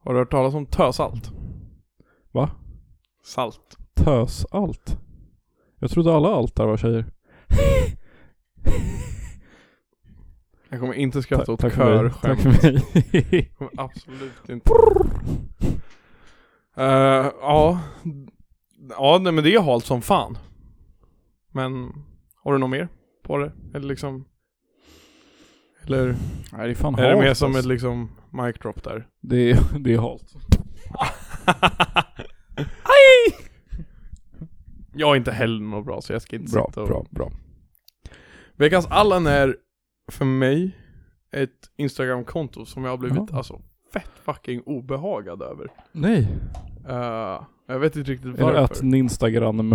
Speaker 2: Har du hört talas om tösalt?
Speaker 1: Va?
Speaker 2: Salt.
Speaker 1: Tös allt. Jag trodde alla altar var tjejer.
Speaker 2: Jag kommer inte skratta
Speaker 1: Ta-
Speaker 2: åt
Speaker 1: tack för mig. Tack
Speaker 2: körskämt.
Speaker 1: för mig.
Speaker 2: Jag kommer absolut inte. Eh, ja. Ja nej, men det är halt som fan. Men har du något mer på det? Eller liksom? Eller
Speaker 1: Nej det är fan
Speaker 2: är det
Speaker 1: halt,
Speaker 2: mer som
Speaker 1: alltså.
Speaker 2: ett liksom mic drop där?
Speaker 1: det, är, det är halt.
Speaker 2: Jag är inte heller något bra så jag ska inte
Speaker 1: Bra,
Speaker 2: sitta och...
Speaker 1: bra, bra.
Speaker 2: Veckans Allan är för mig ett Instagram-konto som jag har blivit
Speaker 1: Ja.
Speaker 2: alltså fett fucking obehagad över.
Speaker 1: Nej.
Speaker 2: Eh, jag vet inte riktigt
Speaker 1: Är det att
Speaker 2: varför.
Speaker 1: Ninstagram?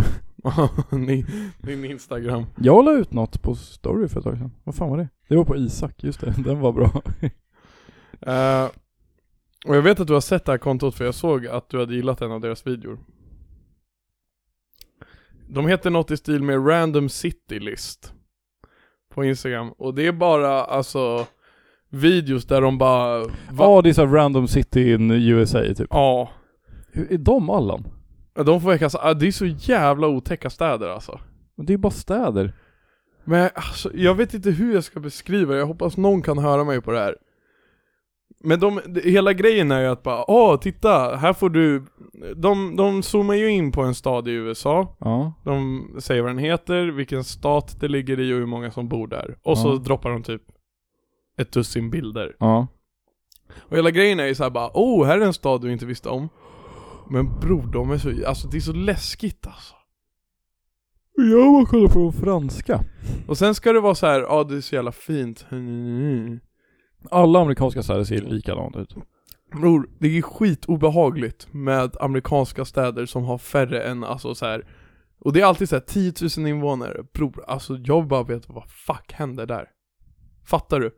Speaker 2: Ni, din Instagram.
Speaker 1: Jag la ut något på story för ett tag sedan. Vad fan var det? Det var på Isak, just det. Den var bra.
Speaker 2: Eh, och jag vet att du har sett det här kontot för jag såg att du hade gillat en av deras videor. De heter något i stil med Random City List på Instagram och det är bara alltså videos där de bara... va-
Speaker 1: Ja, det är såhär random city in USA typ.
Speaker 2: Ja.
Speaker 1: Hur är de Allan?
Speaker 2: De får veckans, ah, det är så jävla otäcka städer alltså.
Speaker 1: Det är bara städer.
Speaker 2: Men alltså, jag vet inte hur jag ska beskriva det, jag hoppas någon kan höra mig på det här. Men de, det- hela grejen är ju att bara, åh titta, här får du, de, de zoomar ju in på en stad i USA,
Speaker 1: Ja.
Speaker 2: de säger vad den heter, vilken stat det ligger i och hur många som bor där. Och så
Speaker 1: Ja.
Speaker 2: droppar de typ ett dussin bilder.
Speaker 1: Ja.
Speaker 2: Och hela grejen är ju såhär bara, oh här är en stad du inte visste om. Men bror, de är så, alltså det är så läskigt alltså.
Speaker 1: Jag var kolla på de franska.
Speaker 2: Och sen ska det vara så här, ja det är så jävla fint. Mm.
Speaker 1: Alla amerikanska städer ser likadant ut.
Speaker 2: Bror, det är skitobehagligt med amerikanska städer som har färre än alltså så här. Och det är alltid så här 10 000 invånare. Bror, alltså jag bara vet vad fuck händer där. Fattar du?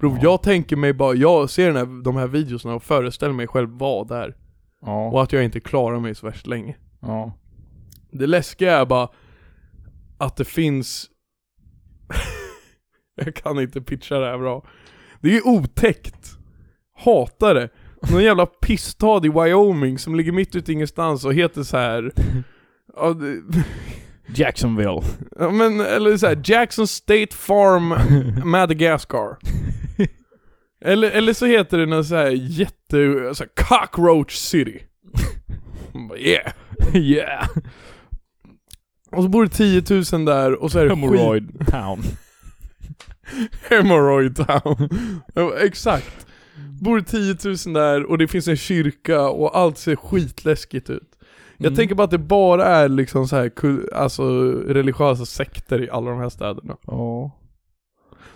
Speaker 2: Bror,
Speaker 1: Ja.
Speaker 2: jag tänker mig bara, jag ser den här, de här videorna och föreställer mig själv vad där.
Speaker 1: Ja.
Speaker 2: Och att jag inte klarar mig så värst länge.
Speaker 1: Ja.
Speaker 2: Det läskiga är bara att det finns... jag kan inte pitcha det här bra. Det är otäckt. Hatar det. Någon jävla pissstad i Wyoming som ligger mitt ute i ingenstans och heter så här. Ja, det,
Speaker 1: Jacksonville.
Speaker 2: ja, men, eller så här, Jackson State Farm Madagascar. Eller, eller så heter det någon så här jätte... Så här, cockroach City. Bara, yeah!
Speaker 1: yeah.
Speaker 2: Och så bor det 10 000 där och så är det skit
Speaker 1: Hemorrhoid town.
Speaker 2: Hemorrhoid town. Ja, Exakt. Bor 10 000 där och det finns en kyrka och allt ser skitläskigt ut. Jag
Speaker 1: Mm.
Speaker 2: tänker bara att det bara är liksom så här, kul- alltså religiösa sekter i alla de här städerna.
Speaker 1: Ja.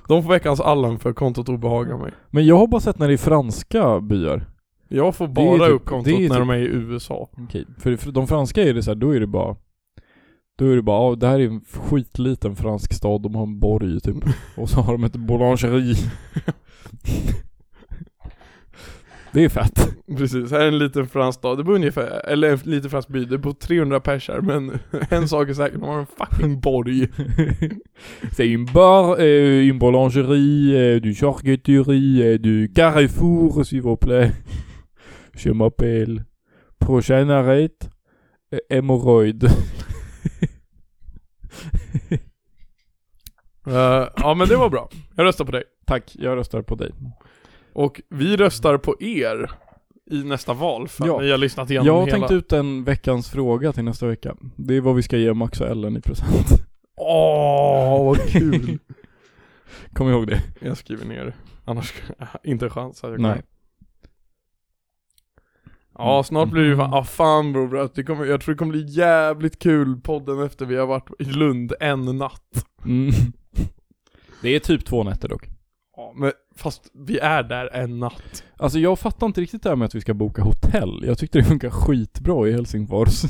Speaker 2: De får veckans Allan för kontot obehagar mig.
Speaker 1: Men jag har bara sett när det är franska byar.
Speaker 2: Jag får
Speaker 1: Det är
Speaker 2: bara
Speaker 1: typ-
Speaker 2: upp kontot
Speaker 1: det
Speaker 2: när
Speaker 1: är typ-
Speaker 2: de är i USA.
Speaker 1: Okej, för, för de franska är det så här, då är det bara Då är det bara, ja det här är en skitliten fransk stad, de har en borg typ Och så har de ett boulangerie Det är fett
Speaker 2: Precis, här är en liten fransk stad. Det bor ungefär, eller en liten fransk by, det bor 300 pers här men en sak är säker, de har en fucking borg.
Speaker 1: C'est une bar, eh, une boulangerie, eh, du charcuterie, eh, du carrefour s'il vous plaît Je m'appelle Prochaine arrête eh, Hémorroïde
Speaker 2: Eh, ja men det var bra. Jag röstar på dig.
Speaker 1: Tack, jag röstar på dig.
Speaker 2: Och vi röstar på er i nästa val för
Speaker 1: Ja.
Speaker 2: ni har lyssnat igenom
Speaker 1: Jag har
Speaker 2: hela.
Speaker 1: tänkt ut en veckans fråga till nästa vecka. Det är vad vi ska ge Max och Ellen i present.
Speaker 2: Åh, vad kul.
Speaker 1: Kom ihåg det.
Speaker 2: jag skriver ner det. Annars, inte en chans att jag
Speaker 1: Nej.
Speaker 2: kan. Ja, snart blir det ju fan, ah, fan bror, att det kommer, jag tror det kommer bli jävligt kul podden efter vi har varit i Lund en natt.
Speaker 1: Mm. Det är typ två nätter dock.
Speaker 2: Ja, men fast vi är där en natt.
Speaker 1: Alltså jag fattar inte riktigt det här med att vi ska boka hotell. Jag tyckte det funkar skitbra i Helsingfors.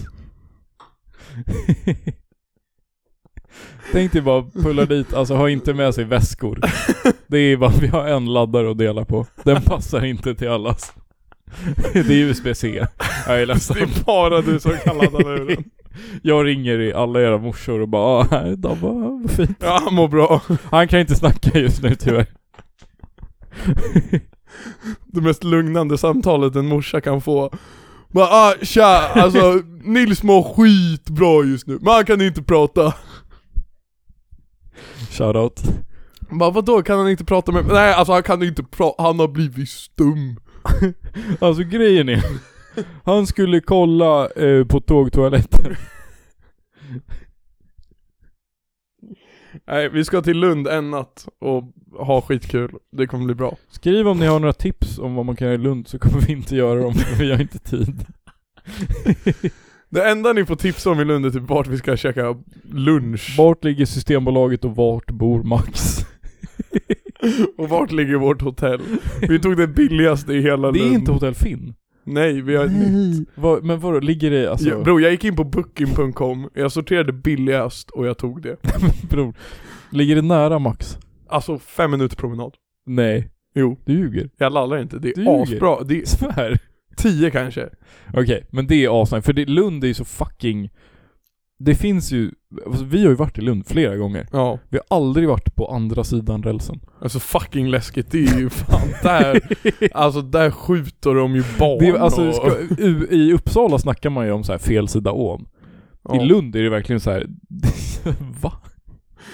Speaker 1: Tänk dig bara pulla dit, alltså ha inte med sig väskor. Det är bara, vi har en laddare att dela på. Den passar inte till allas. Det är USB-C. Jag är ledsen.
Speaker 2: Det är bara du som kan ladda ner den.
Speaker 1: Jag ringer i alla era morsor och bara ah, hej, Dabba, vad fint.
Speaker 2: Ja, han mår bra.
Speaker 1: Han kan inte snacka just nu tyvärr.
Speaker 2: det mest lugnande samtalet en morsa kan få. Bara ah, tja, alltså Nils mår skitbra just nu, men han kan inte prata.
Speaker 1: Shoutout.
Speaker 2: Bara vadå, kan han inte prata med Nej alltså han kan inte prata, han har blivit stum.
Speaker 1: Alltså grejen är, han skulle kolla eh, på tågtoaletten.
Speaker 2: Nej vi ska till Lund en natt och ha skitkul, det kommer bli bra.
Speaker 1: Skriv om ni har några tips om vad man kan göra i Lund så kommer vi inte göra dem för vi har inte tid.
Speaker 2: Det enda ni får tipsa om i Lund är typ vart vi ska käka lunch.
Speaker 1: Vart ligger Systembolaget och vart bor Max?
Speaker 2: och vart ligger vårt hotell? Vi tog det billigaste i hela
Speaker 1: Det
Speaker 2: Lund.
Speaker 1: är inte Hotell Finn.
Speaker 2: Nej, vi har ett nytt.
Speaker 1: Vad- men vadå, ligger det alltså...
Speaker 2: Ja, bro, jag gick in på booking.com, jag sorterade billigast och jag tog det.
Speaker 1: bror. Ligger det nära Max?
Speaker 2: Alltså fem minuter promenad.
Speaker 1: Nej,
Speaker 2: Jo,
Speaker 1: du ljuger.
Speaker 2: jag lallar inte. Det
Speaker 1: Du
Speaker 2: är
Speaker 1: ljuger.
Speaker 2: asbra. Det är
Speaker 1: Svär.
Speaker 2: tio kanske.
Speaker 1: Okej, men det är asnice, för det, Lund är ju så fucking... Det finns ju, alltså vi har ju varit i Lund flera gånger.
Speaker 2: Ja.
Speaker 1: Vi har aldrig varit på andra sidan rälsen.
Speaker 2: Alltså fucking läskigt. Det är ju fan där. Alltså där skjuter de ju barn
Speaker 1: Det är, alltså,
Speaker 2: och,
Speaker 1: ska, u, I Uppsala snackar man ju om så här fel sida om.
Speaker 2: ja.
Speaker 1: I Lund är det verkligen så här. va?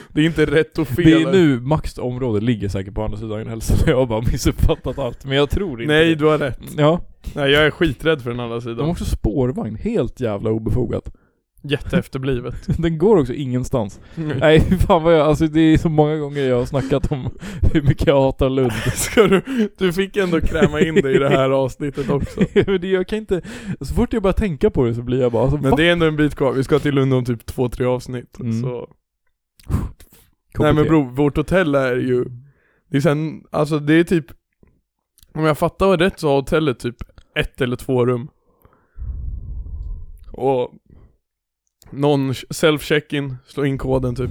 Speaker 2: Det är inte rätt och fel.
Speaker 1: Det är nu Max område ligger säkert på andra sidan rälsen, jag har bara missuppfattat allt. Men jag tror inte
Speaker 2: Nej,
Speaker 1: det.
Speaker 2: du har rätt.
Speaker 1: Ja,
Speaker 2: Nej, jag är skiträdd för den andra
Speaker 1: de har
Speaker 2: sidan.
Speaker 1: också spårvagn, helt jävla obefogat.
Speaker 2: Jätteefterblivet.
Speaker 1: Den går också ingenstans. Nej, fan vad jag, alltså det är så många gånger jag har snackat om hur mycket jag hatar Lund.
Speaker 2: Ska du, du fick ändå kräma in dig i det här avsnittet också.
Speaker 1: Men det, jag kan inte, så fort jag börjar tänka på det så blir jag bara alltså,
Speaker 2: Men det är ändå en bit kvar, vi ska till Lund om typ två, tre avsnitt.
Speaker 1: Mm.
Speaker 2: Så. Nej men bror, vårt hotell är ju, det är sen, alltså det är typ, om jag fattar vad rätt så har hotellet typ ett eller två rum. Och någon self-check-in, slå in koden typ.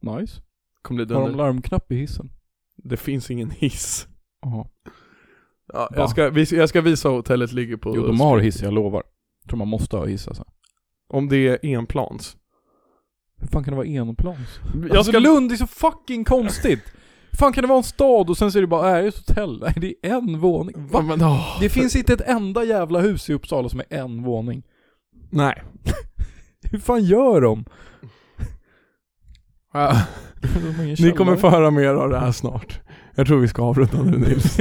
Speaker 1: Nice.
Speaker 2: Kommer bli
Speaker 1: Har de
Speaker 2: dunder.
Speaker 1: larmknapp i hissen?
Speaker 2: Det finns ingen hiss.
Speaker 1: Jaha.
Speaker 2: Ja,
Speaker 1: Va?
Speaker 2: jag, ska, vi- jag ska visa vad hotellet ligger på.
Speaker 1: Jo de har hiss, jag lovar. Jag tror man måste ha hiss alltså.
Speaker 2: Om det är enplans.
Speaker 1: Hur fan kan det vara enplans?
Speaker 2: Jag
Speaker 1: Alltså
Speaker 2: ska,
Speaker 1: Lund är så fucking konstigt! Hur fan kan det vara en stad och sen så är det bara, är det ett hotell? Nej det är en våning.
Speaker 2: Va,
Speaker 1: Va?
Speaker 2: men, åh.
Speaker 1: Det finns inte ett enda jävla hus i Uppsala som är en våning.
Speaker 2: Nej.
Speaker 1: Hur fan gör de? De har ingen
Speaker 2: Ni
Speaker 1: källare.
Speaker 2: kommer få höra mer av det här snart. Jag tror vi ska avrunda nu Nils.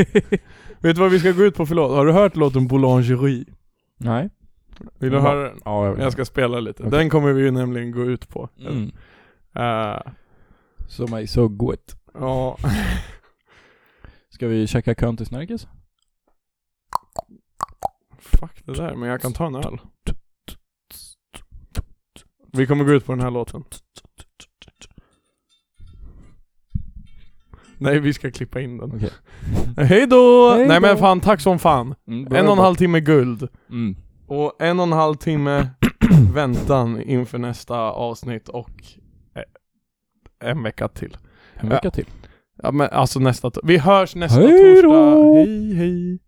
Speaker 2: Vet du vad vi ska gå ut på för låt? Har du hört låten Boulangerie?
Speaker 1: Nej.
Speaker 2: Vill du
Speaker 1: Ja.
Speaker 2: höra den?
Speaker 1: Ja, jag vet.
Speaker 2: Jag ska spela lite.
Speaker 1: Okej.
Speaker 2: Den kommer vi ju nämligen gå ut på.
Speaker 1: Mm.
Speaker 2: Eh,
Speaker 1: Som är så gott.
Speaker 2: ja.
Speaker 1: Ska vi checka kön till Snärkes?
Speaker 2: Fuck det där, men jag kan ta en öl. Vi kommer gå ut på den här låten. Nej, vi ska klippa in den.
Speaker 1: Okej.
Speaker 2: Hej då!
Speaker 1: Hej
Speaker 2: Nej men
Speaker 1: då.
Speaker 2: fan, tack som fan.
Speaker 1: Mm,
Speaker 2: En och en halv timme guld.
Speaker 1: Mm.
Speaker 2: Och en och en halv timme väntan inför nästa avsnitt och eh, en vecka till.
Speaker 1: En vecka till.
Speaker 2: Ja men alltså nästa... t- Vi hörs nästa
Speaker 1: Hej då!
Speaker 2: torsdag. Hej hej.